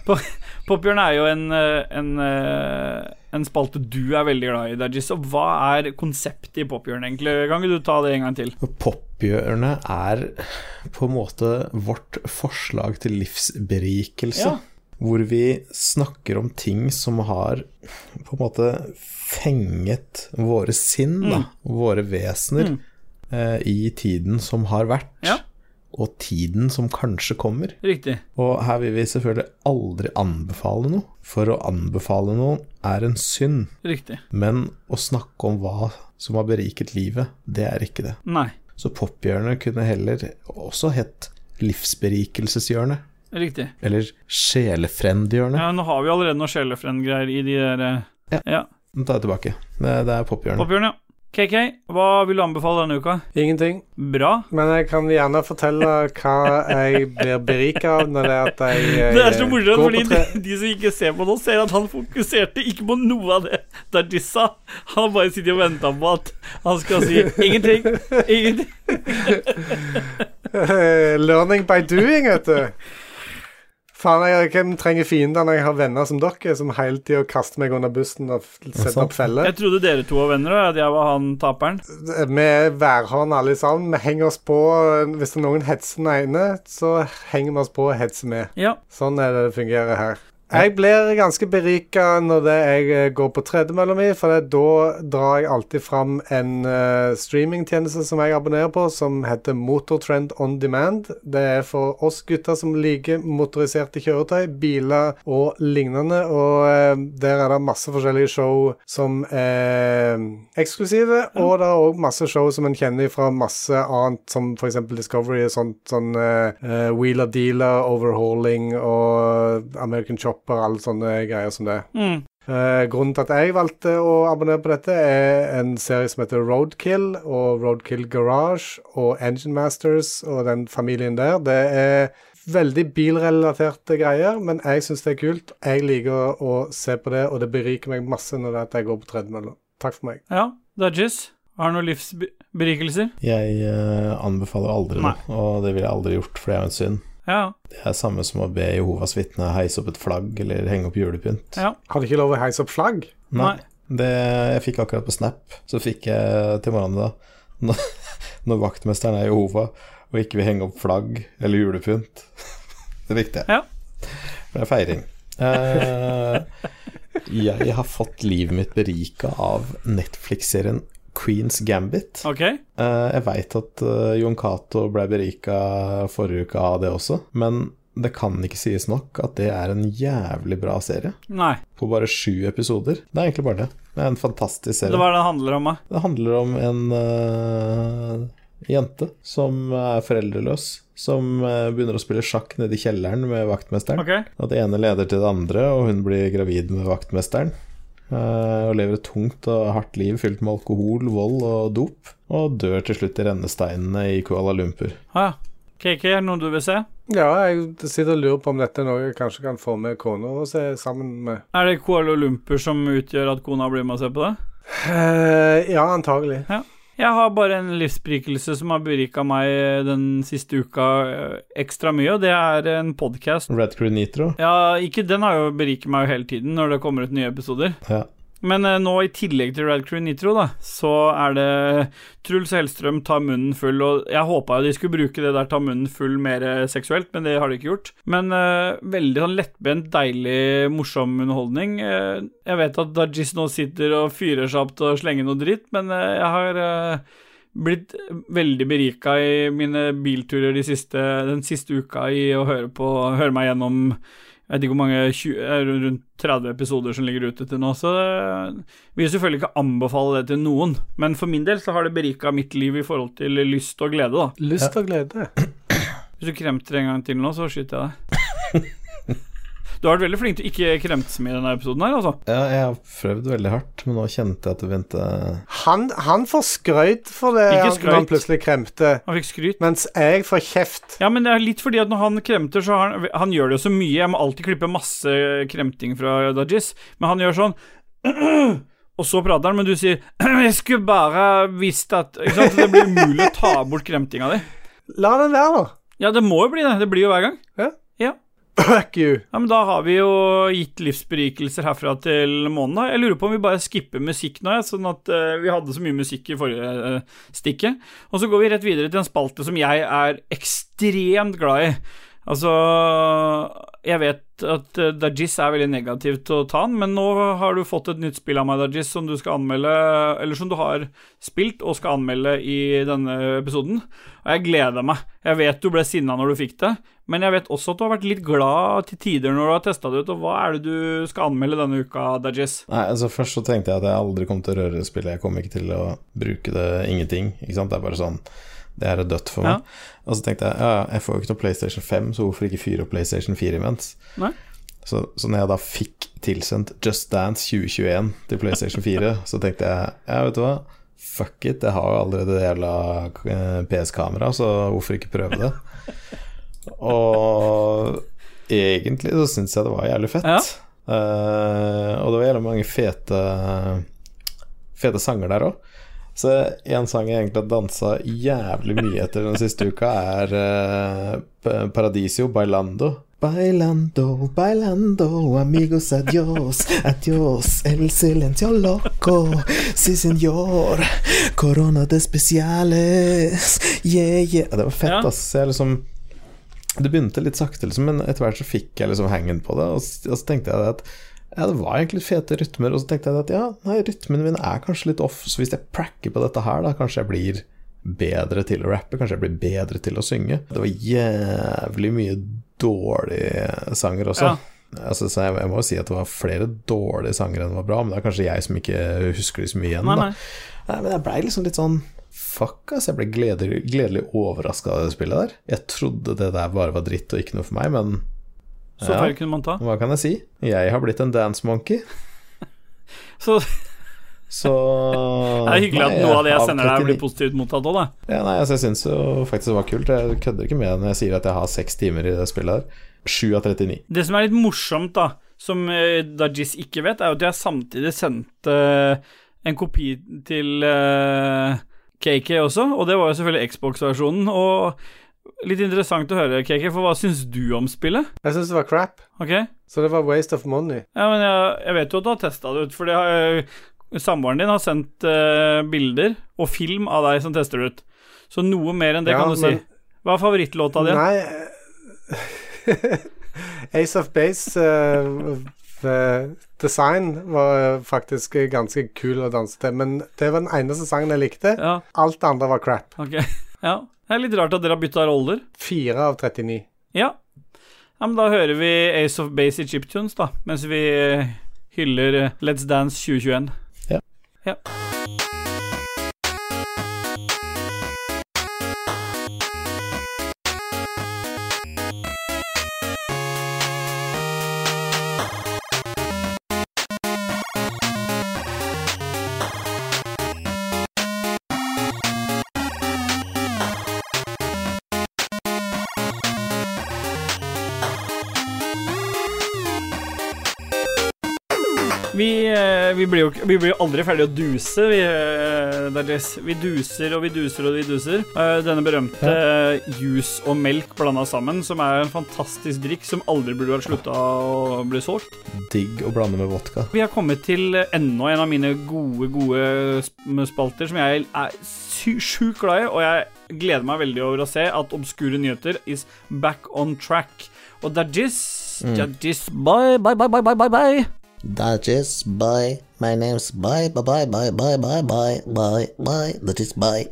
S2: Pophjørnet er jo en, eh, en, eh, en spalte du er veldig glad i, Dajis. Og hva er konseptet i pophjørnet, egentlig? Kan ikke du ta det en gang til?
S5: Pophjørnet er på en måte vårt forslag til livsberikelse.
S2: Ja.
S5: Hvor vi snakker om ting som har på en måte fenget våre sinn, da, våre vesener, eh, i tiden som har vært,
S2: Ja.
S5: og tiden som kanskje kommer.
S2: Riktig.
S5: Og her vil vi selvfølgelig aldri anbefale noe, for å anbefale noe er en synd.
S2: Riktig.
S5: Men å snakke om hva som har beriket livet, det er ikke det.
S2: Nei.
S5: Så pophjørnet kunne heller også hett livsberikelseshjørnet.
S2: Riktig.
S5: Eller sjelefrendhjørnet.
S2: Ja, nå har vi allerede noe sjelefrend-greier i de der eh,
S5: Ja.
S2: ja.
S5: Nå tar jeg tilbake. Det, det er pophjørnet.
S2: Pophjørnet, ja. KK, hva vil du anbefale denne uka?
S3: Ingenting.
S2: Bra.
S3: Men jeg kan gjerne fortelle hva jeg blir berika av når det er at jeg, eh,
S2: Det er så morsomt,
S3: går på
S2: fordi de,
S3: tre-
S2: de som ikke ser på nå, ser at han fokuserte ikke på noe av det Dajis sa. Han bare sitter og venter på at han skal si ingenting, ingenting.
S3: [laughs] Learning by doing, vet du. Faen, jeg, hvem trenger fiender når jeg har venner som dere, som hele tida kaster meg under bussen og f- setter opp feller?
S2: Jeg trodde dere to var venner, og at jeg var han taperen.
S3: Vi er værhånd alle sammen. Vi henger oss på. eh, Hvis det er noen hetser den ene, så henger vi oss på og hetser med.
S2: Ja.
S3: Sånn er det det fungerer her. Jeg blir ganske berika når det jeg eh, går på tredemølla mi, for det, da drar jeg alltid fram en eh, streamingtjeneste som jeg abonnerer på, som heter Motortrend On Demand. Det er for oss gutter som liker motoriserte kjøretøy, biler og lignende. Og eh, der er det masse forskjellige show som er eksklusive, og det er òg masse show som en kjenner fra masse annet, som f.eks. Discovery og sånt. sånn eh, eh, Wheeler Dealer, Overhauling og American Chopper, alle sånne greier som det.
S2: Mm.
S3: Eh, grunnen til at jeg valgte å abonnere på dette, er en serie som heter Roadkill og Roadkill Garage og Engine Masters og den familien der. Det er veldig bilrelaterte greier, men jeg syns det er kult. Jeg liker å, å se på det, og det beriker meg masse når det er at jeg går på tredemølla. Takk for meg.
S2: Ja, Dudgies. Har du noen livsberikelser?
S5: Jeg eh, anbefaler aldri det, og det ville jeg aldri gjort, for det er jo en synd.
S2: Ja.
S5: Det er samme som å be Jehovas vitne heise opp et flagg eller henge opp julepynt.
S2: ja.
S3: Har du ikke lov å heise opp flagg?
S5: Nei. Det jeg fikk akkurat på Snap, så fikk jeg til morgenen da Når, [laughs] når vaktmesteren er Jehova og ikke vil henge opp flagg eller julepynt. [laughs] Det likte jeg.
S2: Ja.
S5: Det er feiring. Eh, jeg har fått livet mitt berika av Netflix-serien Queens Gambit.
S2: OK.
S5: Eh, jeg veit at eh, Jon Cato ble berika forrige uke av det også, men det kan ikke sies nok at det er en jævlig bra serie.
S2: Nei.
S5: På bare sju episoder. Det er egentlig bare det. Det er en fantastisk
S2: Det
S5: serie.
S2: var det det handler om, da.
S5: Det handler om en eh, jente som er foreldreløs, som eh, begynner å spille sjakk nede i kjelleren med vaktmesteren.
S2: OK.
S5: Og det ene leder til det andre, og hun blir gravid med vaktmesteren. eh, Og lever et tungt og hardt liv fylt med alkohol, vold og dop. Og dør til slutt i rennesteinene i Kuala Lumpur.
S2: Ah, KK, er det noe du vil se?
S3: Ja, jeg sitter og lurer på om dette er noe jeg kanskje kan få med kona og se sammen med.
S2: Er det Kuala Lumpur som utgjør at kona blir med og ser på det?
S3: Eh, ja, antagelig.
S2: Jeg har bare en livsberikelse som har berika meg eh, den siste uka eh, ekstra mye, og det er en podkast.
S5: Red Crew Nitro.
S2: Ja, ikke den har jo beriket meg jo hele tiden når det kommer ut nye episoder.
S5: Ja.
S2: Men eh, nå i tillegg til Red Crew Nitro, da, så er det Truls Hellstrøm tar munnen full, og jeg håpa jo de skulle bruke det der ta munnen full mer eh, seksuelt, men det har de ikke gjort. Men eh, veldig sånn lettbent, deilig, morsom underholdning. Eh, jeg vet at Dajis nå sitter og fyrer seg opp til å slenge noe dritt, men eh, jeg har eh, blitt veldig berika i mine bilturer de siste, den siste uka i å høre, på, høre meg gjennom jeg vet ikke hvor mange 20, eh, rundt 30 episoder som ligger ute til nå, så det vil selvfølgelig ikke anbefale det til noen. Men for min del så har det berika mitt liv i forhold til lyst og glede, da.
S3: Lyst og glede.
S2: Hvis du kremter en gang til nå, så skyter jeg deg. Du har vært veldig flink til å ikke kremte så mye i denne episoden her, altså.
S5: ja, jeg har prøvd veldig hardt, men nå kjente jeg at det begynte
S3: Han, han får skrøyt for det
S2: Ikke
S3: han-
S2: skrøyt.
S3: når han plutselig kremte,
S2: Han fikk skryt.
S3: mens jeg får kjeft.
S2: Ja, men det er litt fordi at når han kremter, så har han Han gjør det jo så mye. Jeg må alltid klippe masse kremting fra Dajis, men han gjør sånn [clears throat] Og så prater han, men du sier [clears throat] 'Jeg skulle bare visst at Ikke sant? Så det blir umulig å ta bort kremtinga di.
S3: La den være, da. [laughs]
S2: Ja, det må jo bli det. Det blir jo hver gang.
S3: Fuck you.
S2: Ja, Men da har vi jo gitt livsberikelser herfra til månen, da. Jeg lurer på om vi bare skipper musikk nå, jeg, sånn at eh, vi hadde så mye musikk i forrige eh, stikket. Og så går vi rett videre til en spalte som jeg er ekstremt glad i. Altså Jeg vet at uh, Dajis er veldig negativ til å ta den, men nå har du fått et nytt spill av meg, Dajis, som du skal anmelde Eller som du har spilt og skal anmelde i denne episoden. Og jeg gleder meg. Jeg vet du ble sinna når du fikk det, men jeg vet også at du har vært litt glad til tider når du har testa det ut. Og hva er det du skal anmelde denne uka, Dajis?
S5: Nei, altså Først så tenkte jeg at jeg aldri kom til å røre spillet. Jeg kom ikke til å bruke det ingenting. ikke sant? Det er bare sånn Det er dødt for meg. Og så tenkte jeg ja, ja, jeg får jo ikke noe PlayStation 5, så hvorfor ikke fyre opp PlayStation 4 imens?
S2: Nei.
S5: Så, så når jeg da fikk tilsendt Just Dance 2021 til PlayStation
S2: [laughs]
S5: 4, så tenkte jeg ja, vet du hva, fuck it, jeg har jo allerede det jævla eh, PS-kameraet, så hvorfor ikke prøve
S2: [laughs]
S5: det? Og egentlig så syns jeg det var jævlig fett.
S2: Ja.
S5: Eh, og det var jævlig mange fete Fete sanger der òg. Så en sang jeg egentlig har dansa jævlig mye etter den siste uka, er eh, P- Paradisio Bailando. Bailando, bailando, amigos adios, adios, el silencio loco, si senor, corona de speciales, yeah, yeah. Det var fett,
S2: Ja.
S5: ass. Jeg liksom det begynte litt sakte, liksom, men etter hvert så fikk jeg liksom hangen på det. Og så, og så tenkte jeg at ja, det var egentlig fete rytmer, og så tenkte jeg at ja, nei, rytmene mine er kanskje litt off, så hvis jeg pracker på dette her, da kanskje jeg blir bedre til å rappe, kanskje jeg blir bedre til å synge. Det var jævlig mye dårlige sanger også.
S2: Ja.
S5: Altså, så jeg, jeg må jo si at det var flere dårlige sanger enn det var bra, men det er kanskje jeg som ikke husker de så mye igjen.
S2: Nei,
S5: da.
S2: nei.
S5: Nei, men jeg blei liksom litt sånn Fuck, ass. Jeg ble gledelig, gledelig overraska av det spillet der. Jeg trodde det der bare var dritt og ikke noe for meg, men
S2: Så
S5: Ja.
S2: feil kunne man ta.
S5: hva kan jeg si? Jeg har blitt en dance monkey.
S2: Så [laughs]
S5: Så
S2: det er hyggelig at
S5: Nei,
S2: noe av det jeg
S5: av
S2: sender deg,
S5: 39
S2: blir positivt mottatt òg, da.
S5: Ja, nei, altså, jeg syns jo faktisk det var kult. Jeg kødder ikke med det når jeg sier at jeg har seks timer i det spillet her. 7 av 39.
S2: Det som er litt morsomt, da, som eh, Dajis ikke vet, er jo at jeg samtidig sendte eh, en kopi til eh, KK også, og det var jo selvfølgelig Xbox-versjonen. Og litt interessant å høre, KK, for hva syns du om spillet?
S3: Jeg syns det var crap,
S2: Ok? Ja,
S3: så det var waste of money.
S2: men jeg, jeg vet jo at du har testa det ut, for det har samboeren din har sendt eh, bilder og film av deg som tester det ut. Så noe mer enn det
S3: Ja,
S2: kan du
S3: men-
S2: si. Hva er favorittlåta di?
S3: Nei eh, [laughs] Ace of Base eh, the Design var eh, faktisk ganske kul å danse til, men det var den eneste sangen jeg likte.
S2: Ja,
S3: Alt det andre var crap.
S2: ok. [laughs] Ja. Det er litt rart at dere har bytta roller.
S3: 4 av 39.
S2: Ja. ja, men da hører vi Ace of Base i Chiptunes, da, mens vi eh, hyller eh, Let's Dance 2021.
S5: Ja.
S2: ja. Vi, eh, vi blir jo ikke- vi blir jo aldri ferdig å duse, vi, eh, Dajis. Vi duser og vi duser og vi duser. Eh, Denne berømte eh, juice og melk blanda sammen, som er en fantastisk drikk som aldri burde vært slutta å bli solgt.
S5: Digg å blande med vodka.
S2: Vi har kommet til enda en av mine gode, gode sp- spalter som jeg er sy- sjukt glad i, og jeg gleder meg veldig over å se at Obskure nyheter is back on track. Og Dajis Dajis Bye, bye, bye, bye, bye, bye, bye.
S4: That is bye. My name's bye bye bye bye bye bye bye bye bye. That is bye.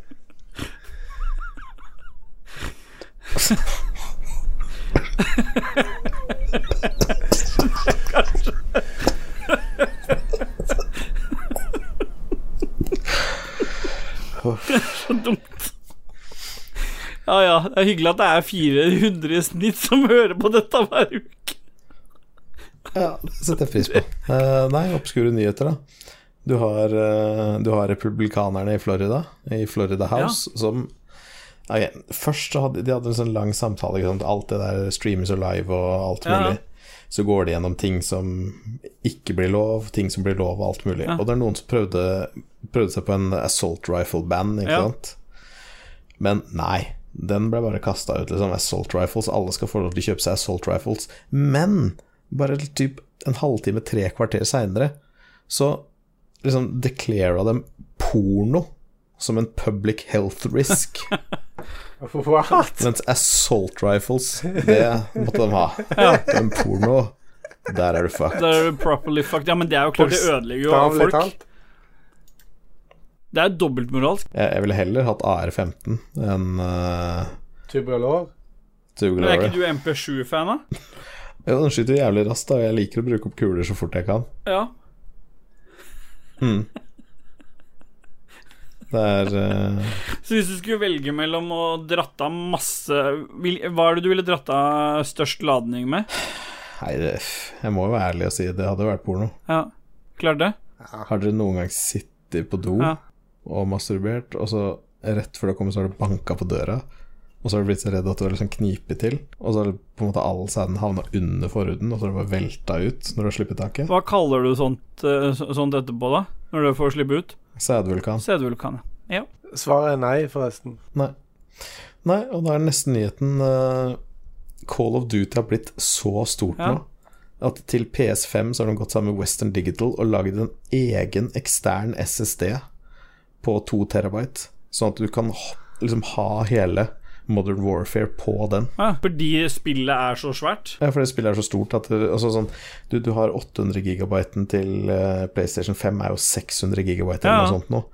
S2: Ja ja, det er hyggelig at det er 400 i snitt som hører på dette hver uke.
S5: Ja, det setter jeg pris på. Eh, nei, obskure nyheter, da. Du har, eh, du har republikanerne i Florida, i Florida House, som Ok, Først så hadde de hadde en sånn lang samtale. Ikke sant? Alt det der streames og live og alt
S2: Ja.
S5: mulig. Så går de gjennom ting som ikke blir lov, ting som blir lov og alt mulig. Og det er noen som prøvde, prøvde seg på en assault rifle band, ikke
S2: Ja.
S5: sant. Men nei, den ble bare kasta ut. Liksom. Assault rifles, alle skal få lov til å kjøpe seg assault rifles. Men bare typ en halvtime, tre kvarter seinere, så liksom declara dem porno som en public health risk.
S3: [laughs] What?
S5: mens assault rifles, det måtte de ha. Men porno, der er du fucked.
S2: Det er properly fucked. Ja, men det er jo klart, det ødelegger jo
S3: Bokstavelig
S2: folk.
S3: talt.
S2: Det er dobbeltmoralsk.
S5: Jeg, jeg ville heller hatt AR-15 enn uh,
S2: Men
S3: Tuberlår.
S2: er
S5: Tugelore.
S2: ikke du MP7-fan, da?
S5: Jo, den skyter jævlig raskt, da. og Jeg liker å bruke opp kuler så fort jeg kan.
S2: Ja.
S5: Det er eh,
S2: Så hvis du skulle velge mellom å dratt av masse vil, Hva er det du ville dratt av størst ladning med?
S5: Nei, det, jeg må jo være ærlig og si det hadde jo vært porno.
S2: Ja, klart det?
S5: Har dere noen gang sittet på do
S2: Ja.
S5: og masturbert, og så rett før det kommer, så har du banka på døra, og så har du blitt så redd at du har liksom knipet til, og så har du på en måte all sæden havna under forhuden, og så har du bare velta ut når du har sluppet taket?
S2: Hva kaller du sånt, eh, så- sånt etterpå, da? Når du får slippe ut?
S5: Sædvulkan.
S2: Sædvulkan. Ja.
S3: Svaret er nei, forresten.
S5: Nei. Nei, og da er nesten nyheten eh, Call of Duty har blitt så stort
S2: Ja.
S5: nå at til PS5 så har de gått sammen med Western Digital og laget en egen ekstern SSD på 2 terabyte, sånn at du kan h- liksom ha hele Modern Warfare på den.
S2: ja. Fordi spillet er så svært?
S5: Ja, for det spillet er så stort at det, altså sånn, du, du har 800 gigabyten til eh, PlayStation 5, er jo 600 gigabyte eller
S2: Ja.
S5: noe sånt nå.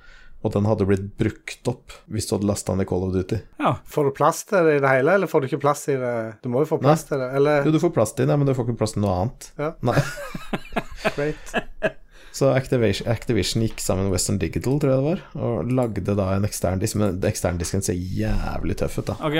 S5: Og den hadde blitt brukt opp hvis du hadde lasta ned Call of Duty.
S2: Ja.
S3: Får du plass til det i det hele, eller får du ikke plass i det? Du må jo få plass til det, eller
S5: Jo, du får plass til den, ja, men du får ikke plass til noe annet.
S3: Ja.
S5: Nei.
S3: Great.
S5: Så Activision, Activision gikk sammen med Western Digital, tror jeg det var, og lagde da en ekstern disk. Men den eksterne disken ser jævlig tøff ut, da.
S2: Ok.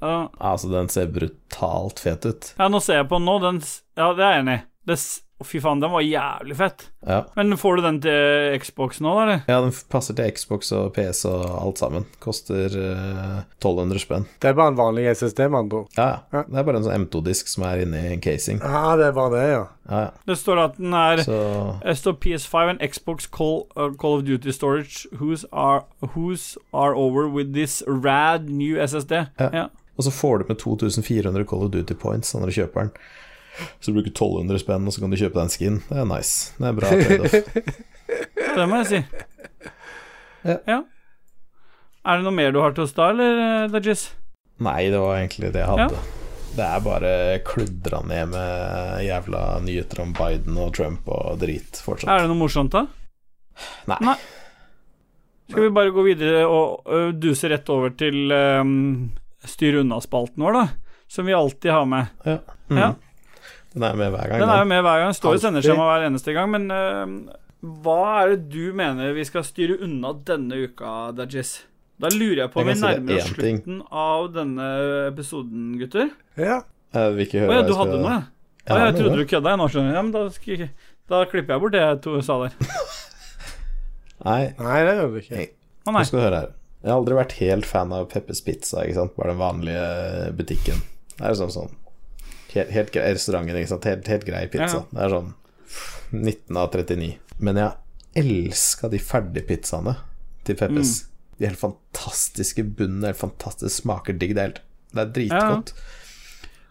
S2: Ja.
S5: Altså, den ser brutalt fet ut.
S2: ja, nå ser jeg på den nå. Den s- Ja, det er jeg enig i. Det s- Å, Fy faen, den var jævlig fett.
S5: Ja.
S2: Men får du den til eh, Xbox nå, da, eller?
S5: ja, den f- passer til Xbox og PC og alt sammen. Koster eh, 1200 spenn.
S3: Det er bare en vanlig SSD, med andre ord.
S5: Ja, ja. Det er bare en sånn M2-disk som er inni en casing.
S3: Ja, det er bare det, ja.
S5: Ja, ja.
S2: Det står at den er
S5: Så
S2: Det står PS5 and Xbox Call, uh, Call of Duty storage who's are, who's are over with this rad new SSD.
S5: Ja.
S2: Ja.
S5: Og så får du med 2400 Call of Duty points sånn når du kjøper den. Så du bruker 1200 spenn, og så kan du kjøpe deg en skin. Det er nice. Det er bra trade-off.
S2: Det må jeg si.
S5: Ja.
S2: Er det noe mer du har til oss da, eller, eh, Dajis?
S5: Nei, det var egentlig det jeg hadde. Det er bare kludra ned med jævla nyheter om Biden og Trump og drit fortsatt.
S2: Er det noe morsomt, da?
S5: Nei.
S2: Nei. Skal vi bare gå videre og ø, duse rett over til ehm, øhm, styr unna-spalten vår, da? Som vi alltid har med.
S5: Ja. Mm.
S2: Ja.
S5: Den er med hjver gang.
S2: Den er jo med hver gang. Står i
S5: Alltid.
S2: sendeskjema hver eneste gang. Men øhm, hva er det du mener vi skal styre unna denne uka, Dajis? Da lurer jeg på om vi
S5: Jeg kan si det
S2: nærmer oss
S5: én ting.
S2: slutten av denne episoden, gutter.
S3: Ja,
S5: Jeg vil ikke
S2: Å
S5: høre
S2: ja,
S5: hva
S2: du
S5: jeg
S2: hadde
S5: skal-
S2: noe, ja.
S5: Jeg
S2: Å,
S5: har
S2: jeg
S5: noe.
S2: trodde du kødda. jeg. Nå skjønner jeg. Ja, men da, skal jeg ikke- da klipper jeg bort det jeg to- sa der.
S5: Nei,
S3: Nei, det gjør det ikke.
S2: Å
S5: nå
S2: nei.
S5: skal du høre her. Jeg har aldri vært helt fan av Peppers Pizza, ikke sant. Bare den vanlige butikken. Det er sånn sånn Helt, helt grei restauranten, ikke sant. Helt, helt grei pizza.
S2: Ja.
S5: Det er sånn 19 av 39. Men jeg elska de ferdigpizzaene til Peppes.
S2: Mm.
S5: De helt fantastiske bunnene, helt fantastisk smaker digg. Det er, helt, det er dritgodt.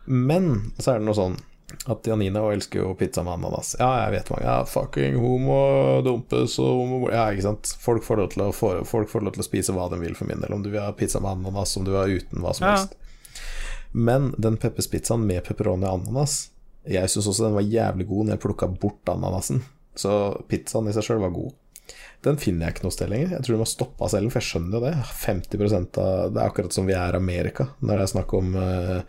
S5: Men så er det noe sånn at Janina også elsker jo pizza med ananas. Ja, jeg vet mange. Ja, fucking homo dumpes og homo Ja, ikke sant. Folk får, lov til å få, folk får lov til å spise hva de vil for min del. Om du vil ha pizza med ananas, om du vil ha uten, hva som
S2: Ja.
S5: helst. Men den pepperspizzaen med pepperoni og ananas Jeg syns også den var jævlig god når jeg plukka bort ananasen. Så pizzaen i seg sjøl var god. Den finner jeg ikke noe sted lenger. Jeg tror de har stoppa selv, for jeg skjønner jo det. 50 av Det er akkurat som vi er Amerika når det er snakk om, eh,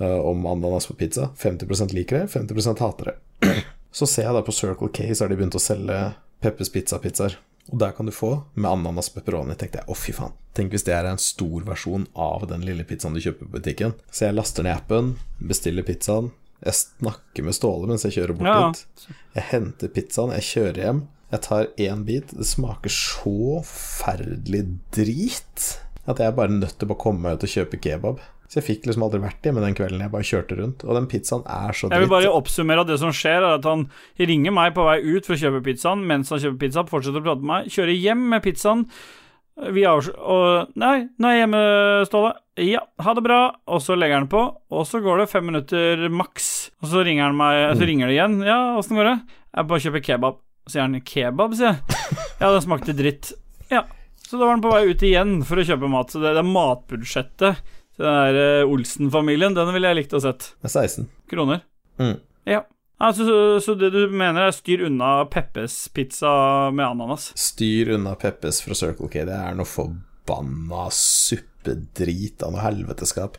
S5: eh, om ananas på pizza. 50 liker det, 50 hater det. [clears throat] Så ser jeg da på Circle K, så har de begynt å selge Peppers Pizza-pizzaer. Og der kan du få med ananas pepperoni. Tenkte jeg, å fy faen. Tenk hvis det her er en stor versjon av den lille pizzaen du kjøper på butikken. Så jeg laster ned appen, bestiller pizzaen. Jeg snakker med Ståle mens jeg kjører bort
S2: Ja.
S5: dit. Jeg henter pizzaen, jeg kjører hjem. Jeg tar én bit. Det smaker så forferdelig drit at jeg er bare nødt til å bare komme meg ut og kjøpe kebab. Så jeg fikk liksom aldri vært hjemme den kvelden. Jeg bare kjørte rundt. Og den pizzaen er så
S2: Jeg
S5: dritt.
S2: vil bare oppsummere at det som skjer, er at han ringer meg på vei ut for å kjøpe pizzaen. Mens han kjøper pizza, fortsetter å prate med meg, kjører hjem med pizzaen. Vi avs og Nei, nå er jeg hjemme, Ståle. Ja, ha det bra. Og så legger han på, og så går det fem minutter maks. Og så ringer han meg,
S5: Mm.
S2: så ringer det igjen. Ja, åssen går det? Jeg bare kjøper kebab. Så sier han kebab,
S5: [laughs]
S2: sier jeg. Ja, den smakte dritt. Ja. Så da var han på vei ut igjen for å kjøpe mat. Så det, det er matbudsjettet til den der eh, Olsen-familien. Den ville jeg likt å sett.
S5: Det er 16.
S2: Kroner.
S5: Mm.
S2: Ja. Altså, så, så det du mener er styr unna Peppes pizza med ananas?
S5: Styr unna Peppes fra Circle K. Det er noe forbanna suppedrit av noe helveteskap.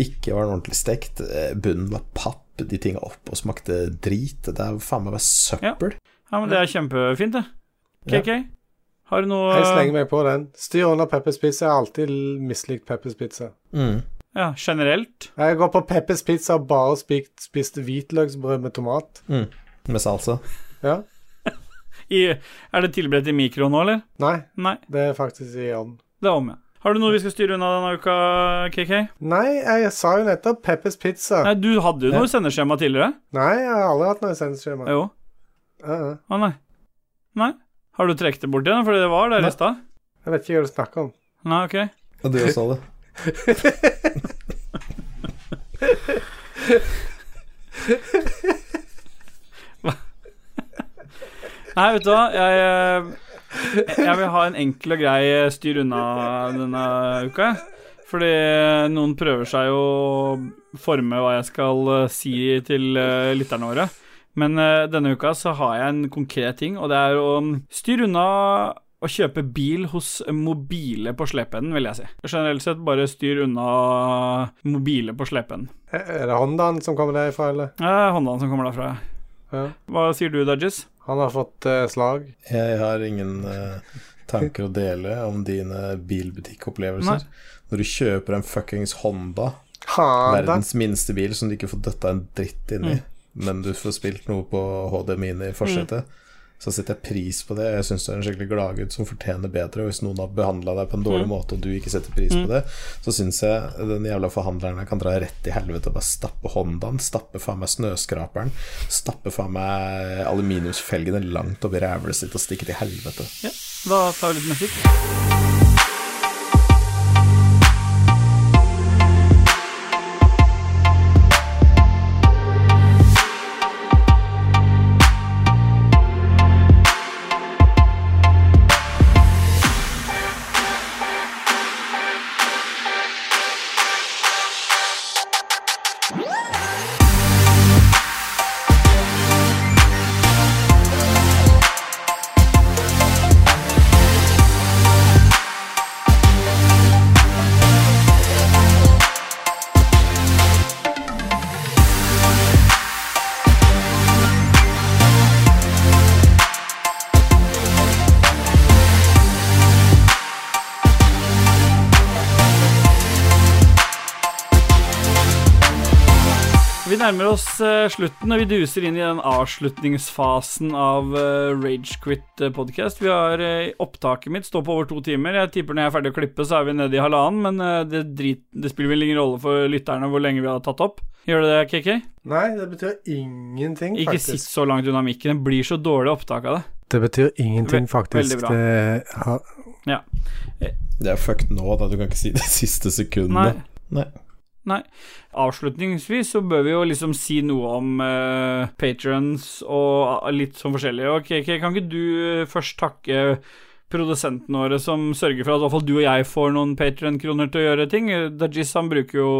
S5: Ikke var den ordentlig stekt. eh, Bunnen var papp. De tinga opp og smakte drit. Det er faen meg bare søppel.
S2: Ja, men det er kjempefint, det. KK, har du noe
S3: Jeg slenger meg på den. Styr under Peppers Pizza. Jeg har alltid mislikt Peppers Pizza.
S5: Mm.
S2: Ja, generelt?
S3: Jeg går på Peppers Pizza og bare spist, spist hvitløksbrød med tomat.
S5: Med salsa.
S3: Ja.
S2: I, er det tilberedt i mikro nå, eller?
S3: Nei,
S2: Nei,
S3: det er faktisk i ovnen.
S2: det er om, ja. Har du noe vi skal styre unna denne uka, KK?
S3: Nei, jeg sa jo nettopp Peppers Pizza.
S2: Nei, du hadde jo noe sendeskjema tidligere.
S3: Nei, jeg har aldri hatt noe sendeskjema.
S2: Jo.
S3: Uh, uh.
S2: Å, nei. Nei. Har du trukket det bort igjen? Fordi det var der i stad?
S3: Jeg vet ikke hva du snakker om.
S2: Nei, ok.
S5: Og du også, Alle.
S2: Nei, vet du hva, jeg, eh, jeg vil ha en enkel og grei eh, styr unna denne uka. jeg. Fordi noen prøver seg å forme hva jeg skal eh, si til eh, lytterne våre. Men eh, denne uka så har jeg en konkret ting, og det er å styre unna å kjøpe bil hos mobile på slepeenden, vil jeg si. Generelt sett bare styr unna mobile på slepeenden.
S3: Er er det Hondaen som kommer derifra, eller?
S2: Det er håndene som kommer derfra.
S3: Ja.
S2: Hva sier du, Dudges?
S3: Han har fått eh, slag.
S5: Jeg har ingen eh, tanker å dele om dine bilbutikkopplevelser. Når du kjøper en fuckings Honda,
S3: Honda?
S2: Ah, Mm.
S5: verdens minste bil som du ikke får døtta en dritt inni, men du får spilt noe på HD Mini i forsetet, så setter jeg pris på det. Jeg syns du er en skikkelig gladgutt som fortjener bedre. Og hvis noen har behandla deg på en
S2: Mm.
S5: dårlig måte, og du ikke setter pris på det, så syns jeg den jævla forhandleren her kan dra rett i helvete og bare stappe Hondaen, stappe faen meg snøskraperen, stappe faen meg aluminiumsfelgene langt oppi rævlet sitt og stikke til helvete.
S2: Ja, da tar vi litt musikk. Vi nærmer oss eh, slutten, og vi duser inn i den avslutningsfasen av eh, Rage Quit eh, podcast. Vi har eh, opptaket mitt står på over to timer. Jeg tipper når jeg er ferdig å klippe, så er vi nede i halvannen, men eh, det, drit, det spiller vel ingen rolle for lytterne hvor lenge vi har tatt opp. Gjør det det, KK?
S3: Nei, det betyr ingenting,
S2: Ikke sitt
S3: faktisk.
S2: så langt unna mikken. Det blir så dårlig opptak av det.
S3: Det betyr ingenting,
S2: Ve- faktisk. veldig bra.
S5: Det er fucked nå, da. Du kan ikke si det [laughs] siste
S2: Nei.
S5: sekundet. Nei.
S2: Nei. Avslutningsvis så bør vi jo liksom si noe om uh, patrons og eh, litt sånn forskjellig. Ok, ok, kan ikke du eh, først takke produsentene våre som sørger for at i hvert fall du og jeg får noen patronkroner til å gjøre ting? Eh, Dajis han bruker jo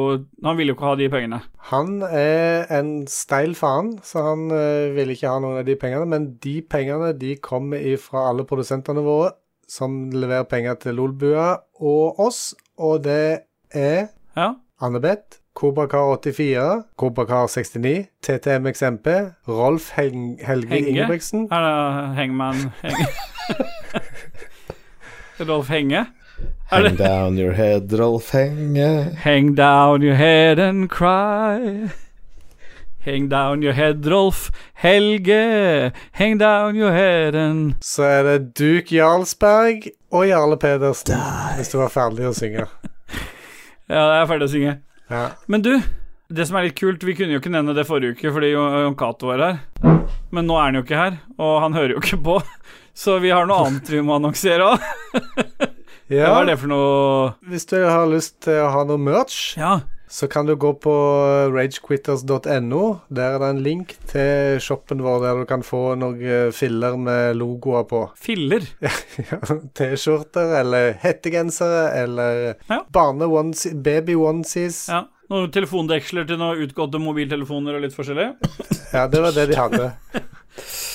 S2: Han vil jo ikke ha de pengene.
S3: Han er en steil faen, så han eh, vil ikke ha noen av de pengene. Men de pengene de kommer ifra alle produsentene våre, som leverer penger til Lolbua og oss. Og det er
S2: Ja.
S3: Annebeth, Kobrakar84, Kobrakar69, TTMXMP, Rolf Hel Helge
S2: Henge?
S3: Ingebrigtsen,
S2: Her er Hangman Henge. [laughs] Rolf Henge. Er
S5: Hang
S2: det
S5: down your head, Rolf eh, Henge.
S2: Hang down your head and cry. Hang down your head, Rolf. Helge. Hang down your head and
S3: så er det Duke Jarlsberg og Jarle Pedersen, hvis du var ferdig å synge.
S2: Ja, jeg er ferdig å synge.
S3: Ja.
S2: Men du, det som er litt kult Vi kunne jo ikke nevne det forrige uke fordi Jo- Jon Cato var her. Men nå er han jo ikke her, og han hører jo ikke på. Så vi har noe annet vi må annonsere òg.
S3: ja,
S2: Hva er det for noe
S3: hvis du har lyst til å ha noe merch,
S2: Ja.
S3: så kan du gå på ragequitters.no. Der er det en link til shoppen vår der du kan få noen filler med logoer på. [laughs]
S2: Filler.
S3: Ja, T-skjorter eller hettegensere eller
S2: Ja.
S3: barne-onesies, baby-onesies.
S2: Ja. Noen telefondeksler til noen utgåtte mobiltelefoner og litt forskjellig.
S3: Ja, det var det de hadde.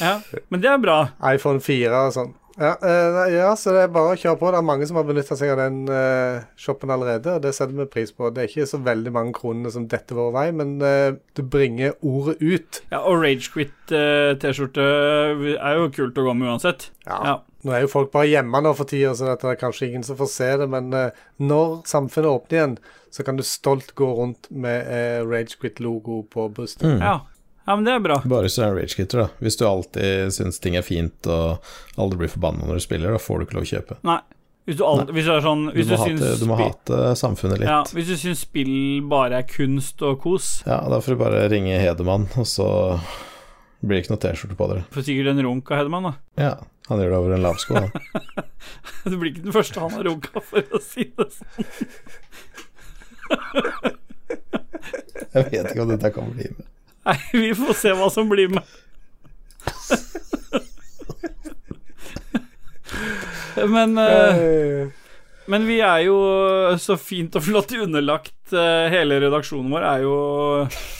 S2: Ja. Men det er bra.
S3: iPhone 4 og sånn. Ja, eh, nei, ja, så det er bare å kjøre på. Det er mange som har benytta seg av den eh, shoppen allerede, og det setter vi pris på. Det er ikke så veldig mange kronene som detter vår vei, men eh, du bringer ordet ut.
S2: Ja, og Ragequit-T-skjorte er jo kult å gå med uansett.
S3: Ja.
S2: Ja.
S3: Nå er jo folk bare hjemme nå for tida, så dette er kanskje ingen som får se det, men eh, når samfunnet åpner igjen, så kan du stolt gå rundt med eh, Ragequit-logo på brystet.
S5: Mm.
S2: Ja. ja, men det er bra.
S5: Bare hvis du er en ragequitter, da. Hvis du alltid syns ting er fint og aldri blir forbanna når du spiller, da får du ikke lov å kjøpe.
S2: Nei. Hvis du, alt, hvis du er sånn
S5: Du
S2: hvis du,
S5: må, hate,
S2: syns
S5: du må
S2: spi-
S5: hate
S2: Ja,
S5: samfunnet litt. Ja.
S2: hvis du syns spill bare er kunst og kos,
S5: da får du bare ringe Hedemann, og så blir det ikke noe T-skjorte på dere.
S2: får sikkert en runk av Hedman, da. [laughs]
S5: Ja, han gjør det over en lavsko, han.
S2: Du blir ikke den første han har runka, for å si det sånn.
S5: Jeg vet ikke om dette kan bli med.
S2: Nei, vi får se hva som blir med. [laughs] Men eh,
S3: Eh,
S2: Men vi er jo eh, så fint og flott underlagt eh, Hele redaksjonen vår er jo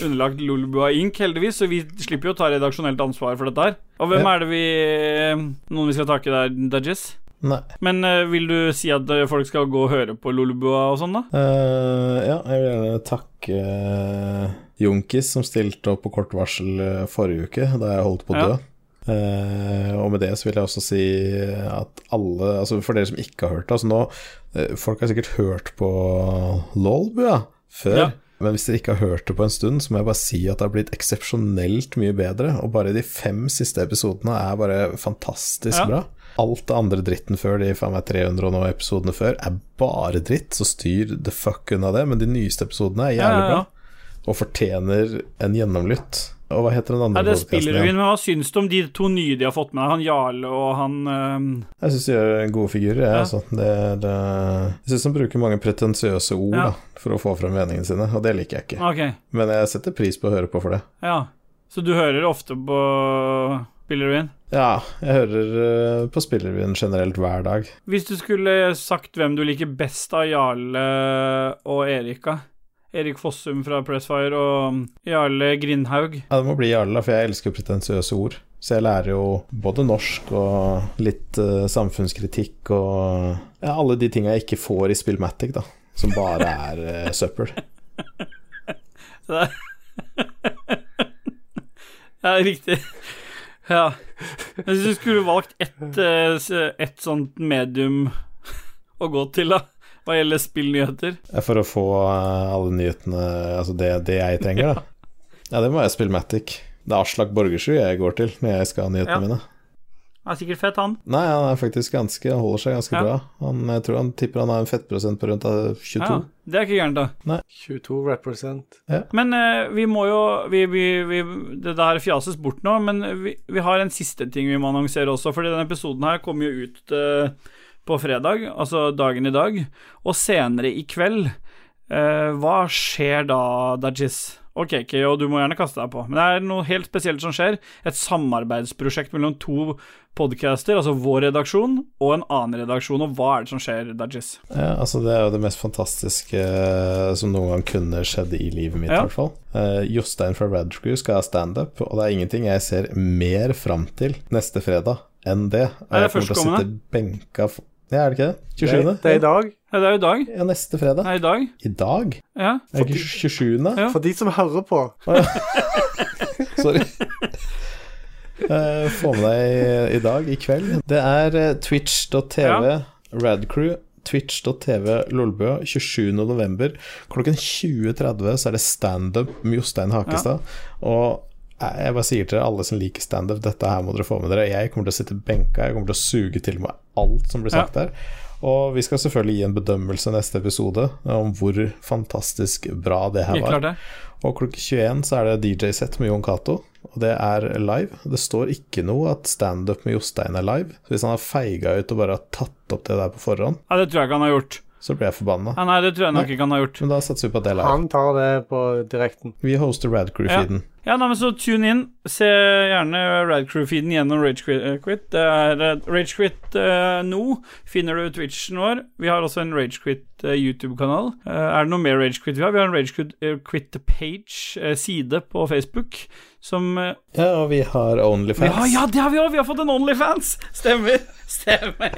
S2: underlagt Lolbua Inc., heldigvis, så vi slipper jo å ta redaksjonelt ansvar for dette her. Og hvem
S5: Ja.
S2: er det vi eh, Noen vi skal takke der, Dudges?
S5: Nei.
S2: Men eh, vil du si at eh, folk skal gå og høre på Lolbua og sånn, da?
S5: Eh, ja, jeg vil gjerne takke eh, Junkis, som stilte opp på kort varsel eh, forrige uke, da jeg holdt på å dø.
S2: Ja.
S5: Eh, og med det så vil jeg også si at alle Altså for dere som ikke har hørt det altså nå, eh, Folk har sikkert hørt på Lolbua før.
S2: Ja.
S5: Men hvis dere ikke har hørt det på en stund, så må jeg bare si at det har blitt eksepsjonelt mye bedre. Og bare de fem siste episodene er bare fantastisk
S2: Ja.
S5: bra. Alt det andre dritten før, de faen meg 300 og noe episodene før, er bare dritt. Så styr the fuck unna det. Men de nyeste episodene er
S2: Ja,
S5: jævlig
S2: ja, ja.
S5: bra. Og fortjener en gjennomlytt. Og hva heter den
S2: Nei,
S5: andre
S2: det
S5: podcasten
S2: spiller du
S5: igjen?
S2: inn, men hva syns du om de to nye de har fått med deg? Han Jarle og han ehm,
S5: Jeg syns de gjør gode figurer. Jeg,
S2: Ja.
S5: altså. det er, eh, jeg syns de bruker mange pretensiøse ord
S2: Ja.
S5: da, for å få frem meningene sine, og det liker jeg ikke.
S2: eh, Ok,
S5: Men jeg setter pris på å høre på for det.
S2: ja. Så du hører ofte på Spiller du inn?
S5: Ja, jeg hører eh, på spillerevyen generelt hver dag.
S2: Hvis du skulle sagt hvem du liker best av Jarle og Erika Erik Fossum fra Pressfire og Jarle Grindhaug.
S5: Ja, det må bli Jarle, da, for jeg elsker pretensiøse ord. Så jeg lærer jo både norsk og litt eh, samfunnskritikk og ja, alle de tinga jeg ikke får i Spillmatic, da. Som bare er eh, søppel.
S2: Ja, riktig. [laughs] Ja. Men Hvis du skulle valgt ett, eh, s- ett sånt medium [laughs] å gå til, da, hva gjelder spillnyheter
S5: Eh, For å få eh, alle nyhetene Altså det, det jeg
S2: [laughs]
S5: trenger, da. Ja, det må være Spillmatic. Det er Aslak Borgersrud jeg går til når jeg skal ha nyhetene
S2: Ja.
S5: mine.
S2: Han er sikkert fett, han.
S5: Nei, han er faktisk ganske, holder seg ganske
S2: Ja.
S5: bra. Han, jeg tror han tipper han har en fettprosent på rundt eh, 22.
S2: Ja, det er ikke gærent, da.
S3: 22 represent.
S2: Men eh, vi må jo vi, vi, vi, Det der fjases bort nå, men vi, vi har en siste ting vi må annonsere også. Fordi denne episoden her kommer jo ut eh, på fredag, altså dagen i dag. Og senere i kveld. eh, hva skjer da, Dajis? Ok, Keo, du må gjerne kaste deg på. Men det er noe helt spesielt som skjer. Et samarbeidsprosjekt mellom to podcaster, altså vår redaksjon og en annen redaksjon. Og hva er det som skjer, Dajis?
S5: Ja, altså Det er jo det mest fantastiske eh, som noen gang kunne skjedd i livet mitt.
S2: Ja.
S5: I hvert fall Eh, Jostein fra Radcrew skal ha standup, og det er ingenting jeg ser mer fram til neste fredag enn det. Og
S2: Er det
S5: jeg kommer til å sitte
S2: førstkommende?
S5: benka f- Ja, er det ikke det?
S3: Det,
S5: 27.?
S3: det er i dag.
S2: Ja, det er jo i dag.
S5: Ja, neste fredag.
S2: Nei, i dag.
S5: I dag?
S2: Ja.
S5: Er det ikke 27.?
S2: Ja.
S3: For de som hører på.
S5: [laughs] Sorry. Eh, få med deg i dag, i kveld. Det er eh, twitch.tv
S2: Ja.
S5: radcrew. Twitch.tv Lolbø 27.11. Klokken 20.30 så er det standup med Jostein Hakestad. Og jeg jeg bare sier til dere, alle som liker standup, dette her må dere få med dere. Jeg kommer til å sitte benka, jeg kommer til å suge til meg alt som blir sagt der. Og vi skal selvfølgelig gi en bedømmelse neste episode om hvor fantastisk bra det her
S2: Helt
S5: var.
S2: klart det.
S5: Og klokka 21 så er det DJ-sett med Jon Cato, og det er live. Det står ikke noe at standup med Jostein er live, så hvis han har feiga ut og bare har tatt opp det der på forhånd,
S2: Ja, det tror jeg ikke han har gjort.
S5: så blir jeg forbanna.
S2: Ja, nei, det tror jeg nok ikke han har gjort.
S5: Men da satser vi på at det er live.
S3: Han tar det på direkten.
S5: Vi hoster Radcrew-feeden.
S2: Ja, nei, men Så tune inn. Se gjerne Radcrew-feeden gjennom Ragequit. Det er eh, Ragequit eh, nå. Finner du Twitchen vår. Vi har også en Ragequit YouTube-kanal. Eh, er det noe mer Ragequit vi har? Vi har en eh, Ragequit-page, eh, side på Facebook, som eh,
S5: Ja, og vi har Onlyfans.
S2: Ja, ja, det har vi òg! Vi har fått en Onlyfans! Stemmer. Stemmer.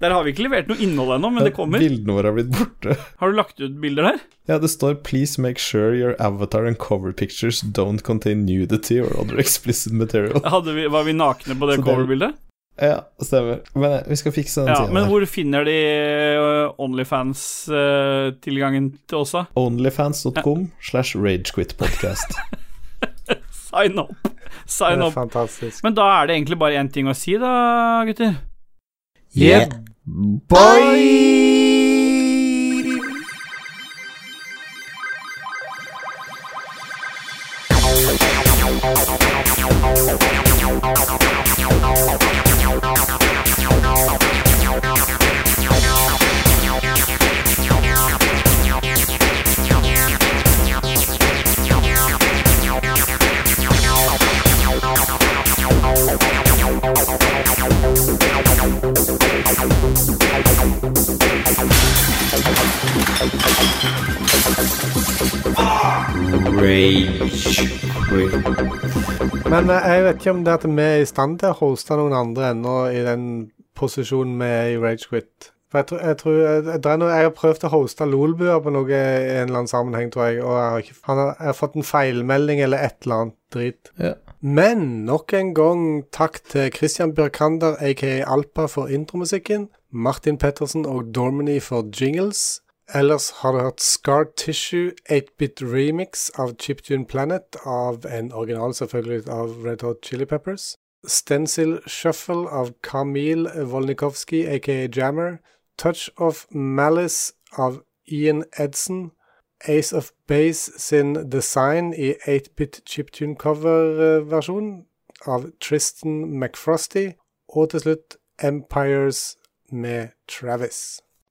S2: Der har vi ikke levert noe innhold ennå, men det kommer.
S5: Bildene våre har blitt borte.
S2: Har du lagt ut bilder der?
S5: Ja, det står 'Please make sure your avatar and cover pictures don't contain nudity or other explicit material'.
S2: Hadde vi, var vi nakne på det
S5: Så det-
S2: coverbildet?
S5: Ja, stemmer. Men eh, vi skal fikse den
S2: Ja,
S5: tiden
S2: men
S5: der.
S2: hvor finner de eh, Onlyfans-tilgangen til oss, da?
S5: Onlyfans.com slash ragequitpodcast.
S2: Sign up! [laughs]
S3: Det
S2: Sign
S3: er
S2: up.
S3: fantastisk.
S2: Men da er det egentlig bare én ting å si, da, gutter.
S4: Yeah.
S3: Men eh, jeg vet ikke om det at vi er i stand til å hoste noen andre ennå i den posisjonen vi er i Ragequit. For jeg tror, jeg, tror jeg, det er noe, jeg har prøvd å hoste Lolbua på noe i en eller annen sammenheng, tror jeg, og jeg har, ikke, han har, jeg har fått en feilmelding eller et eller annet drit.
S5: Ja.
S3: Men nok en gang takk til Christian Bjørkander, aka Alpa, for intromusikken, Martin Pettersen og Dormany for jingles. Ellers har du hørt Scar Tissue 8-bit remix av Chiptune Planet, av en original selvfølgelig av Red Hot Chili Peppers. Stencil Shuffle av Kamil Volnikovskij, aka Jammer. Touch of Malice av Ian Edson. Ace of Base sin design i 8-bit chiptune-cover-versjon av äh, Tristan McFrosty. Og til slutt Empires med Travis.